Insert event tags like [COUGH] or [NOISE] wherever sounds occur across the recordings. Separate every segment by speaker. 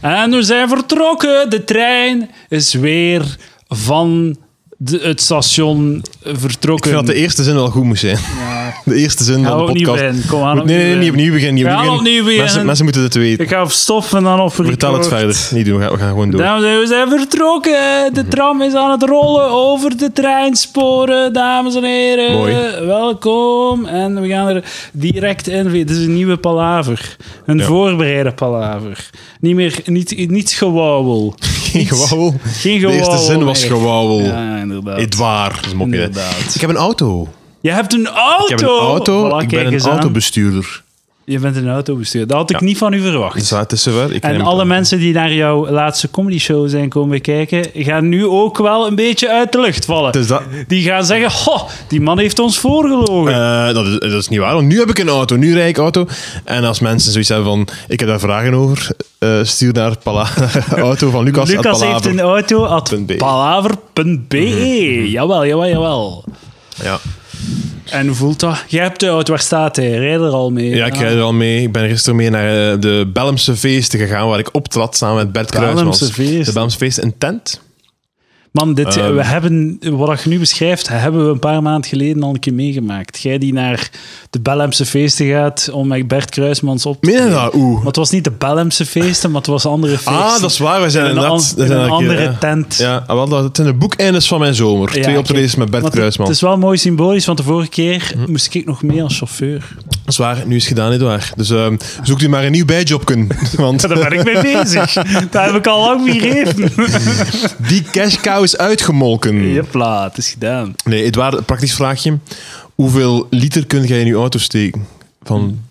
Speaker 1: En we zijn vertrokken. De trein is weer van de, het station
Speaker 2: Ik
Speaker 1: vertrokken.
Speaker 2: vind dat de eerste zin wel goed moest zijn. [LAUGHS] De eerste zin
Speaker 1: Gaan
Speaker 2: van
Speaker 1: we
Speaker 2: de
Speaker 1: opnieuw
Speaker 2: podcast.
Speaker 1: beginnen? Kom aan,
Speaker 2: Moet- nee, nee, nee,
Speaker 1: opnieuw
Speaker 2: niet opnieuw beginnen. niet
Speaker 1: We gaan
Speaker 2: beginnen.
Speaker 1: opnieuw beginnen.
Speaker 2: Mensen, mensen moeten het weten.
Speaker 1: Ik ga verstoffen en dan op
Speaker 2: Vertel het
Speaker 1: record.
Speaker 2: verder. Niet doen, we gaan, we gaan gewoon door.
Speaker 1: Dames en heren, we zijn vertrokken. De tram is aan het rollen over de treinsporen, dames en heren.
Speaker 2: Mooi.
Speaker 1: Welkom. En we gaan er direct in. Dit is een nieuwe palaver. Een
Speaker 2: Ja.
Speaker 1: voorbereide palaver. Niet meer, niet, niet gewauwel.
Speaker 2: [LAUGHS] Geen gewauwel.
Speaker 1: Geen
Speaker 2: De eerste
Speaker 1: gewauwel
Speaker 2: zin was
Speaker 1: meer.
Speaker 2: [LAUGHS] gewauwel.
Speaker 1: Ja, inderdaad.
Speaker 2: Edouard. Dat is een mopje, hè.
Speaker 1: Inderdaad.
Speaker 2: Ik heb een auto.
Speaker 1: Je hebt een auto!
Speaker 2: Ik heb een auto.
Speaker 1: Voilà,
Speaker 2: ik
Speaker 1: kijk
Speaker 2: ben een
Speaker 1: eens aan.
Speaker 2: autobestuurder.
Speaker 1: Je bent een autobestuurder. Dat had ik
Speaker 2: Ja.
Speaker 1: niet van u verwacht.
Speaker 2: Dus het is zover. Ik
Speaker 1: En
Speaker 2: neem-
Speaker 1: alle mensen die naar jouw laatste comedy show zijn komen kijken, gaan nu ook wel een beetje uit de lucht vallen.
Speaker 2: Dus dat,
Speaker 1: Die gaan zeggen: Goh, die man heeft ons voorgelogen.
Speaker 2: eh, dat, is, dat is niet waar. Want nu heb ik een auto. Nu rijd ik auto. En als mensen zoiets hebben van... Ik heb daar vragen over. eh, stuur naar pala [LAUGHS] auto van Lucas. at
Speaker 1: Lucas heeft
Speaker 2: Palaver.
Speaker 1: een auto at
Speaker 2: Punt B. Mhm,
Speaker 1: palaver.be. Jawel, jawel, jawel.
Speaker 2: Ja.
Speaker 1: En hoe voelt dat? Jij hebt de auto, waar staat hij? Rijd er al mee. Ah.
Speaker 2: Ja, ik rijd er al mee. Ik ben gisteren mee naar eh, de Bellemse feesten gegaan, waar ik optrad samen met Bert
Speaker 1: Bellemse
Speaker 2: Kruijsmans.
Speaker 1: feesten.
Speaker 2: De Bellemse feesten in tent.
Speaker 1: Man, dit,
Speaker 2: Ehm.
Speaker 1: we hebben, wat je nu beschrijft, hebben we een paar maanden geleden al een keer meegemaakt. Jij die naar de Bellemse feesten gaat om met Bert Kruismans op te
Speaker 2: Meen je
Speaker 1: treden.
Speaker 2: dat? Oeh.
Speaker 1: Maar het was niet de Bellemse feesten, maar het was andere feesten.
Speaker 2: Ah, dat is waar. We zijn
Speaker 1: In een
Speaker 2: inderdaad...
Speaker 1: an-
Speaker 2: we
Speaker 1: in
Speaker 2: zijn
Speaker 1: een
Speaker 2: een keer,
Speaker 1: andere
Speaker 2: hè.
Speaker 1: tent.
Speaker 2: Ja, ah, wel, dat het zijn de boekeindes van mijn zomer.
Speaker 1: Ja,
Speaker 2: Twee
Speaker 1: oké.
Speaker 2: optredens met Bert Hm.
Speaker 1: Want het-
Speaker 2: Kruijsmans.
Speaker 1: Het is wel mooi symbolisch, want de vorige keer moest ik nog mee als chauffeur.
Speaker 2: Dat is waar. Nu is het gedaan, Edouard. Dus ehm, zoek u maar een nieuw bijjobken. [LAUGHS] Want
Speaker 1: [LAUGHS] Daar ben ik mee bezig. Daar heb ik al lang mee
Speaker 2: [LAUGHS]
Speaker 1: gegeven.
Speaker 2: die cash cow is uitgemolken.
Speaker 1: Jepla, het is gedaan.
Speaker 2: Nee, Edouard, een praktisch vraagje. Hoeveel liter kun jij in je auto steken?
Speaker 1: Hmm.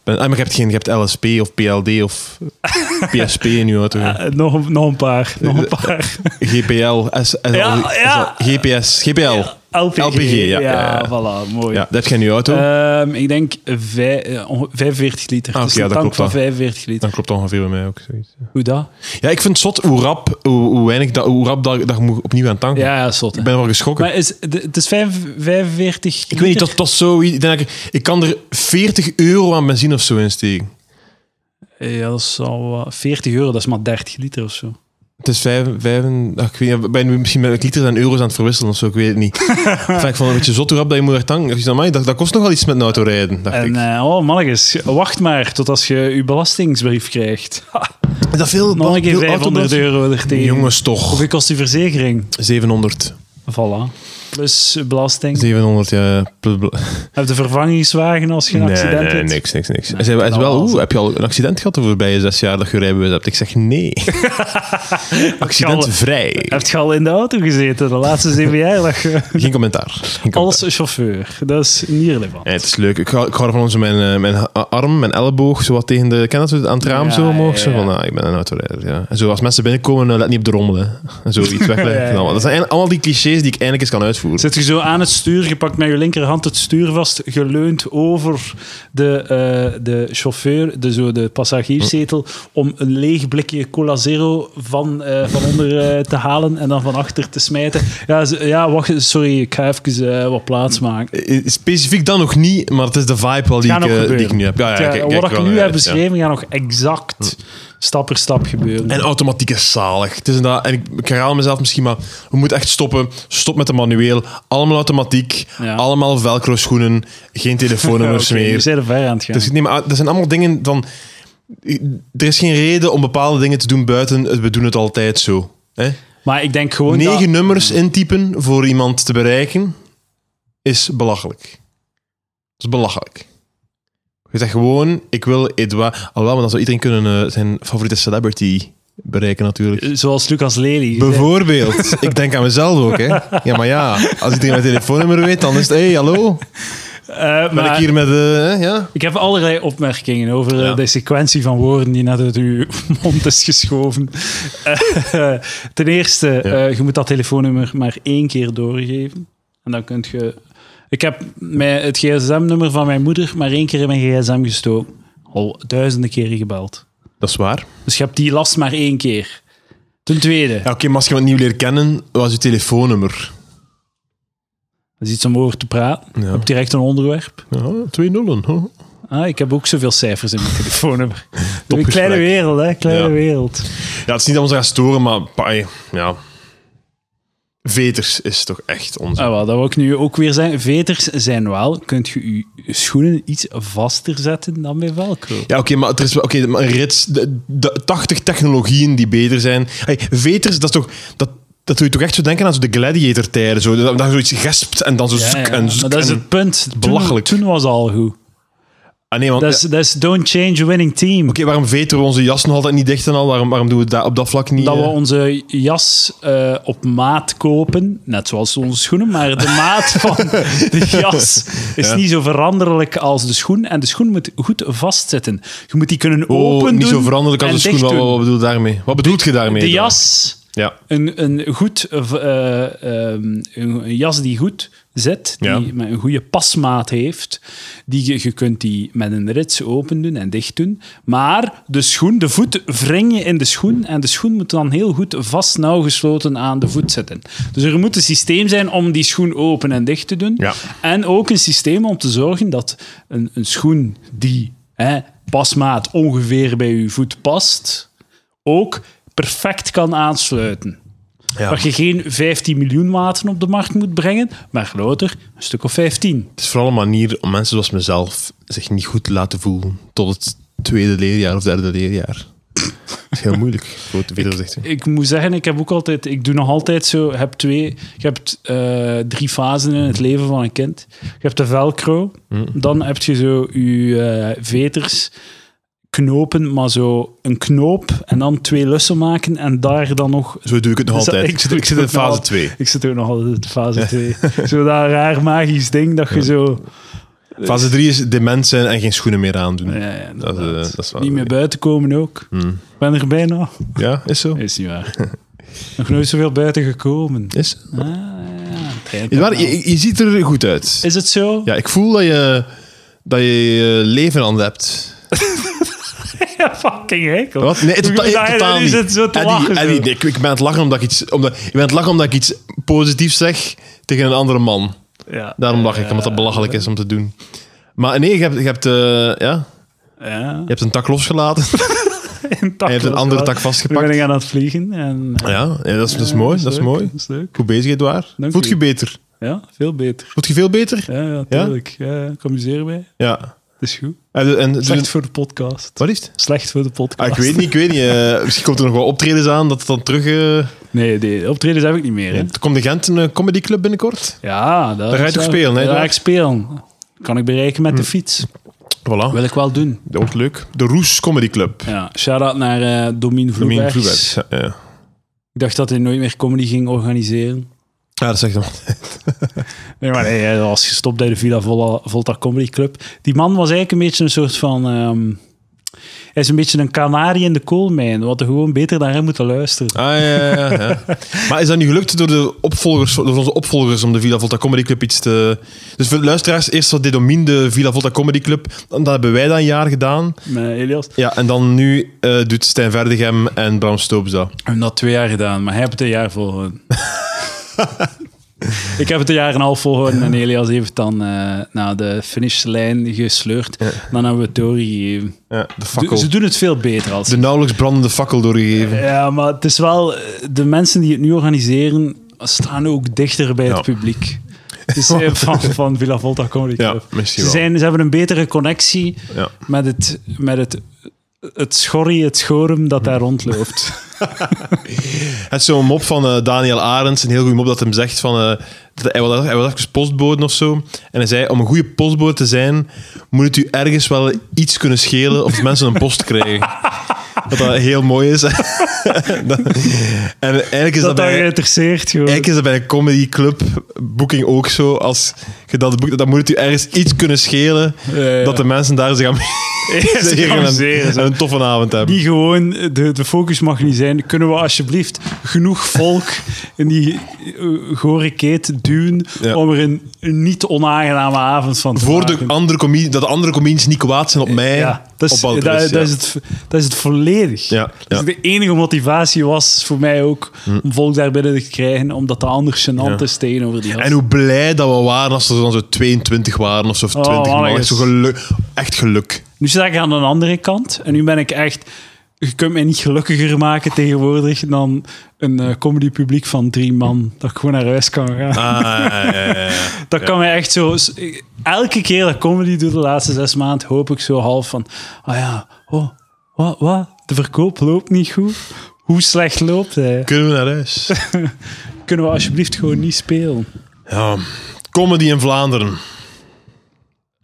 Speaker 2: Van, ah, maar je hebt, geen, je hebt LSP of PLD of PSP in je auto.
Speaker 1: Eh, nog, nog een paar, nog een
Speaker 2: Eh,
Speaker 1: paar.
Speaker 2: GPL, S, SL,
Speaker 1: Ja, ja.
Speaker 2: GPS,
Speaker 1: [LAUGHS]
Speaker 2: GPL. Ja,
Speaker 1: LPG.
Speaker 2: LPG, ja,
Speaker 1: ja,
Speaker 2: ja, ja.
Speaker 1: voilà, mooi.
Speaker 2: dat heb jij in je auto.
Speaker 1: Ehm, ik denk vij- eh, onge- 45 liter.
Speaker 2: Ah,
Speaker 1: dus
Speaker 2: oké, ja,
Speaker 1: een
Speaker 2: dat
Speaker 1: tank
Speaker 2: klopt
Speaker 1: van
Speaker 2: wel.
Speaker 1: 45 liter.
Speaker 2: Dan klopt dat ongeveer bij mij ook zoiets.
Speaker 1: Hoe dat?
Speaker 2: Ja, ik vind het zot hoe rap, hoe, hoe weinig dat, hoe rap dat, dat je moet opnieuw aan tanken.
Speaker 1: Ja, ja, zot. hè.
Speaker 2: Ik ben wel geschrokken.
Speaker 1: Maar is, de- het is vijf- 45
Speaker 2: ik weet niet, dat dat zo... Ik, denk, dat ik- ik kan er 40 euro aan benzine of zo in steken.
Speaker 1: Eh, Ja, dat is al wat- 40 euro, dat is maar 30 liter of zo.
Speaker 2: Het is vijf, vijf en- ach, ik weet niet, ben je misschien met liters en euro's aan het verwisselen of zo, ik weet het
Speaker 1: [LAUGHS]
Speaker 2: niet. enfin, ik vond het een beetje zot hoe rap dat je moet aan tanken. Ik dacht, amai, Dat, dat kost nog wel iets met een auto rijden, dacht
Speaker 1: En
Speaker 2: ik.
Speaker 1: eh, oh, mannetjes, wacht maar tot als je je belastingsbrief krijgt.
Speaker 2: [LAUGHS]
Speaker 1: Ha,
Speaker 2: Is dat veel?
Speaker 1: eh, nog een keer
Speaker 2: veel
Speaker 1: 500
Speaker 2: autobelast-
Speaker 1: euro er tegen.
Speaker 2: Jongens, toch.
Speaker 1: Hoeveel kost die verzekering?
Speaker 2: 700.
Speaker 1: Voilà. Plus belasting.
Speaker 2: 700, ja. plus bel-
Speaker 1: Heb de vervangingswagen als je een accident
Speaker 2: nee,
Speaker 1: hebt?
Speaker 2: niks, niks, niks. Hij zei, hij zei
Speaker 1: nou,
Speaker 2: wel,
Speaker 1: als-
Speaker 2: oeh, heb je al een accident gehad de voorbije zes jaar dat je rijbewijs hebt? Ik
Speaker 1: [LAUGHS]
Speaker 2: zeg, nee. Accidentvrij.
Speaker 1: Heb je al in de auto gezeten de laatste zeven jaar? Dat je-
Speaker 2: Geen commentaar. Geen commentaar.
Speaker 1: Als chauffeur. Dat is niet relevant.
Speaker 2: Nee, het is leuk. Ik ga, ik ga ervan onze mijn, eh, mijn ha- arm, mijn elleboog, zo wat tegen de... Ken je dat zo aan het raam
Speaker 1: Ja,
Speaker 2: zo omhoog?
Speaker 1: ja,
Speaker 2: Zo van,
Speaker 1: ja.
Speaker 2: ah, ik ben een autorijder, ja. En zo als mensen binnenkomen, eh, let niet op de rommel, hè. En zo iets wegleggen.
Speaker 1: [LAUGHS] Ja, ja, ja.
Speaker 2: Allemaal- Dat zijn eigenlijk allemaal die clichés die ik eindelijk eens kan uitvoeren.
Speaker 1: Zit je zo aan het stuur, gepakt met je linkerhand het stuur vast, geleund over de, eh, de chauffeur, de, zo, de passagierszetel, om een leeg blikje Cola Zero van, eh, van onder eh, te halen en dan van achter te smijten. Ja, z- ja wacht, sorry, ik ga even eh, wat plaats maken.
Speaker 2: Eh, Specifiek dan nog niet, maar het is de vibe wel die,
Speaker 1: Gaat nog
Speaker 2: ik, eh, die
Speaker 1: gebeuren.
Speaker 2: ik nu heb. Ja, ja,
Speaker 1: Ja,
Speaker 2: kijk, kijk,
Speaker 1: wat ik
Speaker 2: wel,
Speaker 1: nu
Speaker 2: eh,
Speaker 1: heb
Speaker 2: ja.
Speaker 1: beschreven, gaat nog exact stap voor stap gebeuren.
Speaker 2: En automatiek is zalig. Het is inderdaad, en ik, ik herhaal mezelf misschien, maar we moeten echt stoppen. Stop met de manueel. Allemaal automatiek.
Speaker 1: Ja.
Speaker 2: Allemaal velcro schoenen. Geen
Speaker 1: [LAUGHS]
Speaker 2: telefoonnummers
Speaker 1: Oké,
Speaker 2: meer.
Speaker 1: we zijn er ver aan het gaan.
Speaker 2: Dus, nee, maar dat zijn allemaal dingen van... Er is geen reden om bepaalde dingen te doen buiten. het We doen het altijd zo. Hè?
Speaker 1: maar ik denk gewoon dat-
Speaker 2: Negen nummers intypen voor iemand te bereiken is belachelijk. Dat is belachelijk. Je zegt gewoon, ik wil Edouard... Alhoewel, maar dan zou iedereen kunnen eh, zijn favoriete celebrity bereiken natuurlijk.
Speaker 1: eh, Zoals Lucas Lely.
Speaker 2: Bijvoorbeeld. Ik denk aan mezelf ook, hè. Ja, maar ja. Als iedereen mijn telefoonnummer weet, dan is het... Hé, hey, hallo.
Speaker 1: Eh,
Speaker 2: Ben
Speaker 1: maar-
Speaker 2: ik hier met... eh, hè, ja?
Speaker 1: Ik heb allerlei opmerkingen over eh,
Speaker 2: Ja.
Speaker 1: de sequentie van woorden die net uit uw [LAUGHS] mond is geschoven. Eh, [LAUGHS] ten eerste, eh, je moet dat telefoonnummer maar één keer doorgeven. En dan kunt je... Ik heb mijn, het gsm-nummer van mijn moeder maar één keer in mijn gsm gestoken. Al duizenden keren gebeld.
Speaker 2: Dat is waar.
Speaker 1: Dus je hebt die last maar één keer. Ten tweede,
Speaker 2: Ja, Oké, maar als je iemand nieuw leert kennen, wat is je telefoonnummer?
Speaker 1: dat is iets om over te praten.
Speaker 2: Ja.
Speaker 1: Op direct een onderwerp.
Speaker 2: Ja, twee nullen. Huh?
Speaker 1: Ah, ik heb ook zoveel cijfers in mijn
Speaker 2: [LAUGHS]
Speaker 1: telefoonnummer. Een
Speaker 2: Topgesprek.
Speaker 1: kleine wereld, hè? Kleine
Speaker 2: Ja.
Speaker 1: wereld.
Speaker 2: Ja, het is niet dat we ons gaan storen, maar pa- ja. Veters is toch echt onze.
Speaker 1: Ah, wel, dat wil ik nu ook weer zeggen. Veters zijn wel. Kunt je je schoenen iets vaster zetten dan bij Velcro?
Speaker 2: Ja, oké, maar er is wel oké, maar een rits. De, de 80 technologieën die beter zijn. Hey, veters, dat is toch. Dat, dat doe je toch echt zo denken aan zo de gladiator-tijden. Zo, dat, dat zoiets gespt en dan zo zoek en zoek
Speaker 1: maar dat is
Speaker 2: en-
Speaker 1: het punt. Toen,
Speaker 2: Belachelijk.
Speaker 1: Toen was al goed.
Speaker 2: Ah, nee, want,
Speaker 1: Dat is, dat is don't change a winning team.
Speaker 2: Oké, waarom veteren we onze jas nog altijd niet dicht en al? Waarom, waarom doen we dat op dat vlak niet?
Speaker 1: Dat we
Speaker 2: eh?
Speaker 1: onze jas eh, op maat kopen, net zoals onze schoenen, maar de
Speaker 2: [LAUGHS]
Speaker 1: maat van de jas is niet zo veranderlijk als de schoen. En de schoen moet goed vastzitten. Je moet die kunnen
Speaker 2: Oh,
Speaker 1: open doen
Speaker 2: niet zo veranderlijk als
Speaker 1: en
Speaker 2: de schoen.
Speaker 1: dicht
Speaker 2: Wat,
Speaker 1: doen.
Speaker 2: wat bedoel je daarmee? Wat bedoelt je daarmee?
Speaker 1: De
Speaker 2: dan?
Speaker 1: jas,
Speaker 2: Ja.
Speaker 1: een, een, goed, eh, eh, ehm, een jas die goed zit, die
Speaker 2: Ja.
Speaker 1: met een goede pasmaat heeft, die, je- je kunt die met een rits open doen en dicht doen. Maar de schoen, de voet wring je in de schoen en de schoen moet dan heel goed vast nauwgesloten aan de voet zitten. Dus er moet een systeem zijn om die schoen open en dicht te doen.
Speaker 2: Ja.
Speaker 1: En ook een systeem om te zorgen dat een, een schoen die hè, pasmaat ongeveer bij je voet past, ook perfect kan aansluiten.
Speaker 2: ja.
Speaker 1: Waar je geen 15 miljoen maten op de markt moet brengen, maar louter een stuk of 15.
Speaker 2: Het is vooral een manier om mensen zoals mezelf zich niet goed te laten voelen tot het tweede leerjaar of derde leerjaar. Dat is heel moeilijk. [LAUGHS] Voor het tweede gezicht.
Speaker 1: Ik moet zeggen, ik heb ook altijd, ik doe nog altijd zo, heb twee, je hebt eh, drie fasen in het leven van een kind. Je hebt de velcro,
Speaker 2: Mm.
Speaker 1: dan heb je zo je eh, veters, knopen, maar zo een knoop en dan twee lussen maken en daar dan nog [LAUGHS]
Speaker 2: Zo doe ik het nog
Speaker 1: Dus dat-
Speaker 2: altijd.
Speaker 1: ik
Speaker 2: Ik
Speaker 1: zit
Speaker 2: zit,
Speaker 1: ook-
Speaker 2: ik zit in
Speaker 1: ik zit ook
Speaker 2: fase
Speaker 1: nog
Speaker 2: 2.
Speaker 1: Ik zit ook nog altijd in fase 2. zo dat raar magisch ding dat je zo...
Speaker 2: Fase 3 is dement zijn en geen schoenen meer aandoen.
Speaker 1: Ja, ja,
Speaker 2: dat, is, eh,
Speaker 1: inderdaad.
Speaker 2: dat is wel- Mm.
Speaker 1: Niet meer buiten komen ook. Ik ben er bijna.
Speaker 2: Ja, is zo.
Speaker 1: Is niet waar.
Speaker 2: [LAUGHS]
Speaker 1: Nog nooit zoveel buiten gekomen.
Speaker 2: Is.
Speaker 1: Ah, ja, trein
Speaker 2: Is
Speaker 1: toch
Speaker 2: waar,
Speaker 1: wel.
Speaker 2: je, je ziet er goed uit.
Speaker 1: Is het zo?
Speaker 2: Ja, ik voel dat je dat je, je leven aan hebt.
Speaker 1: [LAUGHS] Ja, fucking hekel.
Speaker 2: Wat? Nee,
Speaker 1: Ik
Speaker 2: totaal,
Speaker 1: bedoel, hij-
Speaker 2: eh, totaal
Speaker 1: hij
Speaker 2: niet.
Speaker 1: zit zo te
Speaker 2: Eddie,
Speaker 1: lachen, zo.
Speaker 2: Eddie, nee, ik, ik ben aan het lachen omdat ik iets, omdat, ik ben aan het lachen omdat ik iets positiefs zeg tegen een andere man.
Speaker 1: Ja.
Speaker 2: Daarom lach ik, omdat dat belachelijk is om te doen. Maar nee, je hebt, je hebt, eh, ja,
Speaker 1: Ja. [LAUGHS]
Speaker 2: je hebt een tak losgelaten.
Speaker 1: tak
Speaker 2: En je hebt een andere
Speaker 1: losgelaten.
Speaker 2: tak
Speaker 1: Nu ben
Speaker 2: vastgepakt.
Speaker 1: ik
Speaker 2: Ja,
Speaker 1: aan het vliegen. En,
Speaker 2: ja, dat, is, dat is mooi. Dat is
Speaker 1: leuk,
Speaker 2: mooi.
Speaker 1: Dat is leuk.
Speaker 2: Goed bezig, Edouard.
Speaker 1: Dank
Speaker 2: Voelt
Speaker 1: u.
Speaker 2: je beter?
Speaker 1: Ja, veel beter.
Speaker 2: Voelt je veel beter?
Speaker 1: Ja, ja, tuurlijk. Ja, ja, ik amuseer mij.
Speaker 2: Ja.
Speaker 1: Het is goed.
Speaker 2: En, en,
Speaker 1: Slecht voor de podcast.
Speaker 2: wat is het?
Speaker 1: Slecht voor de
Speaker 2: Dus- Ah,
Speaker 1: podcast.
Speaker 2: ik weet niet, ik weet niet. eh, misschien komt er nog wel optredens aan dat het dan terug... eh,
Speaker 1: [LAUGHS] Nee, de optredens heb ik niet meer. Hè?
Speaker 2: Er komt de Gent een eh, comedy club binnenkort.
Speaker 1: Ja, dat
Speaker 2: Daar ga je
Speaker 1: is
Speaker 2: toch Hm.
Speaker 1: wel-
Speaker 2: spelen, hè,
Speaker 1: Daar ga
Speaker 2: Dag?
Speaker 1: ik spelen. Kan ik bereiken met de fiets.
Speaker 2: Voilà,
Speaker 1: Wil ik wel doen.
Speaker 2: dat wordt leuk. De Roes Comedy Club.
Speaker 1: Ja, shout-out naar eh Domien
Speaker 2: Domien
Speaker 1: Vloebergs.
Speaker 2: Vloebergs. Ja, ja.
Speaker 1: Ik dacht dat hij nooit meer comedy ging organiseren.
Speaker 2: ja, dat zegt hem.
Speaker 1: Nee, maar eh, nee, hij was gestopt bij de Villa Vola- Volta Comedy Club. Die man was eigenlijk een beetje een soort van... ehm, hij is een beetje een kanarie in de koolmijn. Wat er gewoon beter naar hem moeten luisteren.
Speaker 2: Ah, ja, ja, ja, ja. [LAUGHS] Maar is dat nu gelukt door, de opvolgers, door onze opvolgers om de Villa Volta Comedy Club iets te... Dus voor de luisteraars, eerst wat Dedomien, de Villa Volta Comedy Club. Dan, dat hebben wij dat een jaar gedaan.
Speaker 1: Met eh, Elias.
Speaker 2: Ja, en dan nu eh, doet Stijn Verdegem en Bram Stoops dat.
Speaker 1: Ik heb dat twee jaar gedaan, maar hij heeft het een jaar volgehouden. [LAUGHS] ik heb het een jaar en een half volgehouden en Elias heeft het dan eh, naar de finishlijn gesleurd. Dan hebben we het doorgegeven.
Speaker 2: Ja, de
Speaker 1: Do-
Speaker 2: fakkel.
Speaker 1: Ze doen het veel beter als...
Speaker 2: De nauwelijks brandende fakkel doorgegeven.
Speaker 1: Ja, maar het is wel... eh, De mensen die het nu organiseren, staan ook dichter bij het
Speaker 2: Ja.
Speaker 1: publiek. Het
Speaker 2: [LAUGHS]
Speaker 1: is eh, van, van Villa Volta Comedy
Speaker 2: Ja,
Speaker 1: Club.
Speaker 2: misschien
Speaker 1: ze,
Speaker 2: wel.
Speaker 1: zijn, ze hebben een betere connectie
Speaker 2: Ja.
Speaker 1: met het... Met het het schorrie, het schorum dat daar rondloopt.
Speaker 2: Het is zo'n mop van eh, Daniel Arends, een heel goede mop, dat hem zegt van... eh, dat hij, was, hij was even postbode of zo. En hij zei, om een goede postbode te zijn, moet het u ergens wel iets kunnen schelen of mensen een post
Speaker 1: [LAUGHS]
Speaker 2: krijgen. Dat dat heel mooi is. [LAUGHS] Dat- en eigenlijk is
Speaker 1: dat
Speaker 2: dat,
Speaker 1: dat
Speaker 2: bij,
Speaker 1: geïnteresseerd gewoon. [LAUGHS]
Speaker 2: eigenlijk is dat bij een comedyclub boeking ook zo. Als je dat boekt, dan moet het u ergens iets kunnen schelen
Speaker 1: Ja, ja.
Speaker 2: dat de mensen daar zich aan [LAUGHS]
Speaker 1: zich
Speaker 2: zeggen
Speaker 1: amuseren,
Speaker 2: en,
Speaker 1: zo.
Speaker 2: en een toffe avond hebben.
Speaker 1: Niet gewoon, de, de focus mag niet zijn. Kunnen we alsjeblieft genoeg volk in die eh, gore keet duwen
Speaker 2: Ja.
Speaker 1: om er een, een niet onaangename avond van te
Speaker 2: voor
Speaker 1: maken?
Speaker 2: de andere comedie, dat de andere comedians niet kwaad zijn op mij.
Speaker 1: ja, dat is,
Speaker 2: op Walter
Speaker 1: dat,
Speaker 2: is, ja.
Speaker 1: dat is het, dat is het volledig.
Speaker 2: Ja,
Speaker 1: Dus
Speaker 2: ja. Hm.
Speaker 1: de enige motivatie was voor mij ook om volk daar binnen te krijgen, omdat dat anders gênant
Speaker 2: Ja.
Speaker 1: is tegenover die
Speaker 2: En
Speaker 1: gasten.
Speaker 2: hoe blij dat we waren als er dan zo 22 waren of zo, of
Speaker 1: Oh,
Speaker 2: 20 man.
Speaker 1: mannetjes.
Speaker 2: Echt, zo geluk, echt geluk.
Speaker 1: Nu sta ik aan de andere kant en nu ben ik echt... Je kunt mij niet gelukkiger maken tegenwoordig dan een eh comedy publiek van drie man, dat ik gewoon naar huis kan gaan.
Speaker 2: Ah, ja, ja, ja, ja.
Speaker 1: [LAUGHS] Dat kan mij echt zo. s- ik- Elke keer dat ik comedy doe de laatste zes maanden, hoop ik zo half van. Ah ja, oh, wat, wat? De verkoop loopt niet goed. Hoe slecht loopt hij?
Speaker 2: Kunnen we naar huis?
Speaker 1: Kunnen we alsjeblieft gewoon niet spelen?
Speaker 2: Ja, comedy in Vlaanderen.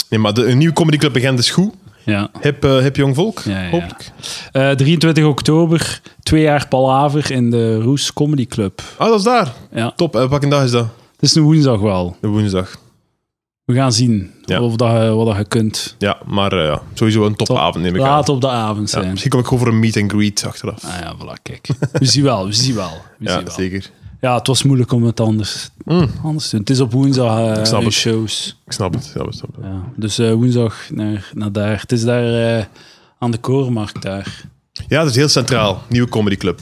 Speaker 2: Nee, maar de, een nieuw comedyclub begint is goed.
Speaker 1: Ja.
Speaker 2: Hip, eh, hip jong volk,
Speaker 1: Ja, ja, ja.
Speaker 2: hopelijk.
Speaker 1: Eh, 23 oktober, twee jaar Palaver in de Roes Comedy Club.
Speaker 2: Ah, dat is daar.
Speaker 1: Ja.
Speaker 2: Top. Eh, welke dag is dat?
Speaker 1: Het is een woensdag wel.
Speaker 2: De woensdag.
Speaker 1: We gaan zien
Speaker 2: Ja.
Speaker 1: of dat, je- wat dat je kunt.
Speaker 2: Ja, maar eh, ja, sowieso een topavond neem ik aan.
Speaker 1: Laat op de avond
Speaker 2: Ja,
Speaker 1: zijn.
Speaker 2: misschien kom ik gewoon voor een meet and greet achteraf.
Speaker 1: Ah ja, voilà, kijk. We zien wel, we zien wel. We zien
Speaker 2: Ja,
Speaker 1: wel.
Speaker 2: zeker.
Speaker 1: Ja, het was moeilijk om het anders, anders te doen. Het is op woensdag eh,
Speaker 2: snap
Speaker 1: in
Speaker 2: het.
Speaker 1: shows.
Speaker 2: Ik snap het. Snap het, snap het.
Speaker 1: Ja, dus eh, woensdag naar, naar daar. Het is daar eh, aan de Korenmarkt daar.
Speaker 2: Ja, dat is heel centraal. Nieuwe comedyclub.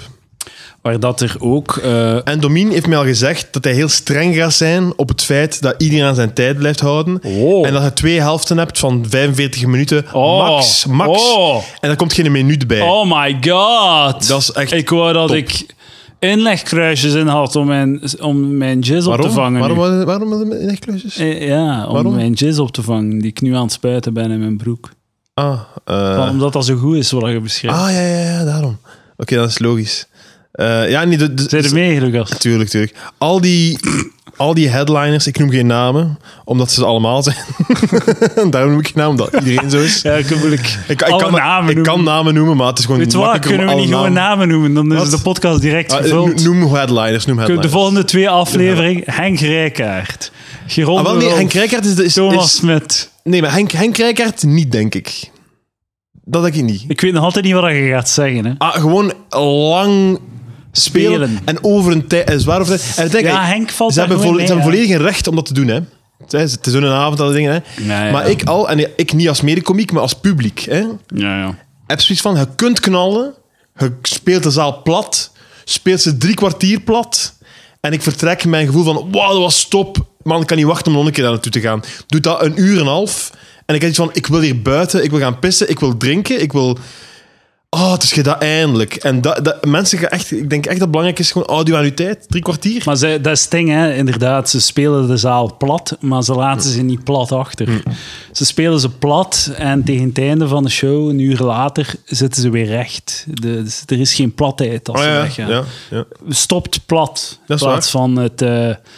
Speaker 1: Waar dat er ook... eh,
Speaker 2: En Domien heeft mij al gezegd dat hij heel streng gaat zijn op het feit dat iedereen aan zijn tijd blijft houden.
Speaker 1: Wow.
Speaker 2: En dat je twee helften hebt van 45 minuten.
Speaker 1: oh,
Speaker 2: max, max.
Speaker 1: Oh,
Speaker 2: En daar komt geen minuut bij.
Speaker 1: oh my god.
Speaker 2: Dat is echt
Speaker 1: ik wou dat
Speaker 2: top.
Speaker 1: ik inlegkruisjes in had om mijn, om mijn jizz op te
Speaker 2: Waarom?
Speaker 1: vangen. nu.
Speaker 2: waarom, waarom, waarom in echt klusjes?
Speaker 1: Eh, ja, om
Speaker 2: Waarom?
Speaker 1: mijn jizz op te vangen die ik nu aan het spuiten ben in mijn broek.
Speaker 2: Ah, eh,
Speaker 1: Omdat dat zo goed is wat je beschrijft.
Speaker 2: ah ja, ja, ja, daarom. Oké, dat is logisch. Eh, ja, niet.
Speaker 1: Zijn er mee, Lucas?
Speaker 2: Tuurlijk, tuurlijk. Al die, al die headliners, ik noem geen namen, omdat ze allemaal zijn. [LAUGHS] Daarom noem ik geen naam, omdat iedereen zo is.
Speaker 1: Ja, ik heb moeilijk.
Speaker 2: [LAUGHS] Ik, ik,
Speaker 1: alle
Speaker 2: kan,
Speaker 1: namen
Speaker 2: ik
Speaker 1: noemen.
Speaker 2: kan namen noemen, maar het is gewoon
Speaker 1: Weet je wat,
Speaker 2: makkelijker
Speaker 1: kunnen we
Speaker 2: om
Speaker 1: niet
Speaker 2: alle
Speaker 1: gewoon namen noemen? Dan is
Speaker 2: Wat?
Speaker 1: de podcast direct
Speaker 2: Ah, eh,
Speaker 1: gevuld.
Speaker 2: no- noem headliners,
Speaker 1: Kunnen
Speaker 2: noem headliners.
Speaker 1: de volgende twee afleveringen Henk Rijkaard, Geron
Speaker 2: Ah, wel,
Speaker 1: de
Speaker 2: nee,
Speaker 1: Wolf,
Speaker 2: Henk Rijkaard is... de- is,
Speaker 1: Thomas
Speaker 2: is
Speaker 1: Smit.
Speaker 2: nee, maar Henk, Henk Rijkaard niet, denk ik. Dat denk ik niet.
Speaker 1: Ik weet nog altijd niet wat je gaat zeggen. Hè.
Speaker 2: Ah, gewoon lang spelen,
Speaker 1: Spelen.
Speaker 2: en over een tijd, eh, zwaar over tijd. En denk,
Speaker 1: Ja, Henk valt
Speaker 2: ze
Speaker 1: daar
Speaker 2: hebben,
Speaker 1: gewoon
Speaker 2: volle- ze
Speaker 1: mee,
Speaker 2: hebben volledig een recht om dat te doen, hè. Het is het is zo'n avond, alle dingen, hè.
Speaker 1: Ja, ja.
Speaker 2: Maar ik al, en ik niet als medecomiek, maar als publiek, hè.
Speaker 1: Ja, ja.
Speaker 2: Heb zoiets van, je kunt knallen, je speelt de zaal plat, speelt ze drie kwartier plat, en ik vertrek met mijn gevoel van, wauw, dat was top. Man, ik kan niet wachten om nog een keer daar naartoe te gaan. Doe dat een uur en een half, en ik heb iets van, ik wil hier buiten, ik wil gaan pissen, ik wil drinken, ik wil... Oh, het is gedaan, eindelijk. En dat, dat, mensen gaan echt... Ik denk echt dat het belangrijk is, gewoon audio aan uw tijd. Drie kwartier.
Speaker 1: Maar ze, dat is het ding, hè. inderdaad. Ze spelen de zaal plat, maar ze laten ze niet plat achter.
Speaker 2: Mm.
Speaker 1: Ze spelen ze plat en tegen het einde van de show, een uur later, zitten ze weer recht. De- dus er is geen platheid als
Speaker 2: Oh,
Speaker 1: ze
Speaker 2: ja,
Speaker 1: weggaan.
Speaker 2: ja, ja,
Speaker 1: Stopt plat, in
Speaker 2: Dat is
Speaker 1: plaats van het, eh,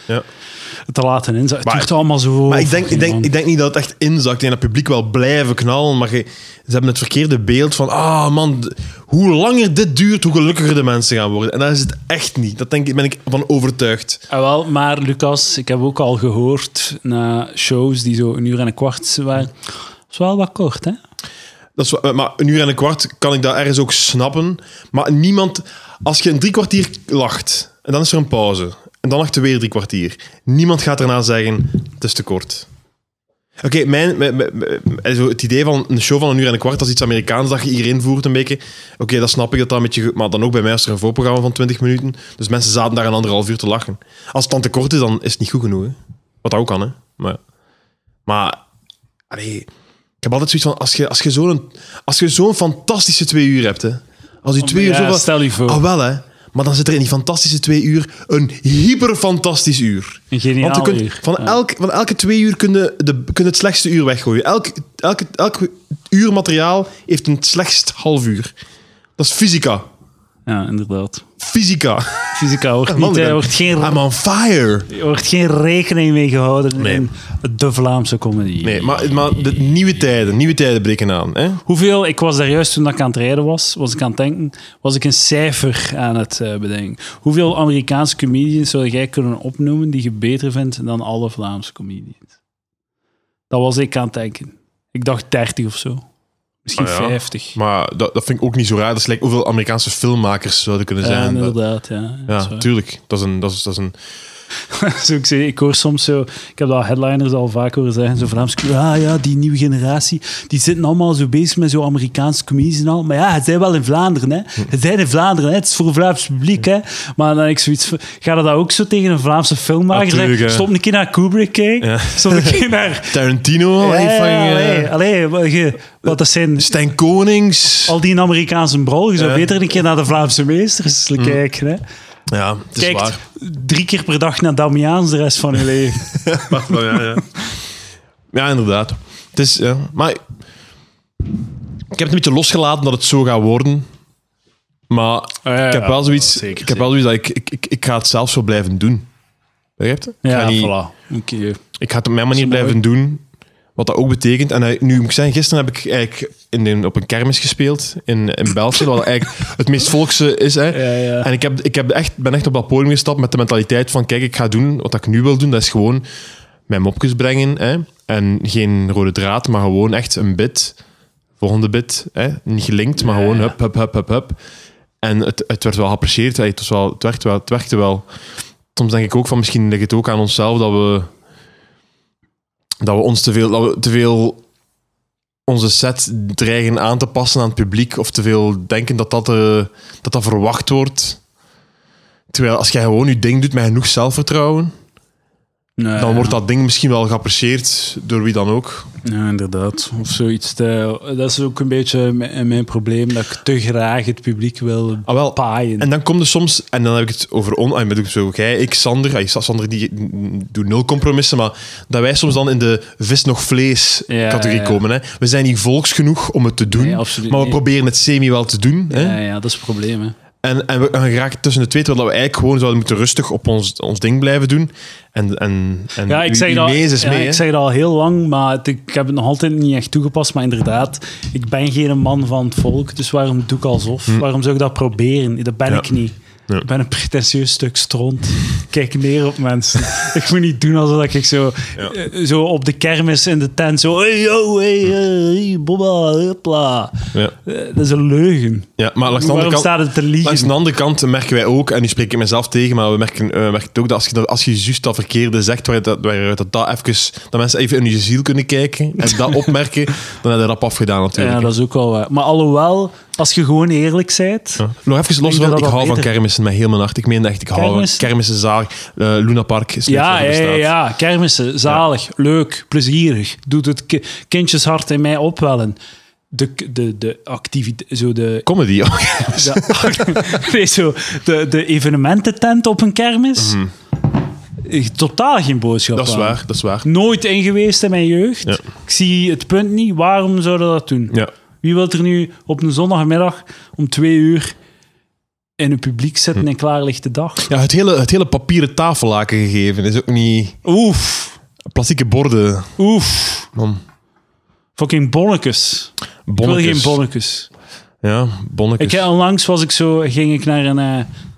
Speaker 2: ja.
Speaker 1: het te laten inzetten. Het
Speaker 2: Maar-
Speaker 1: duurt allemaal zo...
Speaker 2: Maar ik denk, ik,
Speaker 1: man.
Speaker 2: denk, ik denk niet dat het echt inzakt. Ik denk dat het publiek wel blijven knallen. Maar je- ze hebben het verkeerde beeld van... Ah, man, d- hoe langer dit duurt, hoe gelukkiger de mensen gaan worden. En dat is het echt niet. Dat denk, ik- ben ik van overtuigd.
Speaker 1: Ah, wel, maar Lucas, ik heb ook al gehoord na shows die zo een uur en een kwart waren. Dat is wel wat kort, hè?
Speaker 2: Dat is, wa- eh, maar een uur en een kwart kan ik dat ergens ook snappen. Maar niemand... Als je een drie kwartier lacht, en dan is er een pauze. En dan lacht je weer drie kwartier. Niemand gaat daarna zeggen, het is te kort. Oké, mijn, mijn- mijn- mijn- zo het idee van een show van een uur en een kwart, dat is iets Amerikaans dat je hier invoert een beetje. Oké, dat snap ik dat dat een beetje... ge- Maar dan ook bij mij is er een voorprogramma van 20 minuten. Dus mensen zaten daar een anderhalf uur te lachen. Als het dan te kort is, dan is het niet goed genoeg. Hè? Wat dat ook kan, hè. Maar, maar allee, ik heb altijd zoiets van, als je, als je zo'n als je zo'n fantastische twee uur hebt, hè, als die twee
Speaker 1: ja,
Speaker 2: uur zo van-
Speaker 1: stel je voor.
Speaker 2: Ah, wel hè. Maar dan zit er in die fantastische twee uur een hyperfantastisch uur.
Speaker 1: Een geniaal
Speaker 2: Want je kunt,
Speaker 1: uur.
Speaker 2: Van,
Speaker 1: Ja.
Speaker 2: elk, van elke twee uur kun je, de, kun je het slechtste uur weggooien. Elk, elke, elk uur materiaal heeft een slechtst half uur. Dat is fysica.
Speaker 1: Ja, inderdaad. [LAUGHS]
Speaker 2: Fysica.
Speaker 1: Fysica wordt
Speaker 2: Man,
Speaker 1: niet, eh,
Speaker 2: ik ben- Ah,
Speaker 1: wordt geen,
Speaker 2: I'm on fire.
Speaker 1: wordt geen rekening mee gehouden
Speaker 2: Nee.
Speaker 1: in de Vlaamse comedy.
Speaker 2: Nee, maar, maar de nieuwe tijden, nieuwe tijden breken aan. Hè?
Speaker 1: Hoeveel, ik was daar juist toen ik aan het rijden was, was ik aan het denken, was ik een cijfer aan het eh, bedenken. Hoeveel Amerikaanse comedians zou jij kunnen opnoemen die je beter vindt dan alle Vlaamse comedians? Dat was ik aan het denken. Ik dacht 30 of zo. Misschien
Speaker 2: Ah, ja.
Speaker 1: 50.
Speaker 2: Maar dat, dat vind ik ook niet zo raar. Dat is like hoeveel Amerikaanse filmmakers zouden kunnen
Speaker 1: Ja,
Speaker 2: zijn. Dat-
Speaker 1: inderdaad, ja. Dat is
Speaker 2: ja,
Speaker 1: waar.
Speaker 2: tuurlijk. Dat is een... Dat is, dat is een
Speaker 1: [LAUGHS] zo, ik, zeg, ik hoor soms zo, ik heb dat headliners al vaak horen zeggen, zo Vlaams, ah ja, die nieuwe generatie, die zitten allemaal zo bezig met zo'n Amerikaans comedies en al. Maar ja, het zijn wel in Vlaanderen, hè. Het zijn in Vlaanderen, hè. Het is voor een Vlaams publiek, hè. Maar dan heb ik zoiets van, ga je dat ook zo tegen een Vlaamse filmmaker
Speaker 2: Natuurlijk,
Speaker 1: zeggen?
Speaker 2: Ah, hè.
Speaker 1: Stop een keer naar Kubrick kijken.
Speaker 2: Ja.
Speaker 1: Stop een keer
Speaker 2: [LAUGHS]
Speaker 1: naar...
Speaker 2: Tarantino,
Speaker 1: Ja,
Speaker 2: allee,
Speaker 1: ja,
Speaker 2: van, eh,
Speaker 1: allee, allee, wat je- wat dat zijn...
Speaker 2: Stijn Konings.
Speaker 1: Al die Amerikaanse brol, je zou
Speaker 2: Ja.
Speaker 1: beter een keer naar de Vlaamse meesters kijken, hè.
Speaker 2: Ja, het is
Speaker 1: Kijkt
Speaker 2: waar.
Speaker 1: drie keer per dag naar Damiaans de rest van je
Speaker 2: [LAUGHS]
Speaker 1: leven.
Speaker 2: ja, ja. ja, inderdaad. Het is, ja. Maar ik heb het een beetje losgelaten dat het zo gaat worden. Maar
Speaker 1: Ah, ja, ja.
Speaker 2: ik heb wel zoiets,
Speaker 1: Zeker,
Speaker 2: ik heb wel zoiets dat ik, ik, ik, ik ga het zelf zo blijven doen. Begrijp je? ik, ga niet-
Speaker 1: voilà. Oké.
Speaker 2: ik ga het op mijn manier
Speaker 1: mooi.
Speaker 2: blijven doen. Wat dat ook betekent. En eh, nu moet ik zeggen, gisteren heb ik eigenlijk in de- op een kermis gespeeld in, in België. Wat
Speaker 1: [LAUGHS]
Speaker 2: eigenlijk het meest volkse is. Hè.
Speaker 1: Ja, ja.
Speaker 2: En ik, heb, ik heb echt, ben echt op dat podium gestapt met de mentaliteit van: kijk, ik ga doen wat ik nu wil doen. Dat is gewoon mijn mopjes brengen. Hè? En geen rode draad, maar gewoon echt een bit. Volgende bit. Hè? Niet gelinkt, maar
Speaker 1: Ja,
Speaker 2: gewoon
Speaker 1: ja.
Speaker 2: hup, hup, hup, hup, hup. En het, het werd wel geapprecieerd. hè. Het, was wel, het, werkte wel, het werkte wel. Soms denk ik ook van misschien ligt het ook aan onszelf dat we, dat we ons te veel, dat we te veel onze set dreigen aan te passen aan het publiek. Of te veel denken dat dat, eh, dat, dat verwacht wordt. Terwijl als jij gewoon je ding doet met genoeg zelfvertrouwen,
Speaker 1: Nee,
Speaker 2: dan wordt dat ding misschien wel geapprecieerd door wie dan ook.
Speaker 1: Ja, inderdaad. Of zoiets. te- dat is ook een beetje mijn, mijn probleem, dat ik te graag het publiek wil
Speaker 2: Ah, wel.
Speaker 1: paaien.
Speaker 2: En dan komt er soms, en dan heb ik het over on, en bedoel ik zo, jij, ik, Sander, ah, Sander die doet nul compromissen, maar dat wij soms dan in de vis nog vlees
Speaker 1: Ja,
Speaker 2: categorie
Speaker 1: ja.
Speaker 2: komen. Hè. We zijn niet volks genoeg om het te doen,
Speaker 1: Nee, absoluut
Speaker 2: maar we
Speaker 1: niet.
Speaker 2: proberen het semi wel te doen. Hè.
Speaker 1: ja, ja, dat is het probleem. Hè.
Speaker 2: En, en we en we geraken tussen de twee, terwijl we eigenlijk gewoon zouden moeten rustig op ons, ons ding blijven doen. En, en, en
Speaker 1: Ja,
Speaker 2: wie-
Speaker 1: ik zeg,
Speaker 2: wie
Speaker 1: dat,
Speaker 2: mee is, is
Speaker 1: ja,
Speaker 2: mee.
Speaker 1: ik
Speaker 2: hè.
Speaker 1: zeg dat al heel lang, maar het- ik heb het nog altijd niet echt toegepast. Maar inderdaad, ik ben geen man van het volk, dus waarom doe ik alsof? Waarom zou ik dat proberen? Dat ben
Speaker 2: Hm. Ja.
Speaker 1: ik niet.
Speaker 2: Ja.
Speaker 1: Ik ben een pretentieus stuk stront. Ik Kijk neer op mensen. ik moet niet doen alsof ik zo,
Speaker 2: Ja.
Speaker 1: eh, zo op de kermis in de tent zo... Hey, yo, hey, eh, hey, bobba, hupla.
Speaker 2: Ja.
Speaker 1: Eh, dat is een leugen.
Speaker 2: Ja, maar langs de andere
Speaker 1: Waarom
Speaker 2: kant...
Speaker 1: staat het te
Speaker 2: Langs
Speaker 1: liegen?
Speaker 2: de andere kant merken wij ook, en nu spreek ik mezelf tegen, maar we merken, eh, we merken het ook dat als je, dat- als je juist dat verkeerde zegt, waar, dat, waar dat, dat, even, dat mensen even in je ziel kunnen kijken en
Speaker 1: [LAUGHS]
Speaker 2: dat opmerken, dan heb je dat afgedaan natuurlijk.
Speaker 1: Ja, dat is ook wel waar. Maar alhoewel, als je gewoon eerlijk bent...
Speaker 2: Ja. Nog even los
Speaker 1: Ik denk
Speaker 2: van,
Speaker 1: dat
Speaker 2: ik
Speaker 1: dat
Speaker 2: hou van
Speaker 1: beter-
Speaker 2: kermissen met heel mijn hart. Ik meen echt, ik hou van
Speaker 1: Kermissen?
Speaker 2: kermissen, zaag, eh, Luna Park is
Speaker 1: Ja,
Speaker 2: leuk
Speaker 1: ja,
Speaker 2: dat er
Speaker 1: ja,
Speaker 2: bestaat.
Speaker 1: ja. kermissen, zalig, leuk, plezierig. Doet het ki- kindjeshart in mij opwellen. De, k- de, de activiteit, zo de...
Speaker 2: Comedy. oh, ja.
Speaker 1: de nee, zo, de, de evenemententent op een kermis. Eh, Totaal geen boodschap
Speaker 2: [LAUGHS] Mhm. dat is
Speaker 1: aan.
Speaker 2: waar, dat is waar.
Speaker 1: Nooit in geweest in mijn jeugd.
Speaker 2: Ja.
Speaker 1: Ik zie het punt niet. Waarom zouden we dat doen?
Speaker 2: Ja.
Speaker 1: Wie wil er nu op een zondagmiddag om twee uur in het publiek
Speaker 2: Hm.
Speaker 1: zitten in klaarlichte dag?
Speaker 2: Ja, het, hele, het hele papieren tafellaken gegeven is ook niet...
Speaker 1: Oef,
Speaker 2: Plastieke borden,
Speaker 1: oef.
Speaker 2: man.
Speaker 1: Fucking bonnetjes. Ik wil geen
Speaker 2: Bonnetjes.
Speaker 1: bonnetjes. Dus-
Speaker 2: Ja, bonnetjes.
Speaker 1: Ik, heb- onlangs was ik zo, ging ik naar een... eh,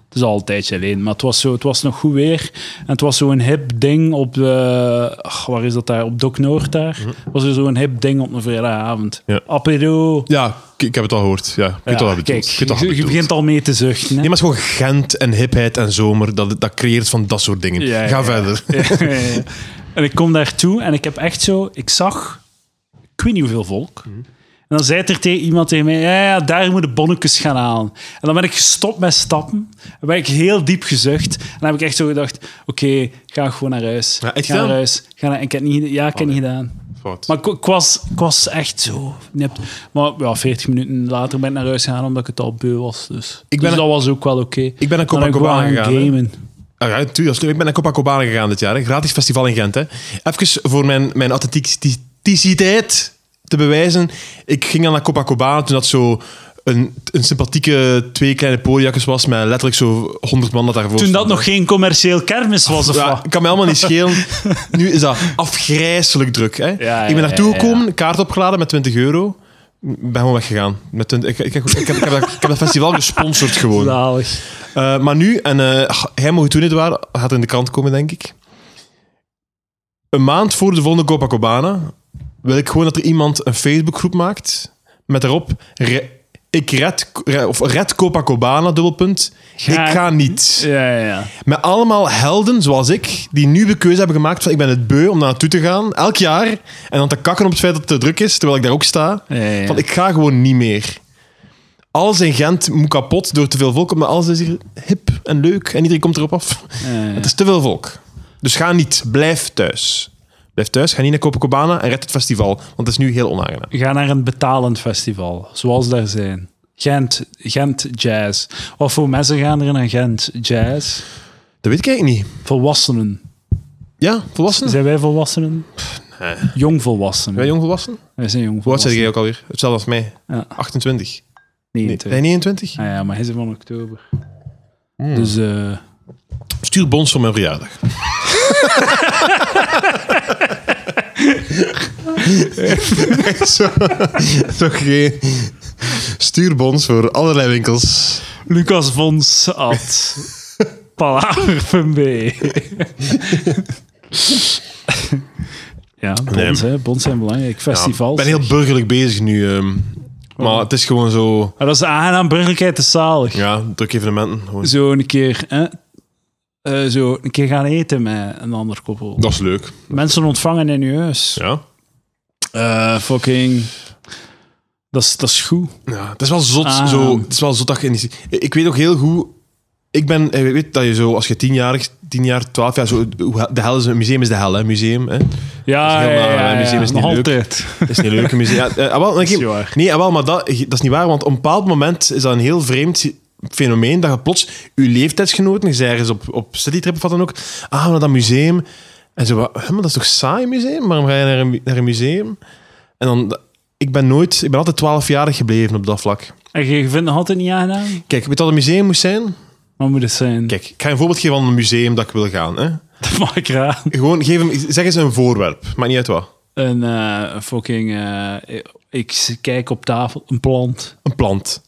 Speaker 1: het is al een tijdje alleen, maar het was, zo, het was nog goed weer. En het was zo'n hip ding op de... ach, waar is dat daar? Op Dok Noord daar. Was er zo'n hip ding op een vrijdagavond.
Speaker 2: Ja.
Speaker 1: Apero.
Speaker 2: Ja, ik, ik heb het al gehoord. Ja, ik weet
Speaker 1: Ja,
Speaker 2: al wat je
Speaker 1: kijk,
Speaker 2: bedoelt. Ik weet al wat
Speaker 1: je, je
Speaker 2: je bedoelt.
Speaker 1: begint al mee te zuchten. hè.
Speaker 2: Nee, maar het is gewoon Gent en hipheid en zomer. Dat, dat creëert van dat soort dingen.
Speaker 1: Ja, ja,
Speaker 2: Ga
Speaker 1: ja.
Speaker 2: verder.
Speaker 1: Ja, ja, ja. [LAUGHS] en ik kom daartoe en ik heb echt zo... Ik zag, ik weet niet hoeveel volk.
Speaker 2: Mhm.
Speaker 1: En dan zei er tegen iemand tegen mij, ja, ja, daar moet de bonnetjes gaan halen. En dan ben ik gestopt met stappen. En ben ik heel diep gezucht. En dan heb ik echt zo gedacht, oké, ga gewoon naar huis.
Speaker 2: Ja, echt
Speaker 1: ga naar
Speaker 2: gedaan?
Speaker 1: huis. Ga naar- ik heb niet, ja, ik heb niet gedaan.
Speaker 2: Fout.
Speaker 1: Maar ik, ik was, ik was echt zo nipt. Maar ja, 40 minuten later ben ik naar huis gegaan, omdat ik het al beu was. Dus,
Speaker 2: Ik ben
Speaker 1: Dus
Speaker 2: een-
Speaker 1: dat was ook wel oké.
Speaker 2: Ik ben naar
Speaker 1: Dan ben ik gewoon
Speaker 2: Copacabana
Speaker 1: gaan
Speaker 2: gegaan. hè.
Speaker 1: gamen.
Speaker 2: Ah, ja, tuurlijk, dat is leuk. Ik ben naar Copacabana gegaan dit jaar. Hè. Gratis festival in Gent. Hè. Even voor mijn, mijn authenticiteit te bewijzen. Ik ging dan naar Copacabana toen dat zo... Een, een sympathieke twee kleine poljakjes was met letterlijk zo 100 man dat daarvoor
Speaker 1: Toen dat
Speaker 2: stond, hè.
Speaker 1: nog geen commercieel kermis was, of wat?
Speaker 2: Ja, kan mij allemaal niet schelen. nu
Speaker 1: [LAUGHS]
Speaker 2: is dat afgrijselijk druk. Hè?
Speaker 1: ja,
Speaker 2: ik ben naartoe
Speaker 1: ja, ja.
Speaker 2: gekomen, kaart opgeladen met 20 euro. Ik ben gewoon weggegaan. Met 20 ik, ik, ik, ik heb, ik, heb dat, ik heb dat festival gesponsord
Speaker 1: [LAUGHS]
Speaker 2: gewoon.
Speaker 1: Zalig.
Speaker 2: Eh, maar nu, en eh, ach, hij mocht toen het waar, gaat in de krant komen, denk ik. Een maand voor de volgende Copacabana wil ik gewoon dat er iemand een Facebookgroep maakt met daarop re- Ik red, of red Copacabana, dubbelpunt.
Speaker 1: Ga-
Speaker 2: ik ga niet.
Speaker 1: Ja, ja, ja.
Speaker 2: Met allemaal helden zoals ik, die nu de keuze hebben gemaakt van ik ben het beu om daar naartoe te gaan, elk jaar, en dan te kakken op het feit dat het te druk is, terwijl ik daar ook sta.
Speaker 1: Ja, ja, ja.
Speaker 2: Van ik ga gewoon niet meer. Alles in Gent moet kapot door te veel volk, maar alles is hier hip en leuk en iedereen komt erop af.
Speaker 1: Ja, ja.
Speaker 2: Het is te veel volk. Dus ga niet, blijf thuis. Blijf thuis, ga niet naar Copacabana en red het festival, want het is nu heel onaangenaam.
Speaker 1: Ga naar een betalend festival, zoals daar zijn. Gent, Gent Jazz. Of voor mensen gaan er naar Gent Jazz.
Speaker 2: Dat weet ik eigenlijk niet.
Speaker 1: Volwassenen.
Speaker 2: Ja, volwassenen?
Speaker 1: Zijn wij volwassenen? Jongvolwassenen.
Speaker 2: Ben jij jongvolwassen?
Speaker 1: Wij zijn
Speaker 2: Hoe oud zijn
Speaker 1: jongvolwassenen.
Speaker 2: jij ook alweer? Hetzelfde als mij.
Speaker 1: Ja.
Speaker 2: 28.
Speaker 1: Nee,
Speaker 2: Nee,
Speaker 1: twee.
Speaker 2: ben je 29?
Speaker 1: Ah ja, maar hij is van oktober. Dus eh,
Speaker 2: Stuur bons voor mijn verjaardag. zo, zo geen- Stuur bons voor allerlei winkels.
Speaker 1: Lucas Vons
Speaker 2: [LAUGHS]
Speaker 1: at Palaver.be. ja, bons, hè. bons zijn belangrijk.
Speaker 2: Ja, Ik
Speaker 1: Festivals.
Speaker 2: ben heel burgerlijk bezig nu. ehm, maar het is gewoon zo...
Speaker 1: Maar dat is de aangenaam burgerlijkheid is zalig.
Speaker 2: Ja, druk evenementen. Gewoon.
Speaker 1: zo een keer, hè, eh, zo een keer gaan eten met een ander koppel.
Speaker 2: Dat is leuk.
Speaker 1: Mensen ontvangen in je huis.
Speaker 2: Ja.
Speaker 1: Eh, fucking. Dat is, dat is goed.
Speaker 2: Ja, het is wel zot.
Speaker 1: Ah.
Speaker 2: Zo, het is wel zot dat je in die- Ik weet ook heel goed. Ik ben, eh, weet dat je zo, als je tienjarig, tien jaar, twaalf jaar, zo, hoe- de hel is een museum is de hel, hè, museum. Hè.
Speaker 1: Ja,
Speaker 2: Dat is
Speaker 1: ja,
Speaker 2: heel
Speaker 1: ja,
Speaker 2: naar,
Speaker 1: ja,
Speaker 2: hè. Museum is
Speaker 1: nog
Speaker 2: niet leuk.
Speaker 1: altijd.
Speaker 2: Dat is niet leuk, een museum. Ja, eh, ah, wel,
Speaker 1: is
Speaker 2: oké,
Speaker 1: niet waar.
Speaker 2: nee, ah, wel, maar dat, dat is niet waar, want op een bepaald moment is dat een heel vreemd fenomeen dat je plots je leeftijdsgenoten, je zei ergens op, op citytrip of wat dan ook, ah, naar dat museum. En zo, wat, hè, maar dat is toch een saai museum? Waarom ga je naar een, naar een museum? En dan, ik ben nooit, ik ben altijd twaalfjarig gebleven op dat vlak.
Speaker 1: En je vindt nog altijd niet aangenaam?
Speaker 2: Kijk, weet je wat een museum moest zijn?
Speaker 1: Wat moet het zijn?
Speaker 2: Kijk, ik ga je een voorbeeld geven van een museum dat ik wil gaan. Hè?
Speaker 1: [LAUGHS] Dat mag ik raar.
Speaker 2: Gewoon geef hem, zeg eens een voorwerp, maakt niet uit wat.
Speaker 1: Een eh, fucking. eh, ik kijk op tafel, een plant.
Speaker 2: Een plant.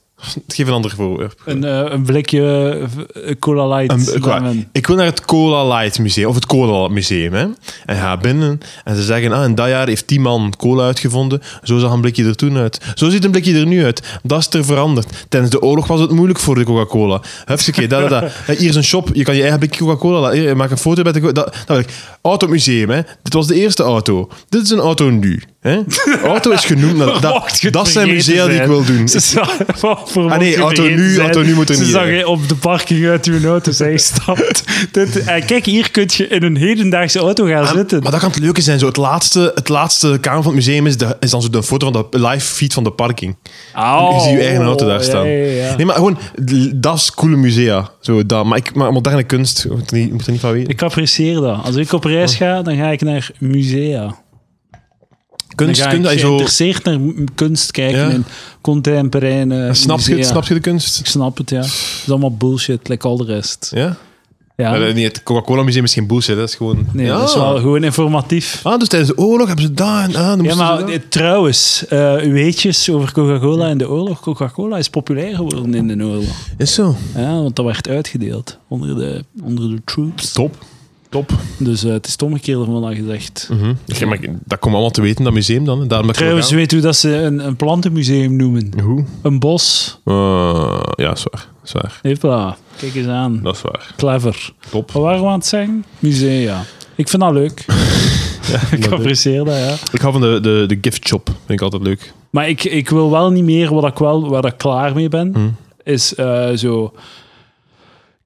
Speaker 2: Geef een ander voorwerp.
Speaker 1: Een, eh, een blikje eh, cola light.
Speaker 2: Een- ik, wou-
Speaker 1: lemon.
Speaker 2: ik wil naar het Cola Light Museum, of het Cola Museum. Hè? En ga binnen en ze zeggen, ah, in dat jaar heeft die man cola uitgevonden. Zo zag een blikje er toen uit. Zo ziet een blikje er nu uit. Dat is er veranderd. Tijdens de oorlog was het moeilijk voor de Coca-Cola. Hupsakee, dat, dat, dat. Hé,
Speaker 1: [LAUGHS]
Speaker 2: Hier is een shop, je kan je eigen blikje Coca-Cola laten. Hier, Maak een foto met de... co- Dat, dat wil ik. Automuseum, hè. Dit was de eerste auto. Dit is een auto nu.
Speaker 1: [LAUGHS]
Speaker 2: Hè? Auto is genoemd... naar-
Speaker 1: Mocht
Speaker 2: Dat,
Speaker 1: je het
Speaker 2: dat zijn
Speaker 1: vergeten
Speaker 2: musea die ik wil doen.
Speaker 1: Ze zou- [LAUGHS] wat voor
Speaker 2: Ah, nee,
Speaker 1: mocht je
Speaker 2: auto
Speaker 1: vergeten
Speaker 2: nu,
Speaker 1: zijn?
Speaker 2: auto nu moet er
Speaker 1: Ze
Speaker 2: niet
Speaker 1: zag
Speaker 2: in.
Speaker 1: je op de parking uit uw auto,
Speaker 2: [LAUGHS]
Speaker 1: zij stapt. Dit, en kijk, hier kun je in een hedendaagse auto gaan
Speaker 2: Ah,
Speaker 1: zitten.
Speaker 2: Maar dat kan het leuke zijn. Zo het, laatste, het laatste kamer van het museum is, de, is dan zo de foto van de live feed van de parking.
Speaker 1: Au,
Speaker 2: je ziet je eigen auto daar
Speaker 1: Oh, ja,
Speaker 2: staan.
Speaker 1: ja, ja.
Speaker 2: Nee, maar gewoon, d- dat is coole musea. Zo, dat. Maar, ik, maar moderne kunst, je moet er niet, je moet er niet van weten.
Speaker 1: Ik apprecieer dat. Als ik op reis
Speaker 2: Oh.
Speaker 1: ga, dan ga ik naar musea. Dan
Speaker 2: kunst,
Speaker 1: ga
Speaker 2: kunst, dat
Speaker 1: ik
Speaker 2: je zo,
Speaker 1: geïnteresseerd naar m- kunst kijken
Speaker 2: Ja.
Speaker 1: in contemporaine
Speaker 2: snap, je,
Speaker 1: musea.
Speaker 2: het- snap je de kunst?
Speaker 1: Ik snap het, ja. Het is allemaal bullshit, like al de rest.
Speaker 2: Ja?
Speaker 1: Ja.
Speaker 2: Eh, Nee, het Coca-Cola museum is geen bullshit. Dat is gewoon...
Speaker 1: Nee,
Speaker 2: ja.
Speaker 1: dat is wel gewoon informatief.
Speaker 2: Ah, dus tijdens de oorlog hebben ze daar en ah, dan
Speaker 1: Ja,
Speaker 2: moesten ze
Speaker 1: maar
Speaker 2: dat.
Speaker 1: eh, trouwens, eh, u weetjes over Coca-Cola en de oorlog. Coca-Cola is populair geworden in de oorlog.
Speaker 2: Is zo.
Speaker 1: Ja, want dat werd uitgedeeld onder de, onder de troops.
Speaker 2: Top. Top.
Speaker 1: Dus eh, het is het omgekeerde van wat gezegd.
Speaker 2: Mhm. Ik- maar ik- dat komt allemaal te weten, dat museum dan. hè. Daarom dat ik wil
Speaker 1: Trouwens,
Speaker 2: gaan.
Speaker 1: weet u dat ze een, een plantenmuseum noemen?
Speaker 2: Hoe?
Speaker 1: Een bos.
Speaker 2: Eh, ja, zwaar. Zwaar.
Speaker 1: Hopla, kijk eens aan.
Speaker 2: Dat is waar.
Speaker 1: Clever.
Speaker 2: Top.
Speaker 1: Wat waren we aan het zeggen? Musea. Ik vind dat
Speaker 2: [LAUGHS]
Speaker 1: leuk. ik apprecieer dat, ja.
Speaker 2: Ik hou van de, de, de gift shop. Vind ik altijd leuk.
Speaker 1: Maar ik, ik wil wel niet meer, wat ik wel, waar ik klaar mee ben,
Speaker 2: Hm.
Speaker 1: is eh, zo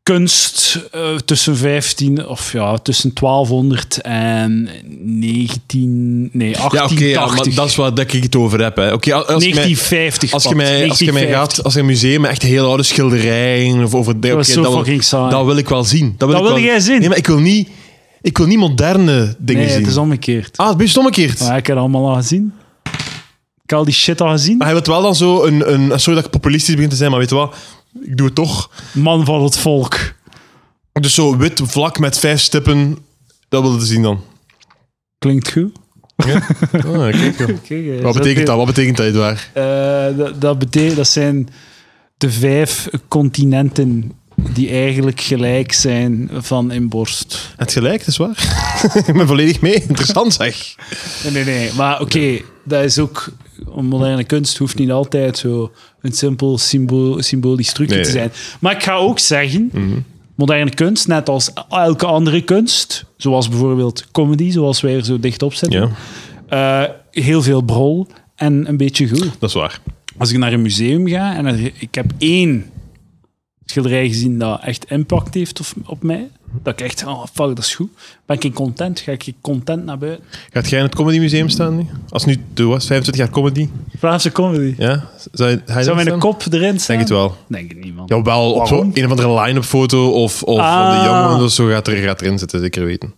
Speaker 1: kunst eh, tussen 15 of ja, tussen 1200 en 19, nee, 1880.
Speaker 2: Ja, oké. ja, maar dat is waar dat ik het over heb. Hè. Oké, als- als, je mij-
Speaker 1: 1950.
Speaker 2: als je
Speaker 1: pakt.
Speaker 2: mij, als je mij
Speaker 1: 1950.
Speaker 2: gaat, als je een museum met echt heel oude schilderijen of over
Speaker 1: Dat is
Speaker 2: oké,
Speaker 1: zo
Speaker 2: dat, wil,
Speaker 1: fucking saai.
Speaker 2: dat wil ik wel zien. Dat wil,
Speaker 1: Dat
Speaker 2: ik
Speaker 1: wil
Speaker 2: wel-
Speaker 1: jij zien?
Speaker 2: Nee, maar ik wil niet, ik wil niet moderne dingen
Speaker 1: nee,
Speaker 2: zien.
Speaker 1: het is omgekeerd.
Speaker 2: Ah, het is omgekeerd.
Speaker 1: Maar ik heb het allemaal al gezien. Ik heb al die shit al gezien.
Speaker 2: Maar hij wil wel dan zo een, een... Sorry dat ik populistisch begin te zijn, maar weet je wat? Ik doe het toch.
Speaker 1: Man van het volk.
Speaker 2: Dus zo wit vlak met vijf stippen. Dat wilde zien dan.
Speaker 1: Klinkt goed.
Speaker 2: Ah,
Speaker 1: [LAUGHS]
Speaker 2: kijk, joh. Wat betekent dat? Wat betekent dat, Edouard?
Speaker 1: Eh, dat, dat, betekent, dat zijn de vijf continenten die eigenlijk gelijk zijn van in borst.
Speaker 2: Het gelijk, dat is [LAUGHS] waar. ik ben volledig mee. Interessant, zeg.
Speaker 1: Nee, nee, nee. Maar oké, dat is ook om moderne kunst hoeft niet altijd zo een simpel symbool, symbolisch trucje
Speaker 2: Nee. Mhm.
Speaker 1: te zijn. Maar ik ga ook zeggen, moderne kunst, net als elke andere kunst, zoals bijvoorbeeld comedy, zoals wij er zo dicht op zitten,
Speaker 2: Ja,
Speaker 1: eh, heel veel brol en een beetje goed.
Speaker 2: dat is waar.
Speaker 1: Als ik naar een museum ga en er- ik heb één schilderij gezien dat echt impact heeft op, op mij, dat ik echt, oh fuck, dat is goed, ben ik content, ga ik content naar buiten.
Speaker 2: Gaat jij in het Comedy Museum staan nu? Als nu de was, 25 jaar comedy.
Speaker 1: Vlaamse comedy.
Speaker 2: Ja? Zou, je- ga je daar
Speaker 1: Zou mijn
Speaker 2: staan?
Speaker 1: kop erin staan?
Speaker 2: Denk het wel.
Speaker 1: Denk het niet, man.
Speaker 2: Jawel, op zo'n
Speaker 1: Waarom?
Speaker 2: een of andere line-up foto of, of van
Speaker 1: Ah.
Speaker 2: de Young Ones of zo gaat, er, gaat erin zitten, zeker weten.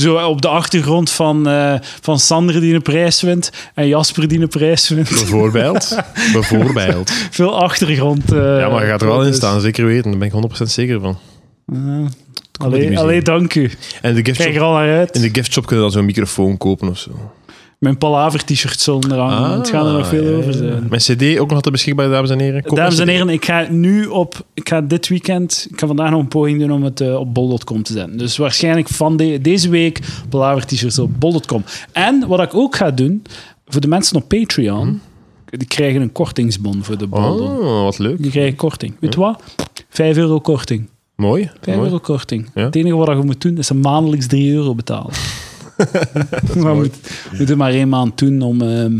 Speaker 1: Zo eh, op de achtergrond van, eh, van Sander die een prijs wint en Jasper die een prijs wint. [LAUGHS]
Speaker 2: Bijvoorbeeld. Bijvoorbeeld.
Speaker 1: Veel achtergrond. eh,
Speaker 2: Ja, maar je gaat er wel in
Speaker 1: foto's.
Speaker 2: staan, zeker weten. Daar ben ik 100% zeker van.
Speaker 1: Ah,
Speaker 2: Comedy
Speaker 1: allee,
Speaker 2: Museum.
Speaker 1: allee, dank u.
Speaker 2: En de gift
Speaker 1: Kijk
Speaker 2: shop,
Speaker 1: er al naar uit.
Speaker 2: in de gift shop kunnen we dan zo'n microfoon kopen of zo.
Speaker 1: Mijn palaver-t-shirt zullen eraan.
Speaker 2: Ah,
Speaker 1: het gaan er nog veel
Speaker 2: ja,
Speaker 1: over
Speaker 2: ja.
Speaker 1: zijn.
Speaker 2: Mijn cd ook nog altijd beschikbaar, dames en heren. Koop
Speaker 1: Dames en
Speaker 2: mijn CD.
Speaker 1: heren, ik ga nu op... Ik ga dit weekend... Ik ga vandaag nog een poging doen om het eh, op bol.com te zetten. Dus waarschijnlijk van de- deze week palaver-t-shirts op bol.com. En wat ik ook ga doen, voor de mensen op Patreon... Die krijgen een kortingsbon voor de bol.
Speaker 2: Oh, wat leuk.
Speaker 1: Die krijgen korting. Weet je wat? 5 euro korting.
Speaker 2: Mooi.
Speaker 1: 5
Speaker 2: mooi.
Speaker 1: euro korting.
Speaker 2: Ja.
Speaker 1: Het enige wat je moet doen, is een maandelijks 3 euro
Speaker 2: [LAUGHS]
Speaker 1: betalen. maar moet, moet het maar één maand doen om... ehm,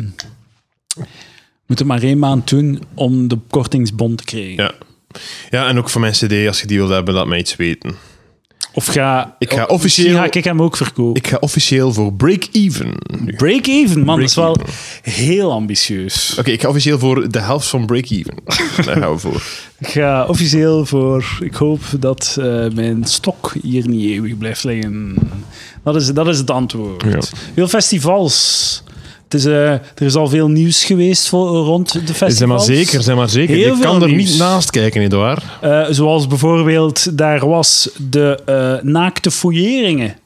Speaker 1: moet het maar één maand doen om de kortingsbon te krijgen.
Speaker 2: Ja. Ja, en ook voor mijn cd, als je die wilt hebben, laat mij iets weten.
Speaker 1: Of ga...
Speaker 2: Ik ga
Speaker 1: of- misschien
Speaker 2: officieel-
Speaker 1: ga ik hem ook verkopen.
Speaker 2: Ik ga officieel voor Break Even nu. Oké,
Speaker 1: Break even, man. dat is wel
Speaker 2: Break
Speaker 1: heel ambitieus.
Speaker 2: ik ga officieel voor de helft van
Speaker 1: [LAUGHS]
Speaker 2: Break Even. Daar gaan we voor.
Speaker 1: Ik ga officieel voor... Ik hoop dat eh, mijn stok hier niet eeuwig blijft liggen. Dat is, dat is het antwoord.
Speaker 2: Ja.
Speaker 1: Veel festivals. Het is, eh, er is al veel nieuws geweest voor, rond de festivals.
Speaker 2: Zeg maar zeker, zeg maar zeker.
Speaker 1: Heel
Speaker 2: je
Speaker 1: veel
Speaker 2: kan er
Speaker 1: nieuws.
Speaker 2: niet naast kijken, nietwaar?
Speaker 1: Eh, zoals bijvoorbeeld, daar was de eh, naakte fouilleringen.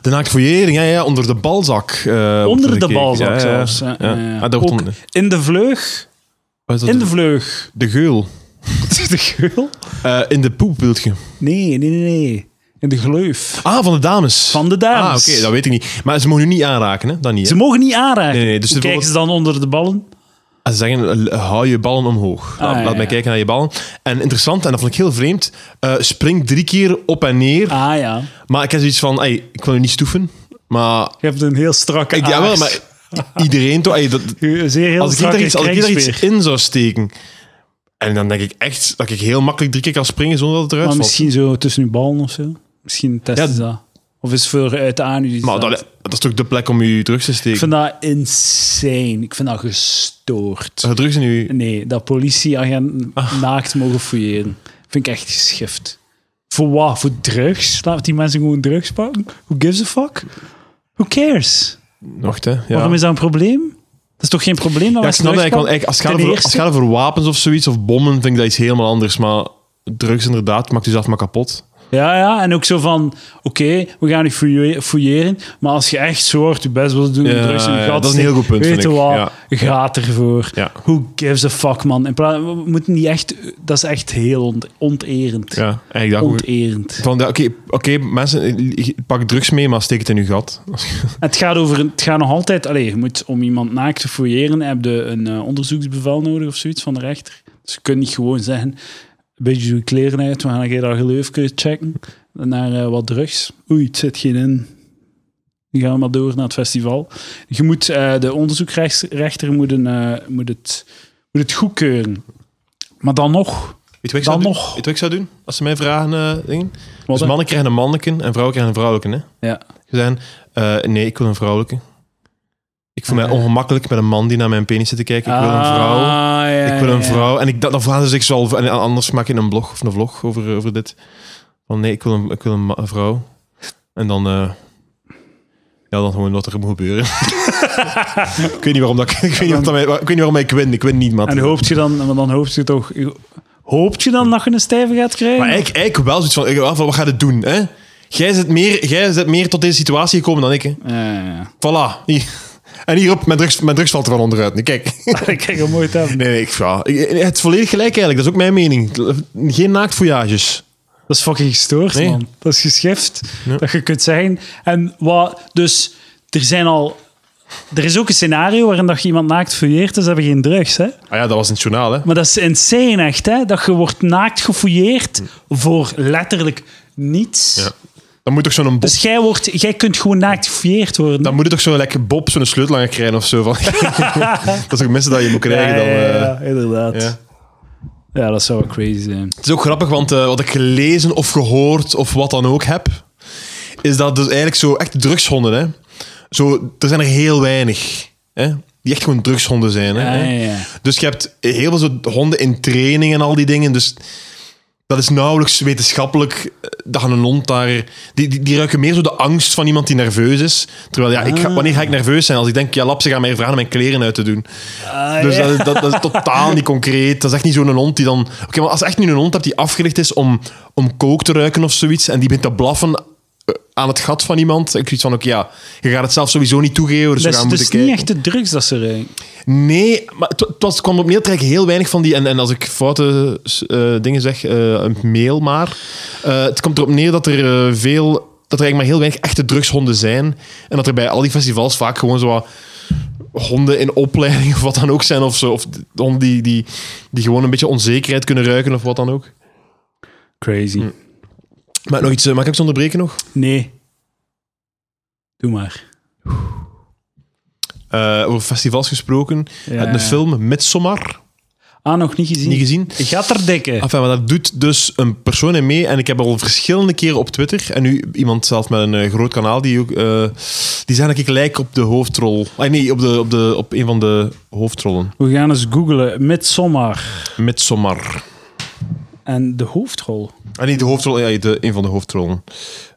Speaker 2: De naaktfouillering, ja, ja, onder de balzak. eh, wordt
Speaker 1: onder de
Speaker 2: gekeken.
Speaker 1: balzak
Speaker 2: Ja, ja,
Speaker 1: zelfs.
Speaker 2: ja.
Speaker 1: Ja, ja, ja.
Speaker 2: Ah, dat wordt
Speaker 1: Ook
Speaker 2: onder-
Speaker 1: in de vleug.
Speaker 2: wat is dat?
Speaker 1: In de vleug.
Speaker 2: De geul.
Speaker 1: de geul?
Speaker 2: Eh, in de poep wilt je.
Speaker 1: Nee, nee, nee, nee. In de gleuf.
Speaker 2: Ah, van de dames.
Speaker 1: Van de dames.
Speaker 2: Ah, oké, dat weet ik niet. Maar ze mogen nu niet aanraken, hè? Dat niet, hè?
Speaker 1: Ze mogen niet aanraken.
Speaker 2: Nee, nee, dus
Speaker 1: Hoe
Speaker 2: er
Speaker 1: kijken ze dan onder de ballen?
Speaker 2: Ah, Ze zeggen, eh, hou je ballen omhoog.
Speaker 1: Ah,
Speaker 2: laat
Speaker 1: ja,
Speaker 2: laat mij
Speaker 1: ja.
Speaker 2: kijken naar je ballen. En interessant, en dat vond ik heel vreemd, eh, spring drie keer op en neer.
Speaker 1: Ah ja.
Speaker 2: Maar ik heb zoiets van, ey, ik wil je niet stoeven, maar...
Speaker 1: Je hebt een heel strakke
Speaker 2: Ik, jawel,
Speaker 1: aars.
Speaker 2: maar iedereen toch... ey, dat,
Speaker 1: U- Zeer [LAUGHS] heel
Speaker 2: als ik daar
Speaker 1: strakke
Speaker 2: iets, als ik daar iets
Speaker 1: krijgspeer.
Speaker 2: in zou steken... En dan denk ik echt dat ik heel makkelijk drie keer kan springen zonder dat het eruit
Speaker 1: Maar
Speaker 2: valt.
Speaker 1: misschien zo tussen uw ballen of zo. Misschien testen
Speaker 2: Ja.
Speaker 1: ze dat. Of is het voor eh, uit de anu die
Speaker 2: Maar
Speaker 1: staat.
Speaker 2: dat, dat is toch de plek om je terug te
Speaker 1: Ik
Speaker 2: steken.
Speaker 1: vind dat insane. Ik vind dat gestoord.
Speaker 2: Als je Eh, drugs in je...
Speaker 1: Nee, dat politieagenten
Speaker 2: Ah.
Speaker 1: naakt mogen fouilleren. Vind ik echt geschift. Voor wat? Voor drugs? Laten die mensen gewoon drugs pakken? Who gives a fuck? Who cares?
Speaker 2: Wacht, hè. Ja.
Speaker 1: Waarom is dat een probleem? Dat is toch geen probleem dat
Speaker 2: Ja, ik
Speaker 1: mensen
Speaker 2: snap dat
Speaker 1: drugs
Speaker 2: eigenlijk, want
Speaker 1: pakken?
Speaker 2: eigenlijk als het
Speaker 1: Ten
Speaker 2: gaat over- als
Speaker 1: eerste-
Speaker 2: het gaat over wapens of zoiets, of bommen, vind ik dat iets helemaal anders. Maar drugs inderdaad, maakt u zelf maar kapot.
Speaker 1: Ja, ja, en ook zo van, oké, we gaan u fouille- fouilleren, maar als je echt zo hard je best wilt doen om
Speaker 2: Ja,
Speaker 1: drugs in je
Speaker 2: ja,
Speaker 1: gat
Speaker 2: dat is
Speaker 1: te
Speaker 2: een
Speaker 1: steken,
Speaker 2: heel goed punt,
Speaker 1: Weet
Speaker 2: vind
Speaker 1: je
Speaker 2: ik.
Speaker 1: wat?
Speaker 2: Ja.
Speaker 1: Gaat ervoor.
Speaker 2: Ja.
Speaker 1: Who gives a fuck, man? In plaats, we moeten niet echt... Dat is echt heel ont- onterend.
Speaker 2: Ja, eigenlijk dat ook-
Speaker 1: Onterend.
Speaker 2: Van, ja, oké, oké, mensen, eh, pak drugs mee, maar steek het in uw gat.
Speaker 1: Het gaat, over, het gaat nog altijd... Allee, je moet om iemand naakt te fouilleren, heb je een eh, onderzoeksbevel nodig of zoiets van de rechter. Dus je kunt niet gewoon zeggen, een beetje doe je kleren uit, we gaan een keer dat geleufje checken naar eh, wat drugs. Oei, het zit geen in. Die gaan maar door naar het festival. Je moet, eh, de onderzoeksrechter moet, een, eh, moet, het, moet het goedkeuren. Maar dan nog...
Speaker 2: Weet je wat ik
Speaker 1: Dan
Speaker 2: zou doen?
Speaker 1: nog.
Speaker 2: Weet je wat ik zou doen? Als ze mij vragen eh, dingen.
Speaker 1: Wat,
Speaker 2: Dus
Speaker 1: hè?
Speaker 2: mannen krijgen een manneken en vrouwen krijgen een vrouwelijke. Hè?
Speaker 1: Ja.
Speaker 2: Ze zijn, eh, nee, ik wil een vrouwelijke. Ik voel mij
Speaker 1: Ah.
Speaker 2: ongemakkelijk met een man die naar mijn penis zit te kijken. Ik wil een vrouw.
Speaker 1: Ah, ja,
Speaker 2: ik wil een
Speaker 1: ja, ja.
Speaker 2: vrouw. En ik, dan dan vragen ze zich zo al- dus en anders maak ik een blog of een vlog over, over dit. Van nee, ik wil een, ik wil een, ma- een vrouw. En dan... eh, ja, dan gewoon wat er moet gebeuren. [LAUGHS] ik weet niet waarom dat, ik, weet niet of dat mij, ik weet niet waarom ik win. Ik win niet, man.
Speaker 1: En hoopt je dan, want dan hoopt je toch. Hoopt je dan dat je een stijve gaat krijgen?
Speaker 2: Maar eigenlijk, eigenlijk wel zoiets van, ik- van, wat gaat het doen? Hè? Jij, zit meer, jij zit meer tot deze situatie gekomen dan ik. Hè?
Speaker 1: Ja, ja,
Speaker 2: Voilà. Hier. En hierop, mijn drugs, mijn drugs valt er wel onderuit. Nu, kijk. [LAUGHS]
Speaker 1: ja. [LAUGHS] Ik krijg er mooi aan.
Speaker 2: Nee, nee, ik, ja, ik- het is volledig gelijk eigenlijk. Dat is ook mijn mening. Geen naaktfouillages.
Speaker 1: Dat is fucking gestoord,
Speaker 2: Nee.
Speaker 1: man. Dat is geschift.
Speaker 2: Ja.
Speaker 1: Dat je kunt zeggen. En wat, dus er zijn al Er is ook een scenario waarin dat je iemand naakt fouilleert, dus ze hebben geen drugs. Hè?
Speaker 2: Ah ja, dat was in het journaal, hè?
Speaker 1: Maar dat is insane echt, hè? dat je wordt naakt gefouilleerd voor letterlijk niets.
Speaker 2: Ja. Dan moet toch zo'n bob,
Speaker 1: Dus jij, wordt, jij kunt gewoon naakt gefouilleerd worden.
Speaker 2: dan moet je toch zo'n lekker bob, zo'n sleutelanger krijgen of zo. Van. [LAUGHS] dat is toch mensen dat je moet krijgen dan.
Speaker 1: ja,
Speaker 2: eh,
Speaker 1: ja, inderdaad.
Speaker 2: ja.
Speaker 1: Ja. dat zou wel crazy zijn.
Speaker 2: Het is ook grappig, want eh, wat ik gelezen of gehoord of wat dan ook heb, is dat dus eigenlijk zo echt drugshonden, hè. Zo, er zijn er heel weinig, hè. Die echt gewoon drugshonden zijn, hè.
Speaker 1: Ja, ja, ja.
Speaker 2: Dus je hebt heel veel zo honden in training en al die dingen, dus... Dat is nauwelijks wetenschappelijk eh, dat een hond daar... Die, die, die ruiken meer zo de angst van iemand die nerveus is. Terwijl, ja, ik ga, wanneer ga ik nerveus zijn? Als ik denk, ja, lap, ze gaan mij vragen om mijn kleren uit te doen.
Speaker 1: Ah,
Speaker 2: Dus
Speaker 1: ja.
Speaker 2: dat, is- dat, dat is totaal niet concreet. Dat is echt niet zo'n hond die dan... Oké, maar als je echt nu een hond hebt die afgericht is om, om kook te ruiken of zoiets, en die begint te blaffen eh, aan het gat van iemand, ik zoiets van, oké, ja, je gaat het zelf sowieso niet toegeven,
Speaker 1: Dat
Speaker 2: dus, we
Speaker 1: is
Speaker 2: gaan
Speaker 1: dus
Speaker 2: moeten
Speaker 1: niet
Speaker 2: kijken.
Speaker 1: echt de drugs dat ze ruiken.
Speaker 2: Nee, maar het, het was, het kwam op neer dat ik heel weinig van die... En, en als ik foute eh, dingen zeg, eh, een mail maar. eh, het komt erop neer dat er eh, veel... Dat er eigenlijk maar heel weinig echte drugshonden zijn. En dat er bij al die festivals vaak gewoon zo wat honden in opleiding of wat dan ook zijn. Of, zo, of d- honden die, die, die gewoon een beetje onzekerheid kunnen ruiken of wat dan ook.
Speaker 1: Crazy.
Speaker 2: Hm. Maar nog iets, eh, mag ik iets onderbreken nog?
Speaker 1: Nee. Doe maar.
Speaker 2: Eh, over festivals gesproken.
Speaker 1: Ja.
Speaker 2: Uit de film Midsommar.
Speaker 1: Eh, Ah, nog niet gezien.
Speaker 2: Niet gezien? Ah.
Speaker 1: Je gaat er dikke.
Speaker 2: Enfin, maar daar doet dus een persoon in mee. En ik heb al verschillende keren op Twitter, en nu iemand zelf met een eh, groot kanaal, die, ook, eh, die zei dat ik lijk op de hoofdrol. Ah, nee, op, de, op, de, op een van de hoofdrollen.
Speaker 1: We gaan eens googlen. Midsommar.
Speaker 2: Midsommar.
Speaker 1: En de hoofdrol.
Speaker 2: Ah, nee, de hoofdrol, ja, de, een van de hoofdrollen.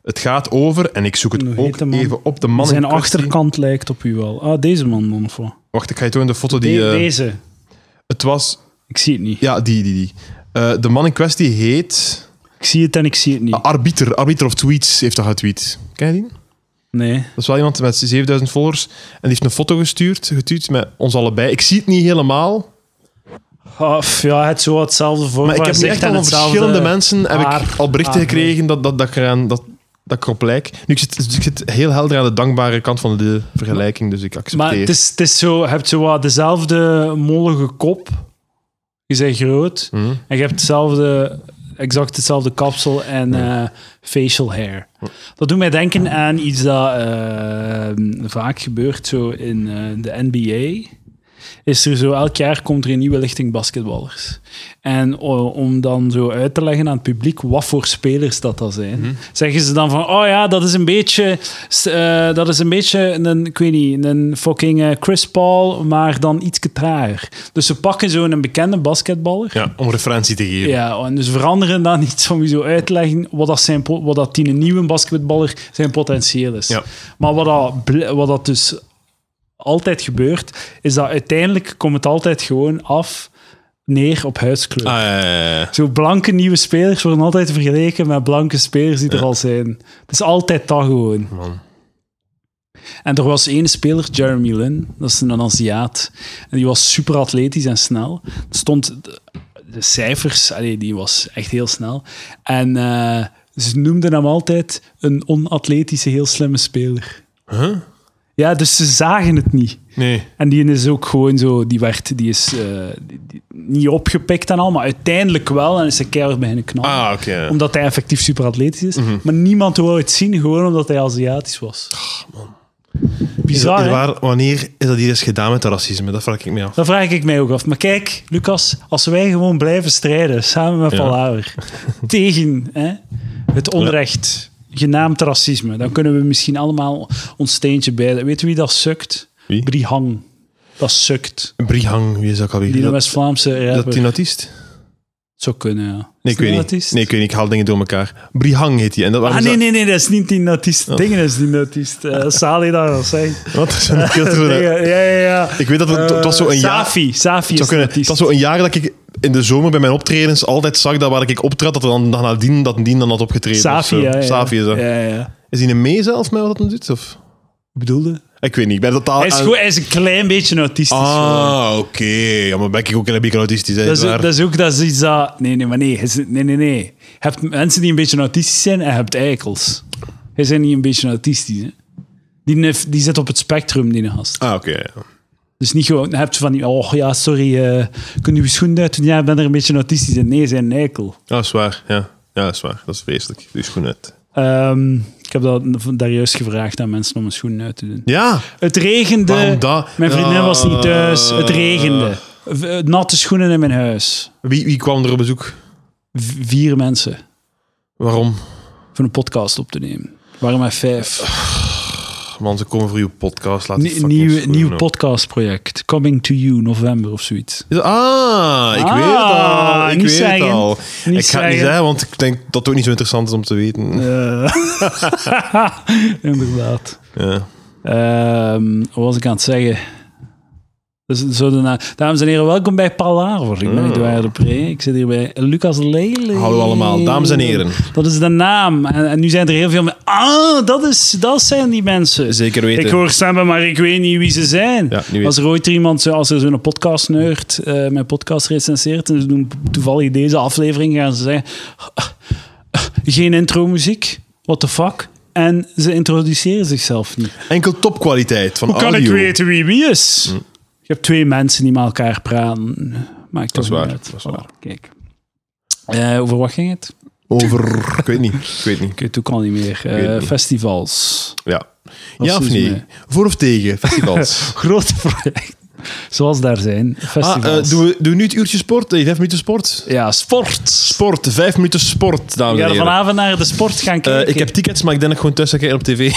Speaker 2: Het gaat over, en ik zoek het
Speaker 1: Hoe heet
Speaker 2: ook
Speaker 1: de man?
Speaker 2: even op, de man
Speaker 1: Zijn
Speaker 2: in kwestie.
Speaker 1: achterkant lijkt op u wel. Ah, deze man dan of wat?
Speaker 2: Wacht, ik ga je tonen de foto die...
Speaker 1: De-
Speaker 2: eh,
Speaker 1: deze.
Speaker 2: het was...
Speaker 1: Ik zie het niet.
Speaker 2: Ja, die, die, die. Eh, de man in kwestie heet... eh,
Speaker 1: Ik zie het en ik zie het
Speaker 2: Ah.
Speaker 1: niet.
Speaker 2: Arbiter, Arbiter of Tweets heeft dat getweet. Ken je die?
Speaker 1: Nee.
Speaker 2: Dat is wel iemand met 7000 followers. En die heeft een foto gestuurd, getuurd met ons allebei. Ik zie het niet helemaal.
Speaker 1: Ah, pff, ja, het zo hetzelfde voor.
Speaker 2: Maar ik heb nu echt al van verschillende mensen heb ik
Speaker 1: haar,
Speaker 2: al berichten
Speaker 1: haar.
Speaker 2: gekregen dat, dat, dat, ik eraan, dat, dat ik erop lijk. Nu, ik zit, dus ik zit heel helder aan de dankbare kant van de vergelijking, dus ik
Speaker 1: Maar
Speaker 2: accepteer.
Speaker 1: het is, het is zo, je hebt zo wat dezelfde mollige kop. Je bent groot.
Speaker 2: Mhm.
Speaker 1: En je hebt hetzelfde, exact hetzelfde kapsel en eh, facial hair. Dat doet mij denken aan iets dat eh, vaak gebeurt zo in eh, de NBA. Is er zo, elk jaar komt er een nieuwe lichting basketballers. En o- om dan zo uit te leggen aan het publiek wat voor spelers dat dat zijn, zeggen ze dan van, oh ja, dat is een beetje, s- eh, dat is een beetje een, ik weet niet, een fucking eh, Chris Paul, maar dan iets trager. Dus ze pakken zo'n bekende basketballer
Speaker 2: Ja, om referentie te geven.
Speaker 1: ja, en dus veranderen dan niet sowieso uitleggen wat dat, zijn, po- wat dat die een nieuwe basketballer zijn potentieel is.
Speaker 2: Ja.
Speaker 1: Maar wat dat, bl- wat dat dus altijd gebeurt, is dat uiteindelijk komt het altijd gewoon af neer op huidskleur.
Speaker 2: Ah, ja, ja, ja.
Speaker 1: [LAUGHS] Zo blanke nieuwe spelers worden altijd vergeleken met blanke spelers die er al zijn. Het is altijd dat gewoon.
Speaker 2: Man.
Speaker 1: En er was één speler, Jeremy Lin, dat is een Aziat. En die was super atletisch en snel. Er stond de, de cijfers, allee, die was echt heel snel. En eh, ze noemden hem altijd een onatletische, heel slimme speler.
Speaker 2: Huh?
Speaker 1: Ja, dus ze zagen het niet.
Speaker 2: Nee.
Speaker 1: En die is ook gewoon zo, die werd, die is eh, die- die- niet opgepikt en al, maar uiteindelijk wel. En is hij keihard beginnen knallen.
Speaker 2: Ah, Mhm. oké.
Speaker 1: Omdat hij effectief super atletisch is. Maar niemand wou het zien, gewoon omdat hij Aziatisch was.
Speaker 2: Ah,
Speaker 1: Bizar, hè?
Speaker 2: Edouard, wanneer is dat hier eens gedaan met dat racisme? Dat vraag ik me af.
Speaker 1: Dat vraag ik mij ook af. Maar kijk, Lucas, als wij gewoon blijven strijden, samen met
Speaker 2: Ja. [LAUGHS]
Speaker 1: Palaver, tegen hè, het onrecht, genaamd racisme, dan kunnen we misschien allemaal ons steentje bij. Weet u wie dat sukt?
Speaker 2: Wie?
Speaker 1: Brihang. Dat sukt.
Speaker 2: Brihang, wie is dat ook
Speaker 1: Die
Speaker 2: alweer?
Speaker 1: de
Speaker 2: Dat,
Speaker 1: West-Vlaamse
Speaker 2: dat
Speaker 1: rapper.
Speaker 2: die een autist?
Speaker 1: Zou kunnen, ja.
Speaker 2: Nee,
Speaker 1: Is
Speaker 2: ik weet
Speaker 1: die
Speaker 2: niet.
Speaker 1: autist?
Speaker 2: Nee, ik weet niet. Ik haal dingen door elkaar. Brihang heet die. En dat, dus- waarom Oh.
Speaker 1: Ah,
Speaker 2: is
Speaker 1: nee,
Speaker 2: dat-
Speaker 1: nee, nee, dat is niet die notist. Dingen is die notist. Eh
Speaker 2: [LAUGHS]
Speaker 1: Sali daar al zijn.
Speaker 2: Wat? [LAUGHS] Dat is een filter.
Speaker 1: Ja, ja, ja. Eh,
Speaker 2: Ik weet dat het, het was zo een jaar. Het
Speaker 1: Safi, Safi
Speaker 2: zou
Speaker 1: is
Speaker 2: kunnen- het
Speaker 1: notist.
Speaker 2: was zo een jaar dat ik in de zomer bij mijn optredens altijd zag dat waar ik optrad, dat er dan dan nadien dat nadien dan had opgetreden. of
Speaker 1: Safi,
Speaker 2: zo.
Speaker 1: ja, ja.
Speaker 2: Safi is dat.
Speaker 1: Ja, ja.
Speaker 2: Is hij een mee zelf met wat dat doet? Of?
Speaker 1: Ik bedoelde...
Speaker 2: Ik weet niet. Ik ben totaal. Ah,
Speaker 1: Hij is,
Speaker 2: aan-
Speaker 1: gewoon, hij is een klein beetje autistisch. gewoon.
Speaker 2: Ah, oké. Ja, maar ben ik ook een beetje autistisch. hè,
Speaker 1: dat, is,
Speaker 2: waar.
Speaker 1: dat is ook dat is iets dat... Nee, nee, maar nee. hij is- Nee, nee, nee. Je hebt mensen die een beetje autistisch zijn en je hebt eikels. Hij zijn niet een beetje autistisch, hè. Die, heeft- die zit op het spectrum, die gast.
Speaker 2: Ah, oké. ja.
Speaker 1: Dus niet gewoon, dan heb je van die, oh ja, sorry, eh kun je je schoenen uitdoen? Ja, ik ben er een beetje autistisch in. Nee, zijn eikel.
Speaker 2: Ah, dat is waar. Ja. ja, dat is waar. Dat is vreselijk. Doe je schoen uit.
Speaker 1: Ehm, ik heb dat daar juist gevraagd aan mensen om hun schoenen uit te doen.
Speaker 2: Ja,
Speaker 1: Het regende.
Speaker 2: Waarom dat? Eh.
Speaker 1: Mijn vriendin
Speaker 2: Ja.
Speaker 1: was niet thuis. Het regende. V- eh, Natte schoenen in mijn huis.
Speaker 2: wie, wie kwam er op bezoek?
Speaker 1: V- vier mensen
Speaker 2: Waarom?
Speaker 1: voor een podcast op te nemen. Waarom maar vijf?
Speaker 2: Man, ze komen voor uw podcast. Laat die
Speaker 1: Nieuw
Speaker 2: fucking
Speaker 1: nieuw,
Speaker 2: schoenen
Speaker 1: nieuw
Speaker 2: op.
Speaker 1: podcastproject. Coming to you, november of zoiets.
Speaker 2: Is- Ah, ik
Speaker 1: Ah,
Speaker 2: weet het al. Ik
Speaker 1: niet
Speaker 2: weet het
Speaker 1: zeggen.
Speaker 2: al.
Speaker 1: Niet
Speaker 2: ik ga het niet
Speaker 1: zeggen.
Speaker 2: zeggen, want ik denk dat het ook niet zo interessant is om te weten.
Speaker 1: Eh, [LAUGHS] Inderdaad.
Speaker 2: Ja.
Speaker 1: Ehm, wat was ik aan het zeggen? Dus, zo de na- Dames en heren, welkom bij Palaver. Ik ben Edouard de Pre. Ik zit hier bij Lucas Lely.
Speaker 2: Oh. Hallo allemaal, dames en heren.
Speaker 1: Dat is de naam. En, en nu zijn er heel veel mensen. Ah, dat, is, dat zijn die mensen.
Speaker 2: Zeker weten.
Speaker 1: Ik hoor stemmen, maar ik weet niet wie ze zijn.
Speaker 2: Ja, nu weet
Speaker 1: als er ooit iemand, zo- als er zo'n podcastneurt eh mijn podcast recenseert en ze doen toevallig deze aflevering, gaan ze zeggen: "Ah, ah, geen intro-muziek, what the fuck. En ze introduceren zichzelf niet.
Speaker 2: Enkel topkwaliteit van
Speaker 1: Hoe kan
Speaker 2: audio.
Speaker 1: ik weten wie wie is? Je hebt twee mensen die met elkaar praten. Maakt
Speaker 2: Dat is
Speaker 1: toch
Speaker 2: waar,
Speaker 1: niet uit.
Speaker 2: dat is
Speaker 1: Voilà,
Speaker 2: waar.
Speaker 1: Kijk. Eh, over wat ging het?
Speaker 2: Over, ik weet niet, ik weet niet.
Speaker 1: Ik weet het ook al niet meer.
Speaker 2: weet het
Speaker 1: Eh,
Speaker 2: niet.
Speaker 1: festivals.
Speaker 2: Ja,
Speaker 1: Wat
Speaker 2: ja of
Speaker 1: doen ze
Speaker 2: nee?
Speaker 1: dus mee?
Speaker 2: Voor of
Speaker 1: [LAUGHS]
Speaker 2: tegen? Festivals.
Speaker 1: Grote project. Zoals daar zijn.
Speaker 2: ah,
Speaker 1: Festivals.
Speaker 2: eh, doen, we, doen we nu het uurtje sport? Eh, Vijf minuten sport?
Speaker 1: Ja, sport.
Speaker 2: Sport, vijf minuten sport,
Speaker 1: We
Speaker 2: dames en
Speaker 1: gaan
Speaker 2: heren.
Speaker 1: vanavond naar de sport gaan
Speaker 2: Eh,
Speaker 1: kijken.
Speaker 2: ik heb tickets, maar ik denk dat ik gewoon thuis ga kijken op tv.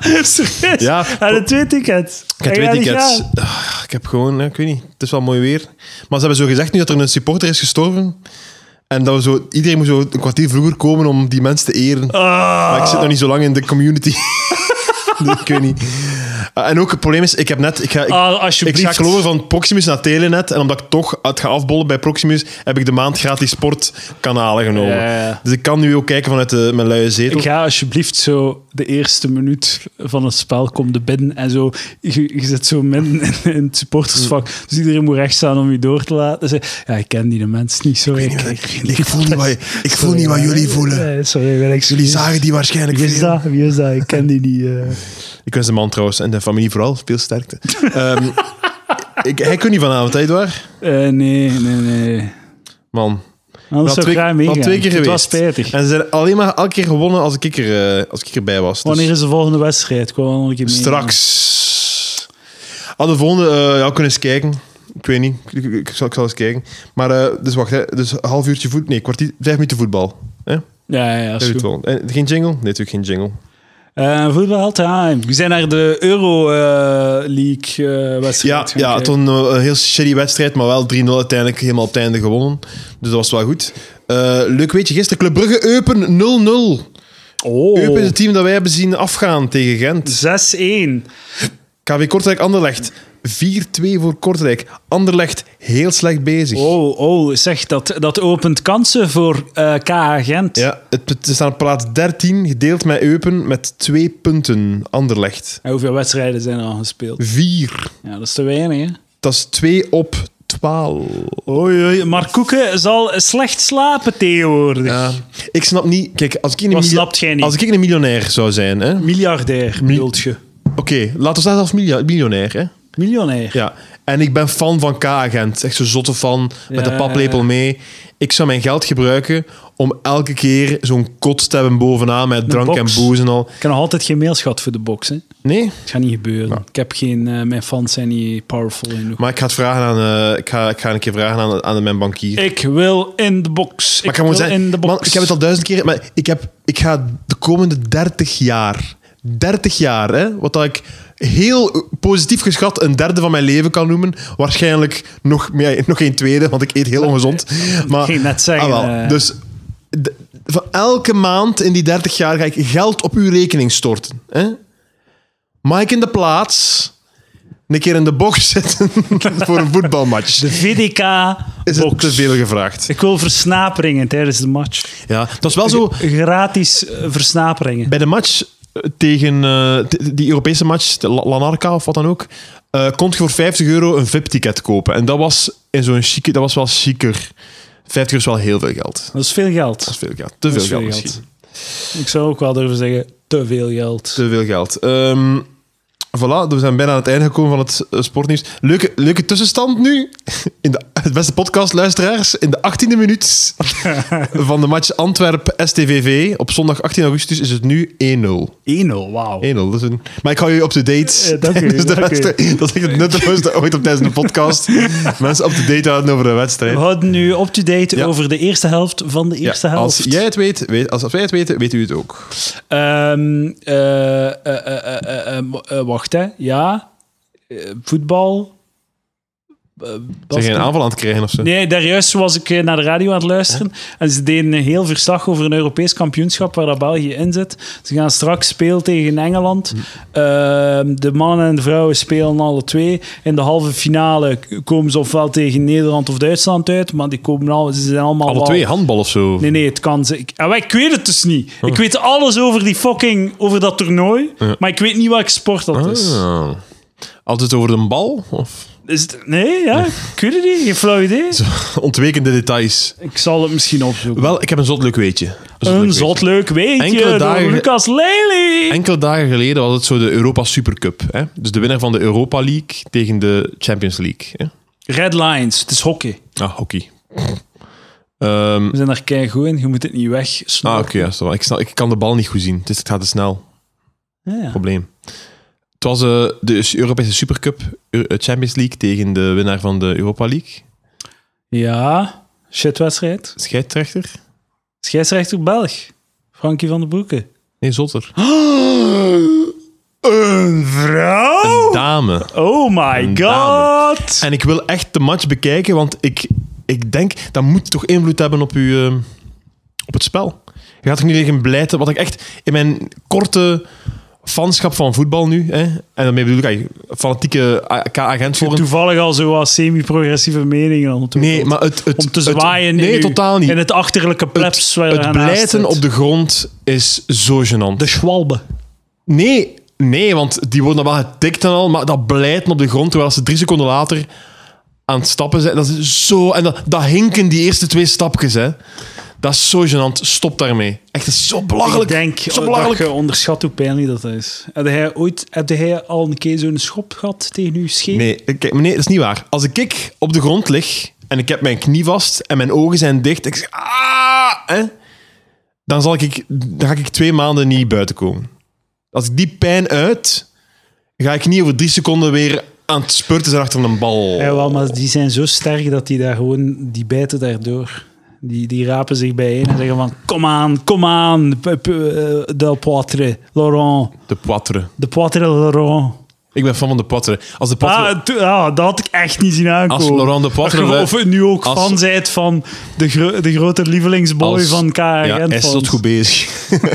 Speaker 1: [LAUGHS] Serieus?
Speaker 2: Ja.
Speaker 1: En de twee tickets.
Speaker 2: Ik heb
Speaker 1: En
Speaker 2: twee
Speaker 1: ga niet
Speaker 2: tickets.
Speaker 1: gaan.
Speaker 2: Ah, ik heb gewoon, ja, ik weet niet, het is wel mooi weer. Maar ze hebben zo gezegd nu dat er een supporter is gestorven. En dat we zo, iedereen moet zo een kwartier vroeger komen om die mensen te eren.
Speaker 1: Ah.
Speaker 2: Maar ik zit nog niet zo lang in de community. [LAUGHS] dus ik weet niet. Ah, en ook het probleem is, ik heb net... Ik ga, ik,
Speaker 1: Ah,
Speaker 2: ik
Speaker 1: alsjeblieft.
Speaker 2: schakel over van Proximus naar Telenet. En omdat ik toch het ga afbollen bij Proximus, heb ik de maand gratis sportkanalen genomen.
Speaker 1: Ja, ja.
Speaker 2: Dus ik kan nu ook kijken vanuit de, mijn luie zetel.
Speaker 1: Ik ga alsjeblieft zo de eerste minuut van het spel komt de binnen en zo. Je, je zit zo midden in, in het supportersvak.
Speaker 2: Mm.
Speaker 1: Dus iedereen moet recht staan om je door te laten. Dus, ja, ik ken die de mens niet zo. Ik,
Speaker 2: Ik voel niet wat, ik voel niet wat jullie voelen.
Speaker 1: Nee, sorry, ik ben echt-
Speaker 2: Jullie zagen die waarschijnlijk
Speaker 1: Wie is
Speaker 2: veel.
Speaker 1: dat? Wie is dat? Ik ken die niet. eh.
Speaker 2: Ik wens de man trouwens en de familie vooral veel sterkte. Ehm, [LAUGHS] ik, hij kon niet vanavond, hè, waar?
Speaker 1: Eh, nee, nee, nee.
Speaker 2: Man.
Speaker 1: Anders
Speaker 2: Wel
Speaker 1: zou ik graag meegaan.
Speaker 2: wel twee keer
Speaker 1: Het
Speaker 2: geweest.
Speaker 1: was spijtig.
Speaker 2: En ze zijn alleen maar elke keer gewonnen als ik, er, eh, als ik erbij was. Dus
Speaker 1: Wanneer is de volgende wedstrijd? Ik wil wel nog een keer meegaan.
Speaker 2: straks. Al de volgende, eh, ja, we kunnen eens kijken. Ik weet niet, ik, ik- ik zal, ik zal eens kijken. Maar eh, dus wacht, hè. dus een half uurtje voet, nee, kwartier, vijf minuten voetbal. Hè?
Speaker 1: Ja, ja, ja. is
Speaker 2: Vijf
Speaker 1: goed.
Speaker 2: minuten voetbal. En, Eh, geen jingle? Nee, natuurlijk geen jingle.
Speaker 1: Eh, Voetbal time. We zijn naar de Euro eh, League eh,
Speaker 2: Ja,
Speaker 1: wedstrijd. gaan kijken.
Speaker 2: ja het was een, eh, een heel shitty wedstrijd, maar wel 3-0 uiteindelijk helemaal op het einde gewonnen. Dus dat was wel goed. Eh, leuk weet je, gisteren Club Brugge Eupen 0-0.
Speaker 1: Oh.
Speaker 2: Eupen is het team dat wij hebben zien afgaan tegen Gent.
Speaker 1: 6-1.
Speaker 2: KW Kortrijk Anderlecht 4-2 voor Kortrijk. Anderlecht heel slecht bezig.
Speaker 1: Oh, oh, zeg, dat, dat opent kansen voor eh KA Gent.
Speaker 2: Ja, het, het staan op plaats 13, gedeeld met Eupen met 2 punten. Anderlecht
Speaker 1: En hoeveel wedstrijden zijn er al gespeeld?
Speaker 2: 4.
Speaker 1: Ja, dat is te weinig, hè?
Speaker 2: Dat is 2 op 12.
Speaker 1: Oei, oei. Maar Koeken zal slecht slapen tegenwoordig.
Speaker 2: Ja. Ik snap niet. Kijk, als ik, een
Speaker 1: Wat
Speaker 2: miljo-
Speaker 1: snapt jij niet?
Speaker 2: als ik een miljonair zou zijn, hè?
Speaker 1: Miljardair, bedoelt je.
Speaker 2: Oké, laten we staan als milja- miljonair, hè?
Speaker 1: Miljonair.
Speaker 2: Ja. En ik ben fan van K-agent. Echt zo'n zotte fan, met
Speaker 1: Ja,
Speaker 2: de paplepel
Speaker 1: ja,
Speaker 2: mee. Ik zou mijn geld gebruiken om elke keer zo'n kot te hebben bovenaan met drank en
Speaker 1: box.
Speaker 2: boos en al.
Speaker 1: Ik heb nog altijd geen mails gehad voor de box, hè?
Speaker 2: Nee?
Speaker 1: Het gaat niet gebeuren. Ik heb geen... eh, mijn fans zijn niet powerful genoeg.
Speaker 2: Maar ik ga het vragen aan... eh, ik, ga, ik ga een keer vragen aan, aan mijn bankier.
Speaker 1: Ik wil in de box.
Speaker 2: maar
Speaker 1: ik wil
Speaker 2: gewoon zeggen,
Speaker 1: in de box.
Speaker 2: man, ik heb het al duizend keer... Maar ik, heb, ik ga de komende 30 jaar... 30 jaar, hè, wat dat ik heel positief geschat een derde van mijn leven kan noemen. Waarschijnlijk nog, meer, nog geen tweede, want ik eet heel
Speaker 1: [LAUGHS]
Speaker 2: ongezond. Maar,
Speaker 1: ging net zeggen,
Speaker 2: Ah, wel.
Speaker 1: eh.
Speaker 2: Dus de- van elke maand in die 30 jaar ga ik geld op uw rekening storten. Hè? Mike in de plaats... Een keer in de box [LAUGHS] zitten voor een voetbalmatch.
Speaker 1: De VDK box.
Speaker 2: Is het dus- te veel
Speaker 1: [LAUGHS]
Speaker 2: gevraagd?
Speaker 1: Ik wil versnaperingen tijdens de match.
Speaker 2: Ja, dat was wel zo.
Speaker 1: Gratis eh, versnaperingen.
Speaker 2: Bij de match tegen eh, t- die Europese match, de La- Lanarka of wat dan ook, eh kon je voor 50 euro een VIP-ticket kopen. En dat was in zo'n chique, dat was wel chiquer. 50 euro is wel heel veel geld.
Speaker 1: Dat is veel geld.
Speaker 2: Dat is veel geld. Te
Speaker 1: Dat
Speaker 2: veel,
Speaker 1: is
Speaker 2: geld
Speaker 1: veel
Speaker 2: misschien.
Speaker 1: Ik zou ook wel durven zeggen, te veel geld.
Speaker 2: Te veel geld. Ehm voilà, we zijn bijna aan het einde gekomen van het eh, sportnieuws. Leuke, leuke tussenstand nu. [LAUGHS] In de, het beste podcastluisteraars. In de 18e
Speaker 1: [LAUGHS]
Speaker 2: minuut van de match Antwerp-STVV. Op zondag 18 augustus is het nu 1-0.
Speaker 1: 1-0, wauw.
Speaker 2: 1-0. Dat is een... Maar ik hou jullie up-to-date.
Speaker 1: Eh, dank
Speaker 2: [LAUGHS]
Speaker 1: u,
Speaker 2: tijdens de
Speaker 1: dank u.
Speaker 2: wedstrijd. Dat is echt het nutteloosste ooit op tijdens een
Speaker 1: [LAUGHS]
Speaker 2: podcast. Mensen up-to-date houden over de wedstrijd.
Speaker 1: We houden nu up-to-date
Speaker 2: Ja.
Speaker 1: over de eerste helft van de eerste
Speaker 2: Ja,
Speaker 1: helft.
Speaker 2: als jij het weet, weet, als wij het weten, weet u het ook.
Speaker 1: Ehm, eh, eh, eh, eh, eh, eh, mo- eh, wacht, hè. Ja. Eh, voetbal. Eh,
Speaker 2: Zijn geen
Speaker 1: basket-
Speaker 2: aanval aan het krijgen of zo?
Speaker 1: Nee, daarjuist was ik eh, naar de radio aan het luisteren. En ze deden een heel verslag over een Europees kampioenschap waar dat België in zit. Ze gaan straks spelen tegen
Speaker 2: Hm.
Speaker 1: Engeland. Ehm, de mannen en de vrouwen spelen alle twee. In de halve finale k- komen ze ofwel tegen Nederland of Duitsland uit. Maar die komen al, ze zijn allemaal
Speaker 2: Alle
Speaker 1: wel-
Speaker 2: twee, handbal of zo.
Speaker 1: Nee, nee, het kan ze. Ik, ah, wel, ik weet het dus niet.
Speaker 2: Oh.
Speaker 1: Ik weet alles over die fucking, over dat toernooi. Maar ik weet niet welke sport dat is.
Speaker 2: Ah. Altijd over een bal? Of [LAUGHS]
Speaker 1: is het- nee, ja, ik weet het niet. Geen flauw idee.
Speaker 2: ontwekende details?
Speaker 1: Ik zal het misschien opzoeken.
Speaker 2: Wel, ik heb een zot leuk weetje. Een zot leuk
Speaker 1: Een
Speaker 2: weetje.
Speaker 1: zot leuk weetje
Speaker 2: Enkele
Speaker 1: door
Speaker 2: dagen-
Speaker 1: Lucas Lely.
Speaker 2: Enkele dagen geleden was het zo de Europa Supercup. Hè? Dus de winnaar van de Europa League tegen de Champions League. Hè?
Speaker 1: Red Lions, het is hockey.
Speaker 2: Ah, hockey. Ehm,
Speaker 1: We zijn daar kei goed in, je moet het niet weg.
Speaker 2: ah, oké. ja, is wel. ik, snap- ik kan de bal niet goed zien. Het, is, het gaat te snel.
Speaker 1: Ja.
Speaker 2: Probleem. Het was eh, de Europese Supercup, Eu- eh, Champions League tegen de winnaar van de Europa League.
Speaker 1: ja, shitwedstrijd.
Speaker 2: Scheidsrechter?
Speaker 1: Scheidsrechter Belg, Frankie van den
Speaker 2: [GASPS]
Speaker 1: Broeke. [GASPS]
Speaker 2: Nee, zotter.
Speaker 1: Een vrouw?
Speaker 2: Dame.
Speaker 1: Oh my
Speaker 2: Een dame.
Speaker 1: god.
Speaker 2: En ik wil echt de match bekijken, want ik, ik denk dat moet toch invloed hebben op, uw, eh, op het spel. Je gaat toch niet tegen blijten, wat ik echt in mijn korte fanschap van voetbal nu, hè, en daarmee bedoel ik eigenlijk fanatieke eh, agent
Speaker 1: Ik heb
Speaker 2: voor
Speaker 1: toevallig al zo wat semi-progressieve meningen aan het
Speaker 2: Nee,
Speaker 1: doen.
Speaker 2: maar het, het,
Speaker 1: om te
Speaker 2: het-
Speaker 1: zwaaien in,
Speaker 2: nee,
Speaker 1: uw-
Speaker 2: totaal
Speaker 1: in
Speaker 2: niet.
Speaker 1: het achterlijke plebs. waar je
Speaker 2: Het
Speaker 1: aan
Speaker 2: blijten
Speaker 1: haast
Speaker 2: op
Speaker 1: zit.
Speaker 2: de grond is zo gênant.
Speaker 1: de schwalbe.
Speaker 2: Nee, nee, want die worden dan wel getikt en al, maar dat blijten op de grond, terwijl ze drie seconden later aan het stappen zijn. Dat is zo... En dat, dat hinken, die eerste twee stapjes, hè. Dat is zo gênant. Stop daarmee. Echt, dat is zo belachelijk.
Speaker 1: Ik denk
Speaker 2: zo
Speaker 1: eh, dat
Speaker 2: belachelijk.
Speaker 1: je onderschat hoe pijnlijk dat is. Heb jij ooit heb jij al een keer zo'n schop gehad tegen je scheen?
Speaker 2: Nee, kijk, meneer, dat is niet waar. Als ik- ik op de grond lig en ik heb mijn knie vast en mijn ogen zijn dicht, ik zeg... Ah, hè, dan, zal ik, dan ga ik twee maanden niet buiten komen. Als ik die pijn uit, ga ik niet over drie seconden weer aan het spurten zijn achter een bal.
Speaker 1: Ja, wel, maar die zijn zo sterk dat die daar gewoon, die bijten daardoor. Die, die rapen zich bijeen en zeggen van, kom aan, kom aan, p- p- eh, Del Poitre, Laurent,
Speaker 2: De poitre.
Speaker 1: de Poitre Laurent.
Speaker 2: Ik ben fan van de poitre. Als de poitre...
Speaker 1: Ah, to- ah, dat had ik echt niet zien aankomen.
Speaker 2: Als Laurent de Poitre
Speaker 1: Of je-
Speaker 2: wij-
Speaker 1: Of je nu ook
Speaker 2: als-
Speaker 1: fan zijt van de, gro- de grote lievelingsboy
Speaker 2: Als-
Speaker 1: van KRN.
Speaker 2: ja, hij is tot goed bezig.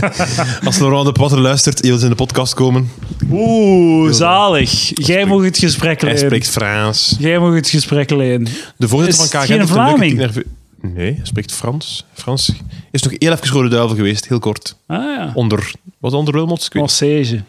Speaker 2: [LAUGHS] Als Laurent de Poitre luistert, hij wil in de podcast komen.
Speaker 1: Oeh, zalig. Jij mag het gesprek
Speaker 2: Hij
Speaker 1: leiden.
Speaker 2: spreekt Frans.
Speaker 1: Jij mag het gesprek leiden.
Speaker 2: De
Speaker 1: Is
Speaker 2: voorzitter van
Speaker 1: het
Speaker 2: KGN...
Speaker 1: geen
Speaker 2: heeft een leuke
Speaker 1: Vlaming?
Speaker 2: tien naar- Nee, hij spreekt Frans. Frans is nog heel even rode duivel geweest, heel kort.
Speaker 1: Ah ja,
Speaker 2: Onder... Was dat onder Wilmots? Ik weet
Speaker 1: massage. [LAUGHS]
Speaker 2: niet.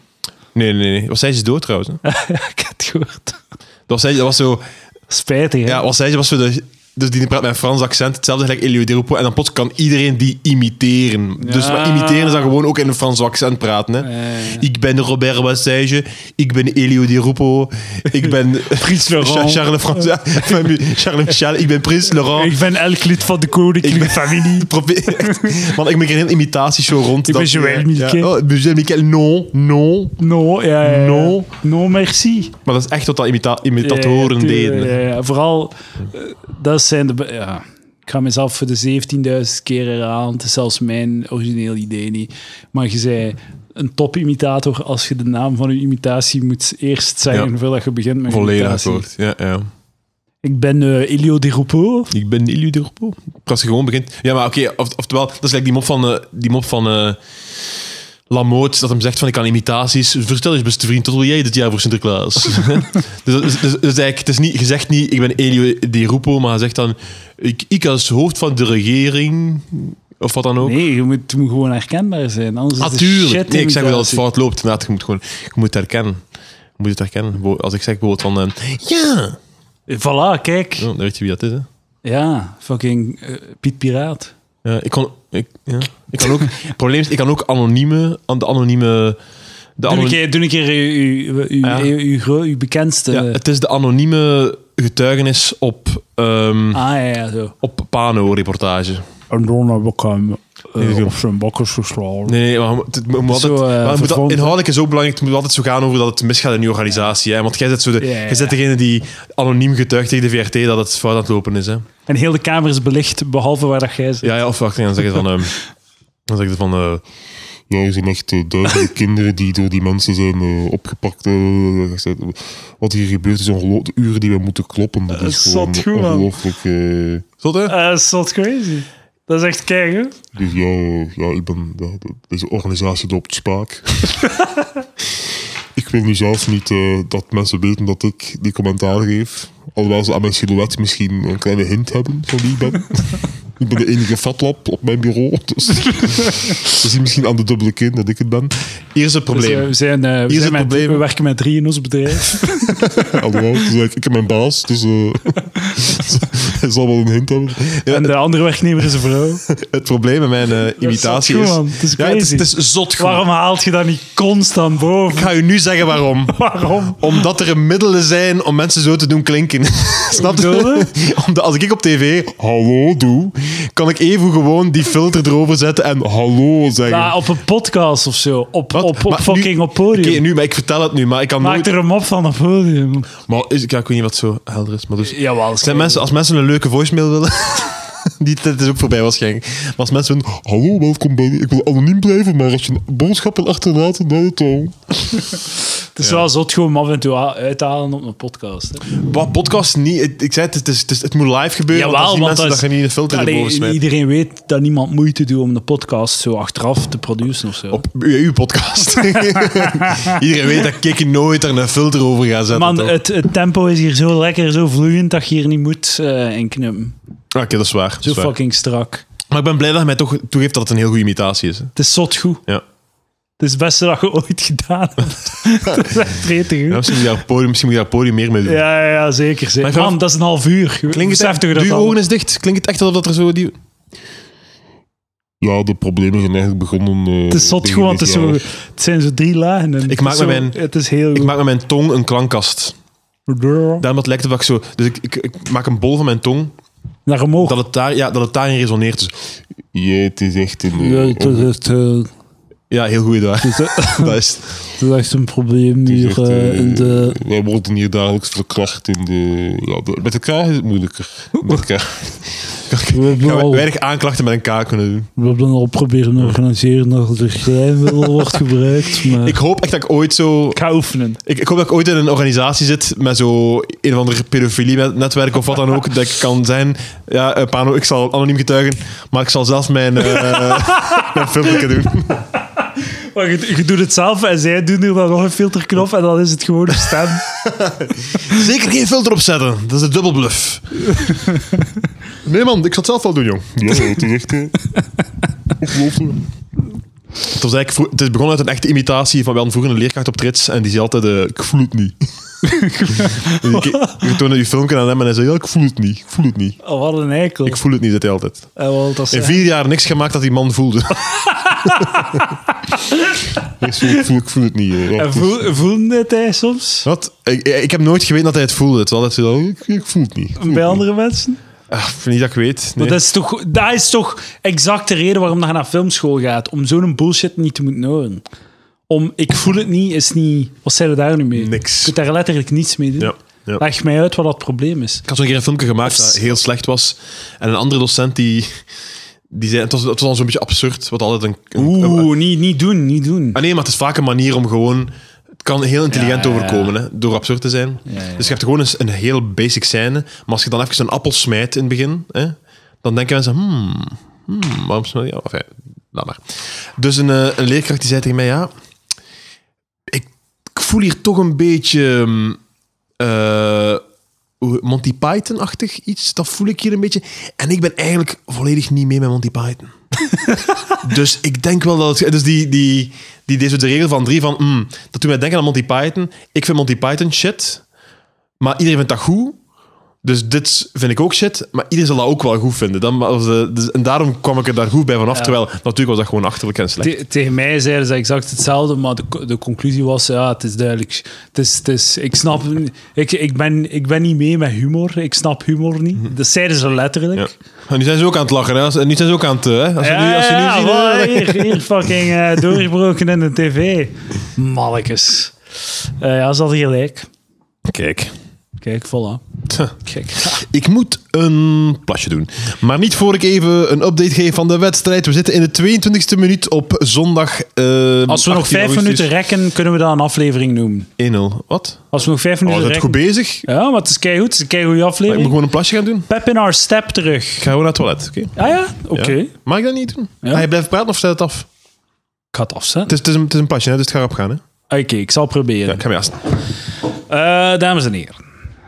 Speaker 2: Nee, nee, nee. Was zij is dood trouwens. hè. Dat
Speaker 1: ik heb het gehoord.
Speaker 2: was, zij- dat was zo...
Speaker 1: Spijtig, hè?
Speaker 2: Ja, was zij was zo de... Dus die praat met een Frans accent, hetzelfde gelijk Elio Deropo. En dan plots kan iedereen die imiteren. Dus
Speaker 1: Ja.
Speaker 2: maar imiteren is dan gewoon ook in een Frans accent praten. Hè?
Speaker 1: Eh,
Speaker 2: Ik ben Robert Bassage, ik ben Elio Di Rupo, ik ben
Speaker 1: [LAUGHS] Prins
Speaker 2: Cha-
Speaker 1: Laurent.
Speaker 2: Charles
Speaker 1: [LAUGHS]
Speaker 2: François, Charles Michel, ik ben Prins Laurent.
Speaker 1: ik ben elk lid van de koninklijke familie.
Speaker 2: [LAUGHS] Probeer- Man, ik ben geen imitatieshow rond.
Speaker 1: Ik ben
Speaker 2: dat-
Speaker 1: Joël Mieke.
Speaker 2: Ja. Oh, Joël Mieke, non, non.
Speaker 1: No, ja, ja, ja.
Speaker 2: No.
Speaker 1: No, merci.
Speaker 2: Maar dat is echt wat dat imita
Speaker 1: Dat
Speaker 2: imitatoren deden.
Speaker 1: Ja, ja. Vooral, eh, dat zijn de... be- Ja. Ik ga mezelf voor de 17.000 keer herhalen. Het is zelfs mijn origineel idee niet. Maar je zei een topimitator als je de naam van je imitatie moet eerst zeggen
Speaker 2: Ja.
Speaker 1: voordat je begint met je
Speaker 2: Volledig
Speaker 1: imitatie.
Speaker 2: akkoord. Ja, ja.
Speaker 1: Ik ben eh, Elio de Roupeau.
Speaker 2: Ik ben Elio Di Rupo. Als je gewoon begint... Ja, maar oké, of, oftewel, dat is like die mop van... eh, die mop van eh, Lamoot, dat hem zegt van ik kan imitaties. Vertel eens, beste vriend, wat wil jij dit jaar voor
Speaker 1: [LAUGHS]
Speaker 2: Sinterklaas? dus, dat is- dus, dus eigenlijk, het is niet, je zegt niet ik ben Elio Di Rupo, maar hij zegt dan ik, ik als hoofd van de regering, of wat dan ook.
Speaker 1: Nee, je moet, het moet gewoon herkenbaar zijn. Anders is het
Speaker 2: Natuurlijk.
Speaker 1: shit
Speaker 2: nee, ik zeg wel dat het
Speaker 1: imitatie.
Speaker 2: fout loopt. Inderdaad, je moet gewoon, je moet het herkennen. Je moet het herkennen. Bo- Als ik zeg bijvoorbeeld van, eh, ja,
Speaker 1: Voilà, kijk.
Speaker 2: Ja, dan weet je wie dat is, hè?
Speaker 1: Ja, fucking eh, Piet Piraat.
Speaker 2: Ja, ik kan, ik, ja.
Speaker 1: [LAUGHS]
Speaker 2: ik kan ook. het probleem is, ik kan ook anonieme, an- de anonieme, de
Speaker 1: Doe een
Speaker 2: anoni-
Speaker 1: keer, doe een keer uw, uw, uw,
Speaker 2: Ah, ja.
Speaker 1: uw, uw gro- uw bekendste.
Speaker 2: ja, het is de anonieme getuigenis op, ehm,
Speaker 1: Ah ja, ja, zo.
Speaker 2: op Pano-reportage.
Speaker 1: En dan heb ik hem eh,
Speaker 2: Nee, ik- op
Speaker 1: zijn bakkers geslagen.
Speaker 2: Nee, nee, maar, het, het moet altijd,
Speaker 1: Zo, eh,
Speaker 2: maar het moet al-
Speaker 1: vervormd.
Speaker 2: inhoudelijk is ook belangrijk. Het moet altijd zo gaan over dat het misgaat in je organisatie. Hè? Want jij zit, zo de,
Speaker 1: Ja, ja,
Speaker 2: jij zit
Speaker 1: ja.
Speaker 2: degene die anoniem getuigt tegen de VRT dat het fout aan het lopen is. Hè?
Speaker 1: En heel de kamer is belicht, behalve waar dat jij zit.
Speaker 2: Ja, ja, of wacht, dan zeg je van...
Speaker 1: [LAUGHS]
Speaker 2: ehm, dan zeg je van... eh,
Speaker 3: Ja, er zijn echt eh, duizenden [LAUGHS] kinderen die door die mensen zijn eh, opgepakt. eh, eh, wat hier gebeurt is ongelooflijk. De uren die we moeten kloppen, dat
Speaker 1: Eh,
Speaker 3: is gewoon
Speaker 1: zot goed, man.
Speaker 3: ongelooflijk. eh,
Speaker 2: zot, hè?
Speaker 1: Eh, dat is wat crazy. Dat is echt keigoed.
Speaker 3: dus ja, eh, ja, ik ben ja, de- deze organisatie loopt spaak. [LAUGHS] ik wil nu zelf niet eh, dat mensen weten dat ik die commentaar geef. Alhoewel ze aan mijn silhouet misschien een kleine hint hebben van wie ik ben. [LAUGHS] ik ben de enige fatlap op mijn bureau. Dus [LAUGHS] ze zien misschien aan de dubbele kin dat ik het ben.
Speaker 2: Hier is het probleem.
Speaker 1: Dus, eh, we, zijn, eh, we,
Speaker 2: is
Speaker 1: zijn
Speaker 2: het
Speaker 1: met-
Speaker 2: probleem.
Speaker 1: we werken met drie in ons bedrijf. [LAUGHS]
Speaker 3: Alhoewel, het is
Speaker 1: eh,
Speaker 3: eigenlijk- ik heb mijn baas, dus eh, hij zal wel een hint hebben.
Speaker 1: en de andere werknemer is een vrouw.
Speaker 2: [LAUGHS] Het probleem met mijn eh, imitatie
Speaker 1: goed,
Speaker 2: is...
Speaker 1: man. Het is
Speaker 2: ja, het, is,
Speaker 1: crazy.
Speaker 2: het is zot goed.
Speaker 1: Waarom haalt je dat niet constant boven?
Speaker 2: Ik ga u nu zeggen waarom.
Speaker 1: [LAUGHS] Waarom?
Speaker 2: Omdat er middelen zijn om mensen zo te doen klinken. [LAUGHS] Snap je?
Speaker 1: Middelen?
Speaker 2: [LAUGHS] Omdat als ik op tv hallo doe, kan ik even gewoon die filter erover zetten en hallo zeggen.
Speaker 1: Ja, op een podcast of zo. Op,
Speaker 2: Wat?
Speaker 1: op, op
Speaker 2: Maar nu-
Speaker 1: fucking op podium.
Speaker 2: Oké, nu, maar ik vertel het nu, maar ik kan
Speaker 1: Maak
Speaker 2: nooit...
Speaker 1: er een mop van op podium.
Speaker 2: Maar is, ja, ik weet niet wat zo helder is, maar dus...
Speaker 1: Jawel.
Speaker 2: Zijn mensen, als mensen een leuke voicemail willen... [LAUGHS] Die tijd is ook voorbij waarschijnlijk. Maar als mensen... een-
Speaker 3: Hallo, welkom bij. Ik wil anoniem blijven, maar als je een boodschap wil achterlaten, dan het al.
Speaker 1: Het is wel zot gewoon om af en toe a- uit te halen op een podcast. Hè.
Speaker 2: Wat, podcast niet... het- Ik zei het, het, is, het, is- het moet live gebeuren, want dan zien mensen dat,
Speaker 1: dat is-
Speaker 2: je niet een filter
Speaker 1: Allee,
Speaker 2: erboven smijt.
Speaker 1: Iedereen weet dat niemand moeite doet om de podcast zo achteraf te produceren of zo.
Speaker 2: Op uw, uw podcast. [LAUGHS] iedereen weet dat ik nooit er een filter over ga zetten.
Speaker 1: Man,
Speaker 2: toch?
Speaker 1: het, het tempo is hier zo lekker, zo vloeiend dat je hier niet moet eh in knippen.
Speaker 2: Ah, Oké, dat is waar. dat
Speaker 1: Zo
Speaker 2: is waar.
Speaker 1: fucking strak.
Speaker 2: Maar ik ben blij dat je mij toch toegeeft dat het een heel goede imitatie is. hè.
Speaker 1: Het is zot goed.
Speaker 2: Ja.
Speaker 1: Het is het beste dat je [LAUGHS] ooit gedaan hebt. [LAUGHS] dat is echt gretig.
Speaker 2: Ja,
Speaker 1: goed.
Speaker 2: misschien, moet je daar op het podium, misschien moet je daar op het podium meer mee doen.
Speaker 1: Ja, ja, ja, zeker.
Speaker 2: Maar
Speaker 1: zeker.
Speaker 2: ik vind-
Speaker 1: Man, dat is een half uur. Besef
Speaker 2: Klinkt het
Speaker 1: toch
Speaker 2: echt,
Speaker 1: dat
Speaker 2: doe je
Speaker 1: dat-
Speaker 2: ogen eens dicht. Klinkt het echt alsof dat er zo... Die...
Speaker 3: Ja, de problemen zijn eigenlijk begonnen. eh,
Speaker 1: Het is zot
Speaker 3: begin
Speaker 1: goed, want
Speaker 3: dit
Speaker 1: het, is zo,
Speaker 3: jaar.
Speaker 1: het zijn zo drie lagen. en het
Speaker 2: maak
Speaker 1: is
Speaker 2: met
Speaker 1: zo-
Speaker 2: mijn-
Speaker 1: Het is heel
Speaker 2: Ik
Speaker 1: goed.
Speaker 2: maak met mijn tong een klankkast. Daarom dat lijkt het dat ik zo... Dus ik, ik, ik maak een bol van mijn tong,
Speaker 1: Naar omhoog.
Speaker 2: dat het, daar, ja, dat het daarin resoneert. Dus,
Speaker 3: Ja, het is echt een. eh,
Speaker 1: Ja, het
Speaker 3: on-
Speaker 1: is echt, eh,
Speaker 2: ja, heel goed daar. [LAUGHS] dat is het.
Speaker 1: het is echt een probleem
Speaker 3: het is
Speaker 1: hier
Speaker 3: echt,
Speaker 1: eh,
Speaker 3: eh,
Speaker 1: in
Speaker 3: [LAUGHS]
Speaker 1: de...
Speaker 3: Wij worden hier dagelijks verkracht in de, ja, de- Met elkaar is het moeilijker. Met elkaar.
Speaker 1: We hebben,
Speaker 2: Ik ga
Speaker 1: al, we
Speaker 2: weinig aanklachten met een K kunnen doen.
Speaker 1: hebben al proberen te organiseren dat er glijmiddel [LAUGHS] wordt gebruikt, maar...
Speaker 2: Ik hoop echt dat ik ooit zo...
Speaker 1: ga oefenen.
Speaker 2: Ik, ik hoop dat ik ooit in een organisatie zit met zo een of ander pedofilie-netwerk of wat dan ook. Dat ik kan zijn, ja, eh, Pano, ik zal anoniem getuigen, maar ik zal zelf mijn, eh [LAUGHS] mijn filmpje doen.
Speaker 1: Maar je, je doet het zelf en zij doen er dan nog een filterknop en dan is het gewoon een stem.
Speaker 2: Zeker geen filter opzetten, dat is een dubbelbluff. Nee man, ik zal het zelf wel doen, jong.
Speaker 3: Ja, het is echt. eh,
Speaker 1: [LAUGHS]
Speaker 3: Ongelooflijk.
Speaker 2: Het, was eigenlijk vroeg- het is begonnen uit een echte imitatie van, we hadden vroeger een leerkracht op trits en die zei altijd, eh, ik voel het niet. [LAUGHS] En die ke- je toonde je filmpje aan hem en hij zei, ja, ik voel het niet, ik voel het niet.
Speaker 1: Oh, wat een eikel.
Speaker 2: Ik voel het niet, zei hij altijd.
Speaker 1: Eh, wel, dat is-
Speaker 2: In vier jaar niks gemaakt dat die man voelde. [LAUGHS]
Speaker 3: Ik voel, ik voel, ik voel het niet. eh. Ja,
Speaker 1: En
Speaker 3: het is-
Speaker 1: voel, voelde het hij soms?
Speaker 2: Wat? Ik, ik heb nooit geweten dat hij het voelde. Het was altijd zo.
Speaker 3: ik, ik voel het niet. Ik voel
Speaker 1: Bij
Speaker 3: het niet.
Speaker 1: andere mensen?
Speaker 2: Ah, niet dat ik weet.
Speaker 1: Maar
Speaker 2: Nee.
Speaker 1: dat is, toch, dat is toch exact de reden waarom dat je naar filmschool gaat. Om zo'n bullshit niet te moeten horen. Om ik voel het niet, is niet... Wat zijn we daar nu mee?
Speaker 2: Niks.
Speaker 1: Je kunt daar letterlijk niets mee doen.
Speaker 2: Ja, ja.
Speaker 1: Leg mij uit wat dat probleem is.
Speaker 2: Ik had zo'n keer een filmpje gemaakt dat heel slecht was. En een andere docent die. die zei, het, was, het was al zo'n beetje absurd. Wat altijd een. een- een-
Speaker 1: Oeh, niet, niet doen, niet doen.
Speaker 2: ah nee, maar het is vaak een manier om gewoon. Het kan heel intelligent
Speaker 1: Ja, ja, ja.
Speaker 2: overkomen hè, door absurd te zijn.
Speaker 1: ja.
Speaker 2: Dus je hebt gewoon eens een heel basic scène. Maar als je dan even een appel smijt in het begin, hè, dan denken mensen: hmm, hmm waarom smijt je? Ja, enfin, laat maar. Dus een, eh, een leerkracht die zei tegen mij: Ja, ik, ik voel hier toch een beetje ehm, eh, hoe- Monty Python-achtig iets. Dat voel ik hier een beetje. En ik ben eigenlijk volledig niet mee met Monty
Speaker 1: [LAUGHS]
Speaker 2: Python. dus ik denk wel dat het. Dus die, die, die deze de regel van drie van. hmm, dat doet mij denken aan Monty Python. Ik vind Monty Python shit. Maar iedereen vindt dat goed. Dus dit vind ik ook shit, maar iedereen zal dat ook wel goed vinden. Dan was de, dus- en daarom kwam ik er daar goed bij vanaf, terwijl natuurlijk was dat gewoon achterlijk en slecht.
Speaker 1: Te- tegen mij zeiden ze exact hetzelfde, maar de, co- de conclusie was, ja, het is duidelijk. Het is, het is, ik snap... Ik, ik, ben, ik ben niet mee met humor. Ik snap humor niet. Dat zeiden ze letterlijk.
Speaker 2: Mhm. Ja. En nu zijn ze ook aan het lachen, hè. Als- En nu zijn ze ook aan het... eh, Hè. Als je nu, als je nu
Speaker 1: ja,
Speaker 2: ziet, eh,
Speaker 1: voilà,
Speaker 2: hè.
Speaker 1: hier, hier fucking eh, doorgebroken in de tv. Mannekes. Eh, ja, ze hadden gelijk.
Speaker 2: [LAUGHS] Kijk,
Speaker 1: Kijk, voilà. Kijk.
Speaker 2: ik moet een plasje doen. Maar niet voor ik even een update geef van de wedstrijd. We zitten in de 22e minuut op zondag. eh,
Speaker 1: Als we nog
Speaker 2: 18
Speaker 1: vijf
Speaker 2: augustus.
Speaker 1: minuten rekken, kunnen we dat een aflevering noemen.
Speaker 2: 1-0. Wat?
Speaker 1: Als we nog vijf
Speaker 2: Oh,
Speaker 1: minuten rekken...
Speaker 2: zijn we goed bezig?
Speaker 1: Ja, maar het is keigoed. Het is een keigoede
Speaker 2: Ik moet
Speaker 1: aflevering.
Speaker 2: gewoon een plasje gaan doen.
Speaker 1: Pep in haar step terug.
Speaker 2: Ik ga gewoon naar het toilet, oké?
Speaker 1: Ah ja? Oké.
Speaker 2: Ja. Mag ik dat niet doen?
Speaker 1: Ja.
Speaker 2: Ga je blijven praten of stel het af? Het
Speaker 1: Ik ga het afzetten.
Speaker 2: is, het is, een, het is een plasje, hè, dus het gaat opgaan. Hè?
Speaker 1: Oké, ik zal proberen.
Speaker 2: Ja, ik ga me aanstaan.
Speaker 1: Eh, dames en heren.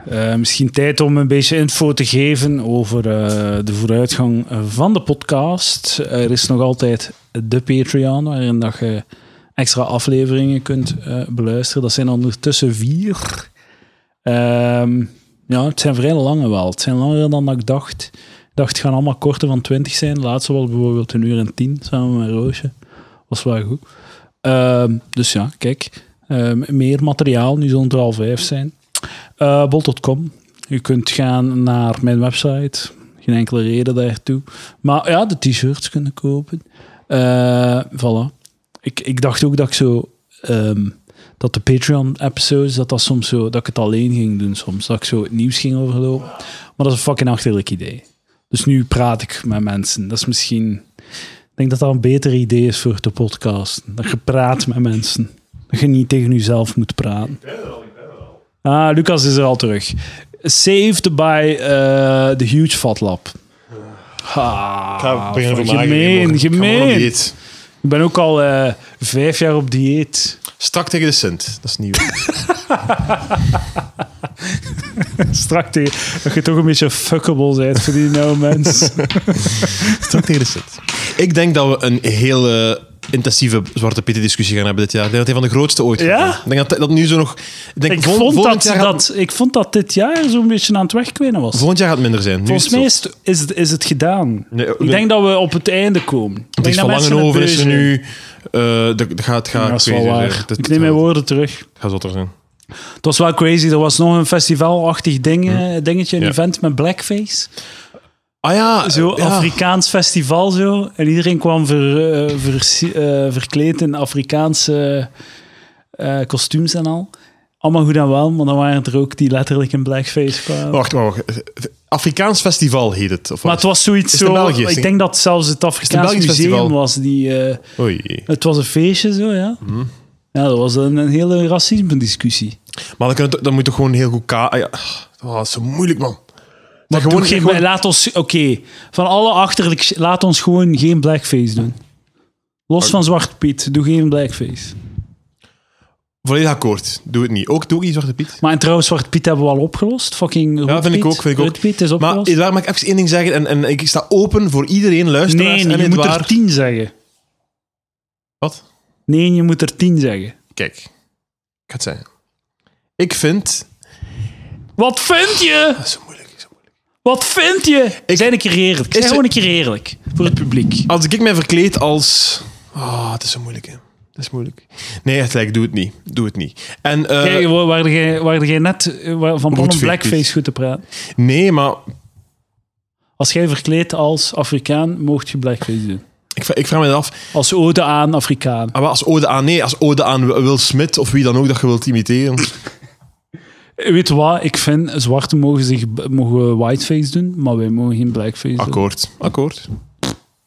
Speaker 1: eh, misschien tijd om een beetje info te geven over eh, de vooruitgang van de podcast. Er is nog altijd de Patreon, waarin dat je extra afleveringen kunt eh, beluisteren. Dat zijn ondertussen vier. Ehm, ja, het zijn vrij lange wel. Het zijn langer dan dat ik dacht. Ik dacht, het gaan allemaal korter van 20 zijn. De laatste was bijvoorbeeld een uur en tien, samen met Roosje. Was wel goed. Ehm, dus ja, kijk. Ehm, meer materiaal, nu zullen het er al vijf zijn. Eh, bol.com. U kunt gaan naar mijn website. Geen enkele reden daartoe. Maar ja, de t-shirts kunnen kopen. Eh voilà. Ik, ik dacht ook dat ik zo... ehm, dat de Patreon-episodes, dat dat soms zo... Dat ik het alleen ging doen soms. Dat ik zo het nieuws ging overlopen. Maar dat is een fucking achterlijk idee. Dus nu praat ik met mensen. Dat is misschien... Ik denk dat dat een beter idee is voor de podcast. Dat je praat met mensen. Dat je niet tegen jezelf moet praten. Ah, Lucas is er al terug. Saved by eh the Huge Fat Lab. Ah,
Speaker 3: ga beginnen voor mij.
Speaker 1: gemeen,
Speaker 2: Gewoon op
Speaker 1: gemeen.
Speaker 2: dieet.
Speaker 1: Ik ben ook al eh, vijf jaar op dieet.
Speaker 2: Strak tegen de cent. Dat is nieuw.
Speaker 1: Strak tegen dat je toch een beetje fuckable bent voor die nou
Speaker 2: [LAUGHS]
Speaker 1: mens.
Speaker 2: Strak tegen de cent. Ik denk dat we een hele intensieve Zwarte Pieten discussie gaan hebben dit jaar. Ik denk dat het een van de grootste ooit
Speaker 1: Ja?
Speaker 2: gaat worden. Ik denk dat, dat nu zo nog... Ik, denk,
Speaker 1: ik,
Speaker 2: vol-
Speaker 1: vond
Speaker 2: volgend
Speaker 1: dat,
Speaker 2: jaar gaat-
Speaker 1: dat, ik vond dat dit jaar zo'n beetje aan het wegkwijnen was.
Speaker 2: Volgend jaar gaat het minder zijn. Nu
Speaker 1: Volgens
Speaker 2: is het
Speaker 1: mij
Speaker 2: zo.
Speaker 1: is het, is, het, is het gedaan.
Speaker 2: Nee, eh,
Speaker 1: ik denk dat we op het einde komen.
Speaker 2: Het is van Langenhoven over, is er nu... eh dat dat gaat, gaat
Speaker 1: Ja, dat is wel
Speaker 2: crazy zijn.
Speaker 1: waar.
Speaker 2: Dat-
Speaker 1: Ik neem mijn woorden terug.
Speaker 2: dat gaat zotter zijn.
Speaker 1: Het was wel crazy. Er was nog een festivalachtig ding, eh, dingetje, een
Speaker 2: Hm. Ja.
Speaker 1: event met blackface.
Speaker 2: Ah ja,
Speaker 1: Zo
Speaker 2: ja.
Speaker 1: Afrikaans festival zo. En iedereen kwam ver, eh, versi- eh, verkleed in Afrikaanse eh, eh, kostuums en al. Allemaal goed en wel, maar dan waren er ook die letterlijk in blackface kwamen.
Speaker 2: Wacht, maar wacht. Afrikaans Festival heet het. Of
Speaker 1: Maar
Speaker 2: wat?
Speaker 1: het was zoiets
Speaker 2: Is het
Speaker 1: zo...
Speaker 2: in België? Is
Speaker 1: ik
Speaker 2: het-
Speaker 1: denk dat zelfs het Afrikaans
Speaker 2: Belgisch
Speaker 1: Museum
Speaker 2: festival?
Speaker 1: was die... eh,
Speaker 2: Oei.
Speaker 1: het was een feestje zo, ja.
Speaker 2: Mhm.
Speaker 1: Ja, dat was een, een hele racisme-discussie.
Speaker 2: Maar dan, kunnen we toch- dan moet je toch gewoon heel goed ka... ah ja. Oh, dat is zo moeilijk, man.
Speaker 1: Maar
Speaker 2: gewoon-
Speaker 1: doe geen-
Speaker 2: gewoon-
Speaker 1: laat ons, oké, van alle achterlijk, sh- laat ons gewoon geen blackface doen. Los van Zwart Piet, doe geen blackface.
Speaker 2: Volledig akkoord. Doe het niet. Ook, doe ook niet Zwarte Piet.
Speaker 1: Maar en trouwens, Zwart Piet hebben we al opgelost. Fucking Rood
Speaker 2: Ja, vind ik
Speaker 1: Piet.
Speaker 2: ook, vind ik ook.
Speaker 1: Rood Piet is
Speaker 2: Maar
Speaker 1: opgelost.
Speaker 2: daar mag ik even één ding zeggen. En, en ik sta open voor iedereen, luisteraars
Speaker 1: nee,
Speaker 2: en
Speaker 1: je moet
Speaker 2: Edouard.
Speaker 1: er tien zeggen.
Speaker 2: Wat?
Speaker 1: Nee, je moet er tien zeggen.
Speaker 2: Kijk. Ik ga het zeggen. Ik vind...
Speaker 1: Wat vind je?
Speaker 2: Dat is zo moeilijk. Zo moeilijk.
Speaker 1: Wat vind je? Ik, Zijn een keer eerlijk. Ik Zijn
Speaker 2: er-
Speaker 1: gewoon een keer eerlijk. Voor het publiek.
Speaker 2: Als ik mij verkleed als... Oh, het is zo moeilijk, hè. Dat is moeilijk. Nee, echt, like, doe het niet. Doe het niet. En... eh,
Speaker 1: Kijk, wa- waar jij- waar jij net eh, waar- van plan om
Speaker 2: Roodvinkjes.
Speaker 1: blackface goed te praten.
Speaker 2: nee, maar
Speaker 1: Als jij verkleed als Afrikaan, mocht je blackface doen.
Speaker 2: ik, vra- ik vraag me dat af.
Speaker 1: Als ode aan Afrikaan.
Speaker 2: Ah, maar als ode aan, nee, als ode aan Will Smith of wie dan ook dat je wilt imiteren.
Speaker 1: Eh, Weet je wat? Ik vind, zwarten mogen, zich, mogen whiteface doen, maar wij mogen geen
Speaker 2: Ah,
Speaker 1: blackface doen.
Speaker 2: Akkoord. Akkoord.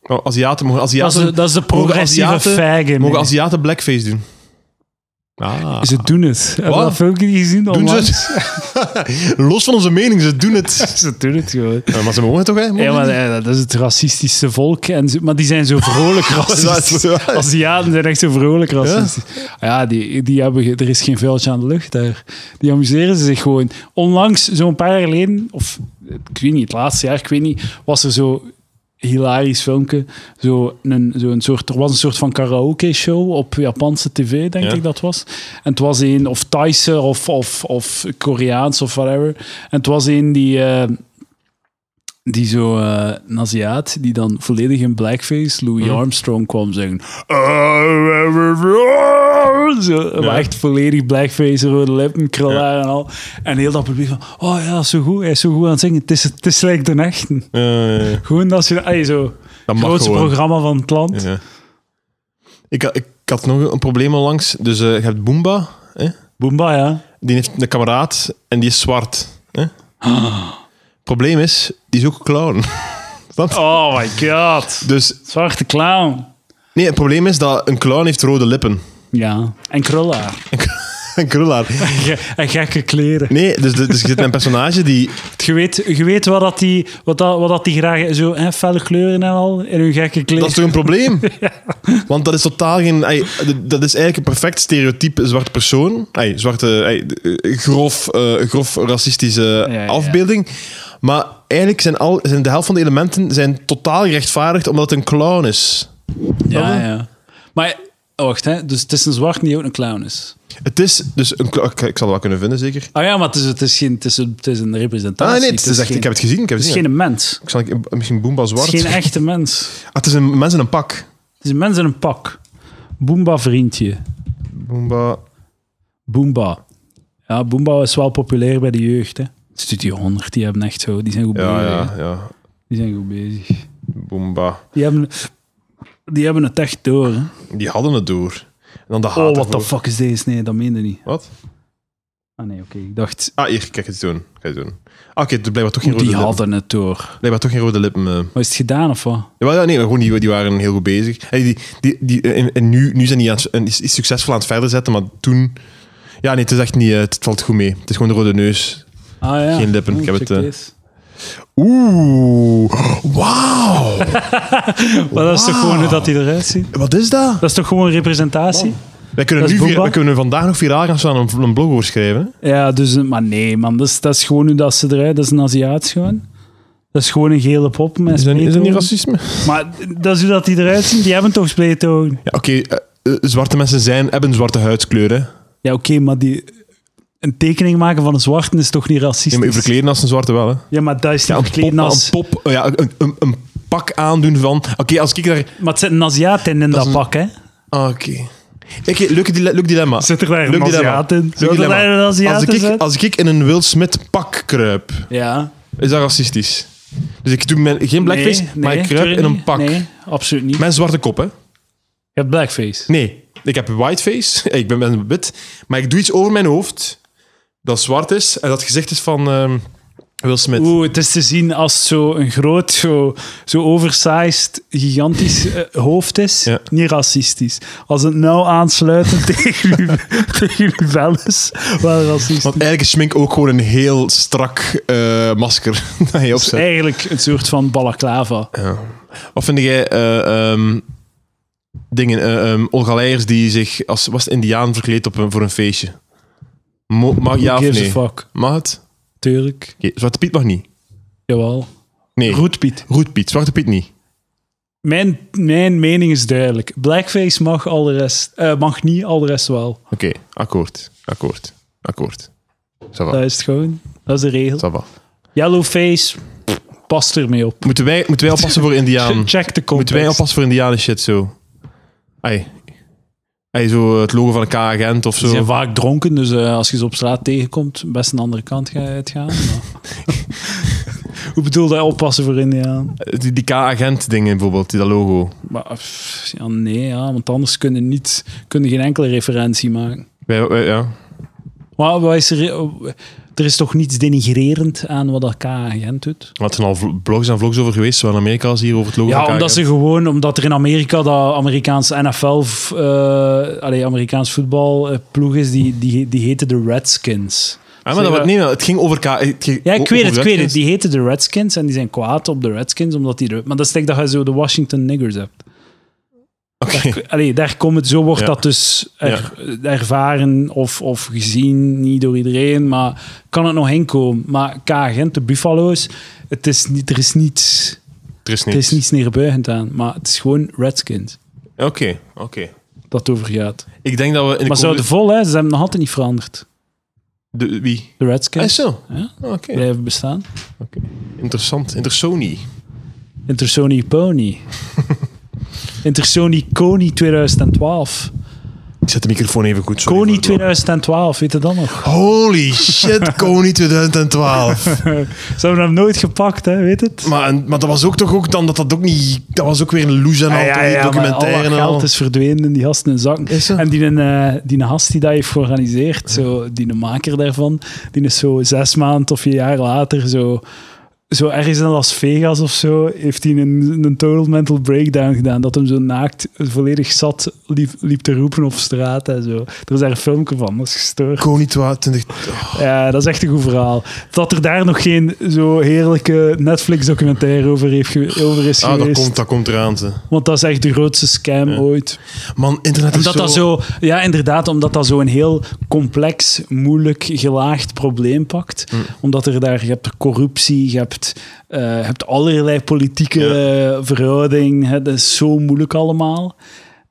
Speaker 2: Nou, Aziaten mogen
Speaker 1: Dat is, de-
Speaker 2: Aziaten,
Speaker 1: dat is de progressieve
Speaker 2: Aziaten-
Speaker 1: fagin.
Speaker 2: mogen
Speaker 1: man.
Speaker 2: Aziaten blackface doen. Ah.
Speaker 1: Ze doen het. Heb je
Speaker 2: Wat?
Speaker 1: dat filmpje niet gezien?
Speaker 2: Doen ze
Speaker 1: onlangs?
Speaker 2: het? Los van onze mening, ze doen het.
Speaker 1: [LAUGHS] Ze doen het gewoon.
Speaker 2: Ja, maar ze mogen het toch, hè? Mogen
Speaker 1: Ja, maar
Speaker 2: ze niet?
Speaker 1: eh, dat is het racistische volk. En ze- maar die zijn zo
Speaker 2: [LAUGHS]
Speaker 1: vrolijk
Speaker 2: Dat
Speaker 1: racistisch.
Speaker 2: is waar.
Speaker 1: Aziaten zijn echt zo vrolijk racistisch. Ah Ja, die, die hebben, ge- er is geen vuiltje aan de lucht daar. Die amuseren ze zich gewoon. Onlangs, zo'n paar jaar geleden, of eh, ik weet niet, het laatste jaar, ik weet niet, was er zo hilarisch filmpje. Zo een, zo een soort, er was een soort van karaoke-show op Japanse tv, denk
Speaker 2: Ja.
Speaker 1: ik dat was. En het was een, of Thaise, of, of, of Koreaans, of whatever. En het was een die... eh, die zo, eh een Aziat, die dan volledig in blackface Louis
Speaker 2: Mhm.
Speaker 1: Armstrong kwam zeggen. "Eh, Zo, maar echt volledig blackface, rode lippen, krulhaar en al. En heel dat publiek van, oh ja, dat is zo goed, hij is zo goed aan het zingen. Het is, het is like de echte.
Speaker 2: Eh,
Speaker 1: Gewoon dat je, allee, zo,
Speaker 2: dat mag
Speaker 1: grootste
Speaker 2: gewoon.
Speaker 1: programma van het land.
Speaker 2: Ja. Ik, ha- ik had nog een probleem langs. Dus eh, je hebt Boomba, hè?
Speaker 1: Boomba, ja.
Speaker 2: die heeft een kameraad en die is zwart. Hè? Probleem is, die is ook clown. [LAUGHS]
Speaker 1: Oh my god.
Speaker 2: Dus
Speaker 1: Zwarte clown.
Speaker 2: nee, het probleem is dat een clown heeft rode lippen. [LAUGHS]
Speaker 1: Ja, en krulhaar.
Speaker 2: Een krulhaar.
Speaker 1: Ge- en gekke kleren.
Speaker 2: Nee, dus, dus je zit met een personage die
Speaker 1: Je weet, je weet wat, dat die, wat, dat, wat dat die graag... Zo, hè, felle kleuren en al, in hun gekke kleren.
Speaker 2: Dat is toch een
Speaker 1: [LAUGHS]
Speaker 2: probleem? Want dat is totaal geen... ey, d- dat is eigenlijk een perfect stereotype zwarte persoon. Ey, zwarte, ey, d- eh, grof, eh, grof racistische
Speaker 1: Ja, ja, ja.
Speaker 2: afbeelding. Maar eigenlijk zijn, al, zijn de helft van de elementen zijn totaal gerechtvaardigd omdat het een clown is.
Speaker 1: Ja, ja. Maar oh, wacht, hè. dus het is een zwart die ook een clown is.
Speaker 2: Het is dus een clown... Ik, ik zal het wel kunnen vinden, zeker.
Speaker 1: Ah ja, maar het is, het is, geen, het is, een, het is een representatie.
Speaker 2: Ah nee, het is echt,
Speaker 1: geen,
Speaker 2: ik heb het gezien. Ik heb
Speaker 1: het
Speaker 2: het
Speaker 1: is
Speaker 2: gezien.
Speaker 1: geen mens.
Speaker 2: Ik zal ik- misschien Boomba
Speaker 1: Het
Speaker 2: zwart.
Speaker 1: is geen echte mens.
Speaker 2: Ah, het is een mens in een pak.
Speaker 1: Het is een mens in een pak. Boomba vriendje.
Speaker 2: Boomba...
Speaker 1: Boomba. Ja, Boomba is wel populair bij de jeugd. Hè. Studio 100, die hebben echt zo... Die zijn goed
Speaker 2: Ja,
Speaker 1: bezig.
Speaker 2: ja,
Speaker 1: hè.
Speaker 2: ja.
Speaker 1: Die zijn goed bezig.
Speaker 2: Boomba.
Speaker 1: Die hebben, die hebben het echt
Speaker 2: Ah,
Speaker 1: door. Hè.
Speaker 2: Die hadden het door. En dan de haat
Speaker 1: Oh, what the
Speaker 2: ervoor.
Speaker 1: fuck is deze? Nee, dat meende niet.
Speaker 2: Wat?
Speaker 1: Ah nee, oké. Ik dacht,
Speaker 2: Ah, hier, kijk, het doen. Kijk, het doen. Ah, Oké, het blijkbaar toch geen rode
Speaker 1: die
Speaker 2: lippen.
Speaker 1: hadden het door.
Speaker 2: Blijkbaar toch geen rode lippen. eh.
Speaker 1: Maar is het gedaan of wat?
Speaker 2: Jawel, Ja, nee, maar gewoon, die, die waren heel goed bezig. Hey, die, die, die, eh, en en nu, nu zijn die aan, het- en is, is succesvol aan het verder zetten, maar toen... Ja, nee, het is echt niet... eh, Het valt goed mee. Het is gewoon de rode neus.
Speaker 1: Ah, ja.
Speaker 2: Geen lippen, ik heb
Speaker 1: check
Speaker 2: het, eh,
Speaker 1: this.
Speaker 2: Oeh. Wauw.
Speaker 1: Maar dat is toch
Speaker 2: Wauw.
Speaker 1: gewoon hoe dat hij eruit ziet?
Speaker 2: Wat is dat?
Speaker 1: Dat is toch gewoon representatie?
Speaker 2: Wij kunnen,
Speaker 1: Dat
Speaker 2: nu
Speaker 1: is
Speaker 2: vira-
Speaker 1: Boomba.
Speaker 2: wij kunnen vandaag nog viraal gaan staan en een, een blog over schrijven. hè.
Speaker 1: Ja, dus, maar nee, man. Dat is, dat is gewoon hoe dat ze eruit... Dat is een Aziat gewoon. Dat is gewoon een gele pop met
Speaker 2: Is dat, niet- is dat niet
Speaker 1: spleetogen.
Speaker 2: racisme?
Speaker 1: Maar dat is hoe dat die eruit zien. Die hebben toch spleetogen?
Speaker 2: Ja, oké. eh, eh, zwarte mensen zijn, hebben zwarte huidskleur, hè.
Speaker 1: Ja, oké, maar die... Een tekening maken van een zwarte is toch niet racistisch?
Speaker 2: Ja, maar je verkleden als een zwarte wel, hè.
Speaker 1: Ja, maar dat is
Speaker 2: Ja,
Speaker 1: niet
Speaker 2: een pop,
Speaker 1: verkleden als...
Speaker 2: een, pop oh ja, een, een, een pak aandoen van... Oké, als ik daar...
Speaker 1: Maar het zit een Aziat in in dat,
Speaker 2: is een-
Speaker 1: pak, hè?
Speaker 2: ah, Oké. Oké, leuk, dile- leuk dilemma.
Speaker 1: Zit er daar
Speaker 2: Leuk
Speaker 1: een
Speaker 2: dilemma.
Speaker 1: Aziat in?
Speaker 2: Leuk
Speaker 1: Zou dat
Speaker 2: dilemma.
Speaker 1: daar een Aziat
Speaker 2: Als
Speaker 1: in
Speaker 2: ik,
Speaker 1: zijn?
Speaker 2: als ik in een Will Smith pak kruip,
Speaker 1: Ja.
Speaker 2: is dat racistisch? Dus ik doe mijn, geen blackface,
Speaker 1: Nee,
Speaker 2: maar
Speaker 1: nee,
Speaker 2: ik kruip in
Speaker 1: tuurlijk
Speaker 2: een
Speaker 1: niet.
Speaker 2: pak.
Speaker 1: Nee, absoluut niet.
Speaker 2: Mijn zwarte kop, hè?
Speaker 1: Je hebt blackface.
Speaker 2: Nee, ik heb whiteface. [LAUGHS] ik ben ben wit. Maar ik doe iets over mijn hoofd dat zwart is en dat gezicht is van ehm, Will Smith.
Speaker 1: Oeh, het is te zien als zo'n groot, zo, zo oversized, gigantisch eh, hoofd is.
Speaker 2: Ja.
Speaker 1: Niet racistisch. Als het nou aansluiten [LAUGHS] tegen uw, tegen uw vel is, wel racistisch.
Speaker 2: Want eigenlijk is schmink ook gewoon een heel strak eh, masker [LAUGHS] dat je
Speaker 1: Het is
Speaker 2: opzet.
Speaker 1: eigenlijk een soort van balaclava.
Speaker 2: Eh, Wat vind jij eh, ehm, dingen, eh, ehm, Olga Leijers die zich als was het indiaan verkleed op een, voor een feestje? Mo- mag ja of
Speaker 1: Who gives
Speaker 2: nee?
Speaker 1: a fuck?
Speaker 2: Mag het?
Speaker 1: Tuurlijk.
Speaker 2: Oké, Zwarte Piet mag niet.
Speaker 1: Jawel.
Speaker 2: Nee.
Speaker 1: Roetpiet.
Speaker 2: Roet Piet, Zwarte Piet niet.
Speaker 1: Mijn, mijn mening is duidelijk. Blackface mag, al de rest, eh, mag niet, al de rest wel.
Speaker 2: Oké, akkoord, akkoord, akkoord. Ça va,
Speaker 1: Dat is het gewoon. Dat is de regel.
Speaker 2: ça va.
Speaker 1: Yellowface, pff, past ermee op.
Speaker 2: Moeten wij, moeten wij oppassen voor
Speaker 1: [LAUGHS]
Speaker 2: indiaan?
Speaker 1: Check de
Speaker 2: Moeten wij
Speaker 1: context.
Speaker 2: oppassen voor indianen shit zo? Ai. Ai, zo het logo van een K-agent of
Speaker 1: Ze zijn
Speaker 2: zo.
Speaker 1: vaak dronken, dus eh, als je ze op straat tegenkomt, best een andere kant ga je
Speaker 2: [LAUGHS]
Speaker 1: uitgaan. maar- [LAUGHS] Hoe bedoel je oppassen voor Indiaan?
Speaker 2: Die, die K-agent dingen bijvoorbeeld, die, dat logo.
Speaker 1: Maar, pff, ja, nee, ja, want anders kunnen niet, kunnen geen enkele referentie maken.
Speaker 2: Wij, wij- ja.
Speaker 1: Maar wat is er, er is toch niets denigrerend aan wat dat K-agent doet?
Speaker 2: Maar het zijn al vl- blogs en vlogs over geweest, zowel in Amerika als hier over het logo.
Speaker 1: Ja,
Speaker 2: van KKK.
Speaker 1: omdat ze gewoon, omdat er in Amerika dat Amerikaans NFL, v- eh allee, Amerikaans voetbal eh, ploeg is, die, die, die heette de Redskins.
Speaker 2: Ah, maar dat, wa- nee, maar het ging over... K het ging
Speaker 1: Ja,
Speaker 2: o-
Speaker 1: ik weet het,
Speaker 2: over
Speaker 1: ik weet het.
Speaker 2: Redskins.
Speaker 1: Die heten de Redskins en die zijn kwaad op de Redskins, omdat die... de- Maar dat is denk ik dat je zo de Washington niggers hebt. [LAUGHS]
Speaker 2: Oké.
Speaker 1: Allee, daar komt het... Zo wordt
Speaker 2: Ja.
Speaker 1: dat dus er- ervaren of, of gezien, niet door iedereen, maar kan het nog heen komen. Maar K-agent, de Buffalo's, het is niet, er is niet...
Speaker 2: Er is
Speaker 1: Het
Speaker 2: niks.
Speaker 1: is niets neerbuigend aan, maar het is gewoon Redskins
Speaker 2: Oké, oké.
Speaker 1: dat het over gaat.
Speaker 2: Ik denk dat we in de
Speaker 1: Maar ze
Speaker 2: komende-
Speaker 1: houden vol, hè? Ze hebben nog altijd niet veranderd.
Speaker 2: de- Wie?
Speaker 1: De
Speaker 2: Ah,
Speaker 1: Redskins
Speaker 2: zo.
Speaker 1: Ja.
Speaker 2: Oké.
Speaker 1: blijven bestaan.
Speaker 2: Oké. Interessant. Intersony.
Speaker 1: Intersony Pony. [LAUGHS] Intersony Kony 2012.
Speaker 2: Ik zet de microfoon even goed. sorry
Speaker 1: Kony
Speaker 2: voor het-
Speaker 1: 2012, weet je dat nog? [LAUGHS]
Speaker 2: Holy shit, Kony 2012.
Speaker 1: Ze hebben hem nooit gepakt, hè? weet het?
Speaker 2: Maar, maar dat was ook toch ook dan dat dat ook niet. Dat was ook weer een loes en
Speaker 1: Ah,
Speaker 2: al. toch, die
Speaker 1: maar al
Speaker 2: documentaire
Speaker 1: dat
Speaker 2: en al.
Speaker 1: geld is verdwenen in die gasten hun zakken.
Speaker 2: Is zo.
Speaker 1: En die, eh die gast die dat heeft georganiseerd, zo, die maker daarvan, die is zo zes maanden of een jaar later zo... Zo ergens in Las Vegas of zo heeft hij een, een total mental breakdown gedaan. Dat hem zo naakt, volledig zat, liep, liep te roepen op straat en zo. Er is daar een filmpje van, dat is gestoord.
Speaker 2: Kony 2012.
Speaker 1: Ja, dat is echt een goed verhaal. Dat er daar nog geen zo heerlijke Netflix-documentaire over, heeft ge- over is
Speaker 2: Ah, dat
Speaker 1: geweest.
Speaker 2: komt, dat komt eraan. Ze.
Speaker 1: Want dat is echt de grootste scam ooit.
Speaker 2: Man, internet is
Speaker 1: Omdat
Speaker 2: zo...
Speaker 1: dat zo... Ja, inderdaad, omdat dat zo'n heel complex, moeilijk, gelaagd probleem pakt. Omdat er daar... Je hebt corruptie, je hebt, eh, je hebt allerlei politieke eh, verhouding. Hè, dat is zo moeilijk allemaal.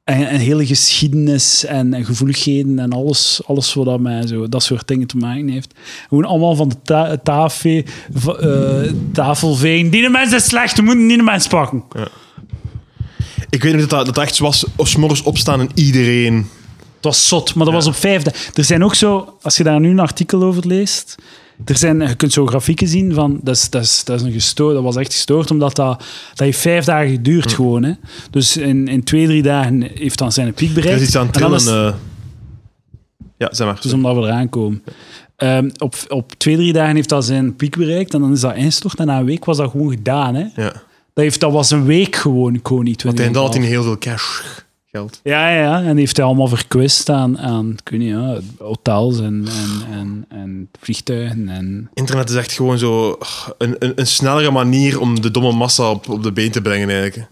Speaker 1: En, en hele geschiedenis en, en gevoeligheden en alles, alles wat dat met zo, dat soort dingen te maken heeft. Gewoon allemaal van de ta tafel, va- eh, tafel vegen. Die mensen is slecht, we moeten die de mens pakken.
Speaker 2: Ik weet niet dat dat, dat echt zo was. Of morgens opstaan en iedereen...
Speaker 1: Het was zot, maar dat was op vijfde. Er zijn ook zo, als je daar nu een artikel over leest, er zijn, je kunt zo grafieken zien van, dat, is, dat, is, dat, is een gestoord, dat was echt gestoord, omdat dat, dat heeft vijf dagen geduurd
Speaker 2: Hm.
Speaker 1: gewoon. Hè. Dus in, in twee, drie dagen heeft dan zijn piek
Speaker 2: Er
Speaker 1: bereikt.
Speaker 2: is iets aan het
Speaker 1: En dan
Speaker 2: trillen.
Speaker 1: is-
Speaker 2: eh. Ja, zeg maar.
Speaker 1: dus omdat we eraan komen. Ehm, op, op twee, drie dagen heeft dat zijn piek bereikt en dan is dat instort en na een week was dat gewoon gedaan. Hè.
Speaker 2: Ja.
Speaker 1: Dat, heeft, dat was een week gewoon, Koning
Speaker 2: Want
Speaker 1: 20.
Speaker 2: hij had hij heel veel cash geld.
Speaker 1: Ja, ja, ja, en die heeft hij allemaal verkwist aan, aan ik weet niet, ja, hotels en, en, en, en vliegtuigen. En...
Speaker 2: Internet is echt gewoon zo ugh, een, een, een snellere manier om de domme massa op, op de been te brengen eigenlijk.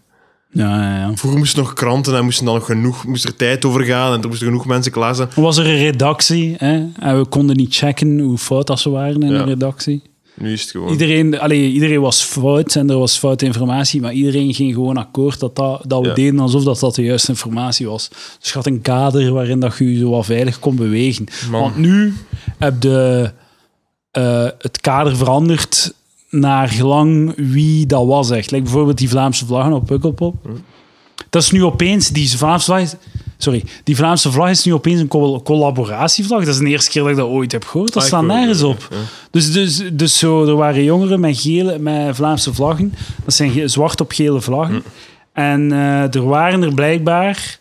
Speaker 1: Ja, ja, ja.
Speaker 2: Vroeger moesten nog kranten en moesten dan nog genoeg, moest er tijd over gaan en er moesten genoeg mensen klaar zijn.
Speaker 1: Er was er een redactie hè, en we konden niet checken hoe fout dat ze waren in
Speaker 2: Ja.
Speaker 1: de redactie.
Speaker 2: Nu is het gewoon.
Speaker 1: Iedereen, allee, iedereen was fout en er was foute informatie, maar iedereen ging gewoon akkoord dat, dat, dat we
Speaker 2: Ja.
Speaker 1: deden alsof dat, dat de juiste informatie was. Dus je had een kader waarin dat je je zo wat veilig kon bewegen.
Speaker 2: Man.
Speaker 1: Want nu heb je eh, het kader veranderd naar gelang wie dat was echt. Like bijvoorbeeld die Vlaamse vlaggen op Pukkelpop.
Speaker 2: Hm.
Speaker 1: Dat is nu opeens, die Vlaamse vlag is, sorry, die Vlaamse vlag is nu opeens een col- collaboratievlag. Dat is de eerste keer dat ik dat ooit heb gehoord. Dat
Speaker 2: Ah, ik
Speaker 1: staat
Speaker 2: ook,
Speaker 1: nergens
Speaker 2: ja,
Speaker 1: op. Dus, dus, dus zo, er waren jongeren met, gele, met Vlaamse vlaggen. Dat zijn ge- zwart op gele vlaggen.
Speaker 2: Hm.
Speaker 1: En eh, er waren er blijkbaar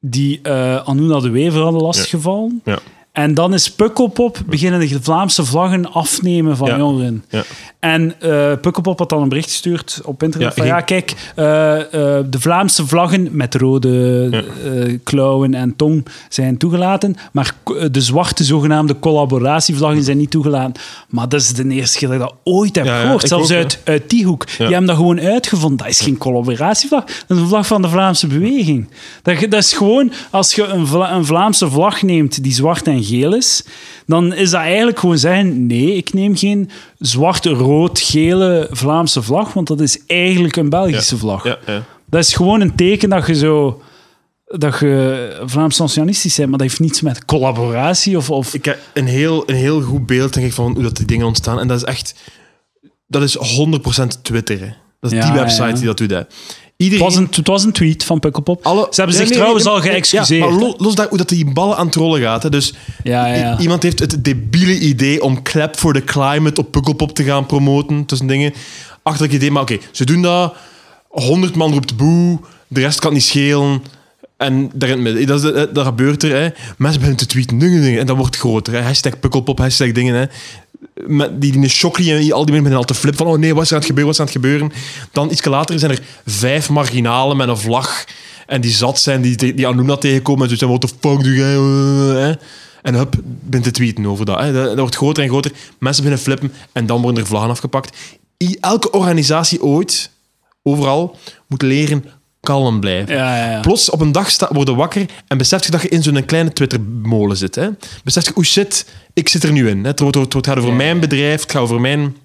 Speaker 1: die eh Anuna de Wever hadden lastgevallen.
Speaker 2: Ja.
Speaker 1: En dan is Pukkelpop beginnen de Vlaamse vlaggen afnemen van
Speaker 2: Ja.
Speaker 1: jongeren.
Speaker 2: Ja.
Speaker 1: En eh Pukkelpop had dan een bericht gestuurd op internet
Speaker 2: Ja,
Speaker 1: van
Speaker 2: ging-
Speaker 1: ja, kijk, eh, eh, de Vlaamse vlaggen met rode eh, klauwen en tong zijn toegelaten, maar k- eh, de zwarte zogenaamde collaboratievlaggen zijn niet toegelaten. Maar dat is de eerste keer dat ik dat ooit heb
Speaker 2: Ja, ja,
Speaker 1: gehoord,
Speaker 2: ik
Speaker 1: zelfs
Speaker 2: ook, hè.
Speaker 1: uit, uit eh, die hoek. Die hebben dat gewoon uitgevonden. Dat is geen collaboratievlag, dat is een vlag van de Vlaamse beweging. Dat, ge- dat is gewoon, als je een, Vla- een Vlaamse vlag neemt die zwart en geel is, dan is dat eigenlijk gewoon zeggen, nee, ik neem geen zwart-rood-gele Vlaamse vlag, want dat is eigenlijk een Belgische vlag.
Speaker 2: Ja, ja.
Speaker 1: Dat is gewoon een teken dat je zo... Dat je Vlaams nationalistisch bent, maar dat heeft niets met collaboratie of... of
Speaker 2: Ik heb een heel, een heel goed beeld denk ik, van hoe dat die dingen ontstaan. En dat is echt... Dat is 100% Twitter. Hè. Dat is
Speaker 1: Ja,
Speaker 2: die website
Speaker 1: ja.
Speaker 2: die dat doet. Hè.
Speaker 1: het,
Speaker 2: Iedereen...
Speaker 1: was een, het was een tweet van Pukkelpop.
Speaker 2: Alle-
Speaker 1: Ze hebben
Speaker 2: Nee,
Speaker 1: zich
Speaker 2: nee,
Speaker 1: trouwens
Speaker 2: nee,
Speaker 1: al
Speaker 2: nee,
Speaker 1: geëxcuseerd.
Speaker 2: Ja, maar
Speaker 1: hè.
Speaker 2: lo- los daar hoe dat die ballen aan het rollen gaat. Hè. Dus
Speaker 1: Ja, ja,
Speaker 2: i-
Speaker 1: ja.
Speaker 2: iemand heeft het debiele idee om Clap for the Climate op Pukkelpop te gaan promoten. Tussen dingen. Achterlijk idee, maar oké, ze doen dat. 100 man roept boe, de rest kan het niet schelen. En daar in het midden. Dat, is, eh, dat gebeurt er. Hè. Mensen beginnen te tweeten, dingen, dingen. En dat wordt groter. Hè. Hashtag Pukkelpop, hashtag dingen. Hè. Met die, die Shockley en die- al die mensen beginnen al te flippen van oh nee, wat is er aan het gebeuren, wat is er aan het gebeuren. Dan iets later zijn er vijf marginalen met een vlag en die zat zijn, die, die, die Anuna tegenkomen en zo zijn, what the fuck doe jij? eh, hè? En hup, begint te tweeten over dat, hè. dat. dat wordt groter en groter. Mensen beginnen flippen en dan worden er vlaggen afgepakt. I- elke organisatie ooit, overal, moet leren kalm blijven.
Speaker 1: Ja, ja, ja.
Speaker 2: Plots op een dag sta, word je wakker en besef je dat je in zo'n kleine Twitter-molen zit. Hè? Besef je, oh shit, ik zit er nu in. Hè? Het, wordt, het, wordt, het gaat over mijn bedrijf, het gaat over mijn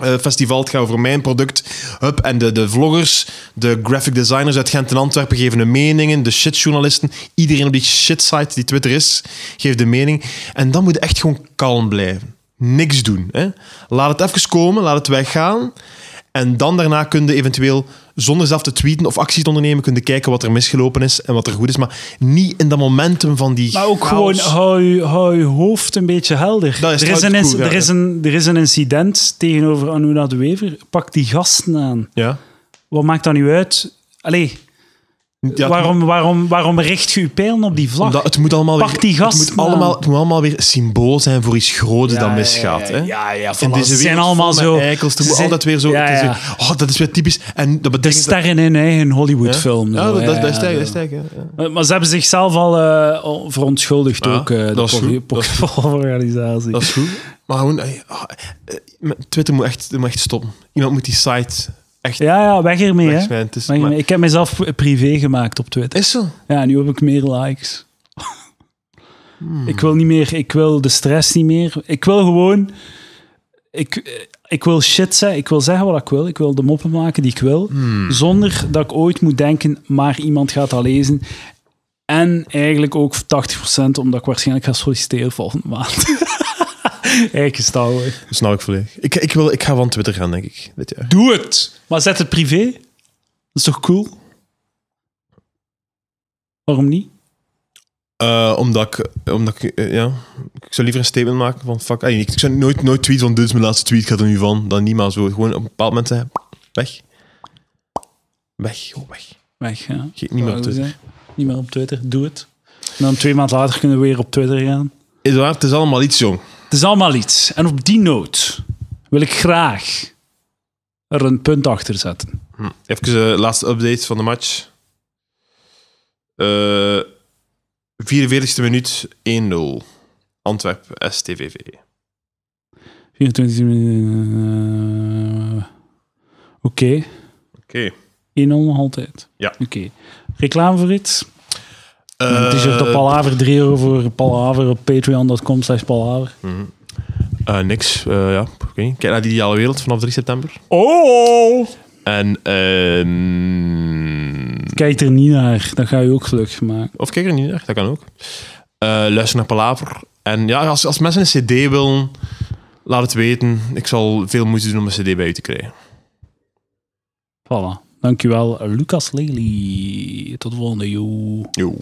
Speaker 2: eh, festival. Het gaat over mijn product. Hup, en de, de vloggers, de graphic designers uit Gent en Antwerpen geven hun meningen. De shitjournalisten, iedereen op die shitsite die Twitter is, geeft de mening. En dan moet je echt gewoon kalm blijven. Niks doen. Hè? Laat het even komen, laat het weggaan. En dan daarna kun je eventueel, zonder zelf te tweeten of acties te ondernemen, kun je kijken wat er misgelopen is en wat er goed is. Maar niet in dat momentum van die
Speaker 1: Maar ook
Speaker 2: chaos.
Speaker 1: gewoon, hou, je- hou je hoofd een beetje helder.
Speaker 2: Dat is
Speaker 1: er, is een,
Speaker 2: trouwens
Speaker 1: inc-
Speaker 2: cool, ja,
Speaker 1: er, is
Speaker 2: ja.
Speaker 1: een, er is een incident tegenover Anuna de Wever. Pak die gasten aan.
Speaker 2: Ja.
Speaker 1: Wat maakt dat nu uit? Allee,
Speaker 2: Ja,
Speaker 1: waarom, waarom, waarom richt je je pijlen op die vlag?
Speaker 2: Omdat het moet allemaal
Speaker 1: Pak
Speaker 2: weer,
Speaker 1: die gasten
Speaker 2: het moet allemaal,
Speaker 1: aan.
Speaker 2: het moet allemaal weer symbool zijn voor iets groots dat misgaat. Hè?
Speaker 1: Ja, ja, voilà.
Speaker 2: In deze
Speaker 1: Ze
Speaker 2: wereld
Speaker 1: zijn
Speaker 2: vol
Speaker 1: allemaal
Speaker 2: met
Speaker 1: zo.
Speaker 2: eikels, er
Speaker 1: ze
Speaker 2: moet
Speaker 1: zijn-
Speaker 2: altijd weer zo...
Speaker 1: Ja,
Speaker 2: het is
Speaker 1: ja.
Speaker 2: weer, oh, dat is weer typisch. En dat
Speaker 1: De
Speaker 2: betekent...
Speaker 1: sterren in eigen
Speaker 2: ja?
Speaker 1: Hollywoodfilm.
Speaker 2: Ja,
Speaker 1: zo,
Speaker 2: dat, dat, dat is
Speaker 1: ja,
Speaker 2: sterk,
Speaker 1: ja.
Speaker 2: dat is sterk, hè. Ja.
Speaker 1: Maar, maar ze hebben zichzelf al eh, al verontschuldigd
Speaker 2: Ja,
Speaker 1: ook, eh, de
Speaker 2: dat is
Speaker 1: Poké-
Speaker 2: goed, dat is goed.
Speaker 1: Pokémon-organisatie.
Speaker 2: Dat is goed. Maar gewoon... eh, ah, eh, Twitter moet echt, moet echt stoppen. Iemand moet die site echt
Speaker 1: Ja, ja, weg ermee. Hè.
Speaker 2: wegsmijten. Het is-
Speaker 1: Weg
Speaker 2: maar-
Speaker 1: ermee. Ik heb mezelf pri- privé gemaakt op Twitter.
Speaker 2: Is zo.
Speaker 1: Ja, nu heb ik meer likes. Ik wil niet meer, ik wil de stress niet meer. Ik wil gewoon, ik, eh, ik wil shit zeggen, ik wil zeggen wat ik wil. Ik wil de moppen maken die ik wil. Zonder dat ik ooit moet denken, maar iemand gaat dat lezen. En eigenlijk ook 80% omdat ik waarschijnlijk ga solliciteren volgende maand. [LAUGHS] Eigen stouwen.
Speaker 2: Dat snap ik volledig. Ik, ik, wil, ik ga van Twitter gaan, denk ik, dit jaar.
Speaker 1: Doe het! Maar zet het privé. Dat is toch cool? Waarom niet?
Speaker 2: Eh, omdat ik, omdat ik eh, ja, ik zou liever een statement maken van fuck. ey, ik, ik zou nooit, nooit tweeten van dit is mijn laatste tweet, gaat er nu van. Dan niet, maar zo gewoon op een bepaald moment zeggen, weg. Weg, gewoon weg.
Speaker 1: Weg, ja. dus-
Speaker 2: Ge- niet meer op
Speaker 1: Zou
Speaker 2: Twitter.
Speaker 1: zeggen. Niet meer op Twitter. Doe het. En dan twee maanden later kunnen we weer op Twitter gaan.
Speaker 2: Is waar, het is allemaal iets, jong.
Speaker 1: Het is allemaal iets. En op die noot wil ik graag er een punt achter zetten.
Speaker 2: Hm. Even de laatste update van de match. Eh 44e minuut, 1-0. Antwerp, STVV.
Speaker 1: 24 minuten. eh, Oké.
Speaker 2: Oké.
Speaker 1: 1-0 nog altijd.
Speaker 2: Ja.
Speaker 1: Oké. Reclame voor iets? Het is er op
Speaker 2: Eh,
Speaker 1: Palaver 3 euro voor Palaver op patreon.com slash Palaver.
Speaker 2: mhm. eh, niks, eh, ja. Oké. Kijk naar die ideale wereld vanaf 3 september.
Speaker 1: Oh!
Speaker 2: En, ehm,
Speaker 1: Kijk er niet naar. Dan ga je ook gelukkig maken.
Speaker 2: of kijk er niet naar, dat kan ook. Eh, luister naar Palaver. En ja, als, als mensen een CD willen, laat het weten. Ik zal veel moeite doen om een CD bij u te krijgen.
Speaker 1: Voilà. Dankjewel, Lucas Lely. Tot de volgende, joe.
Speaker 2: Yo.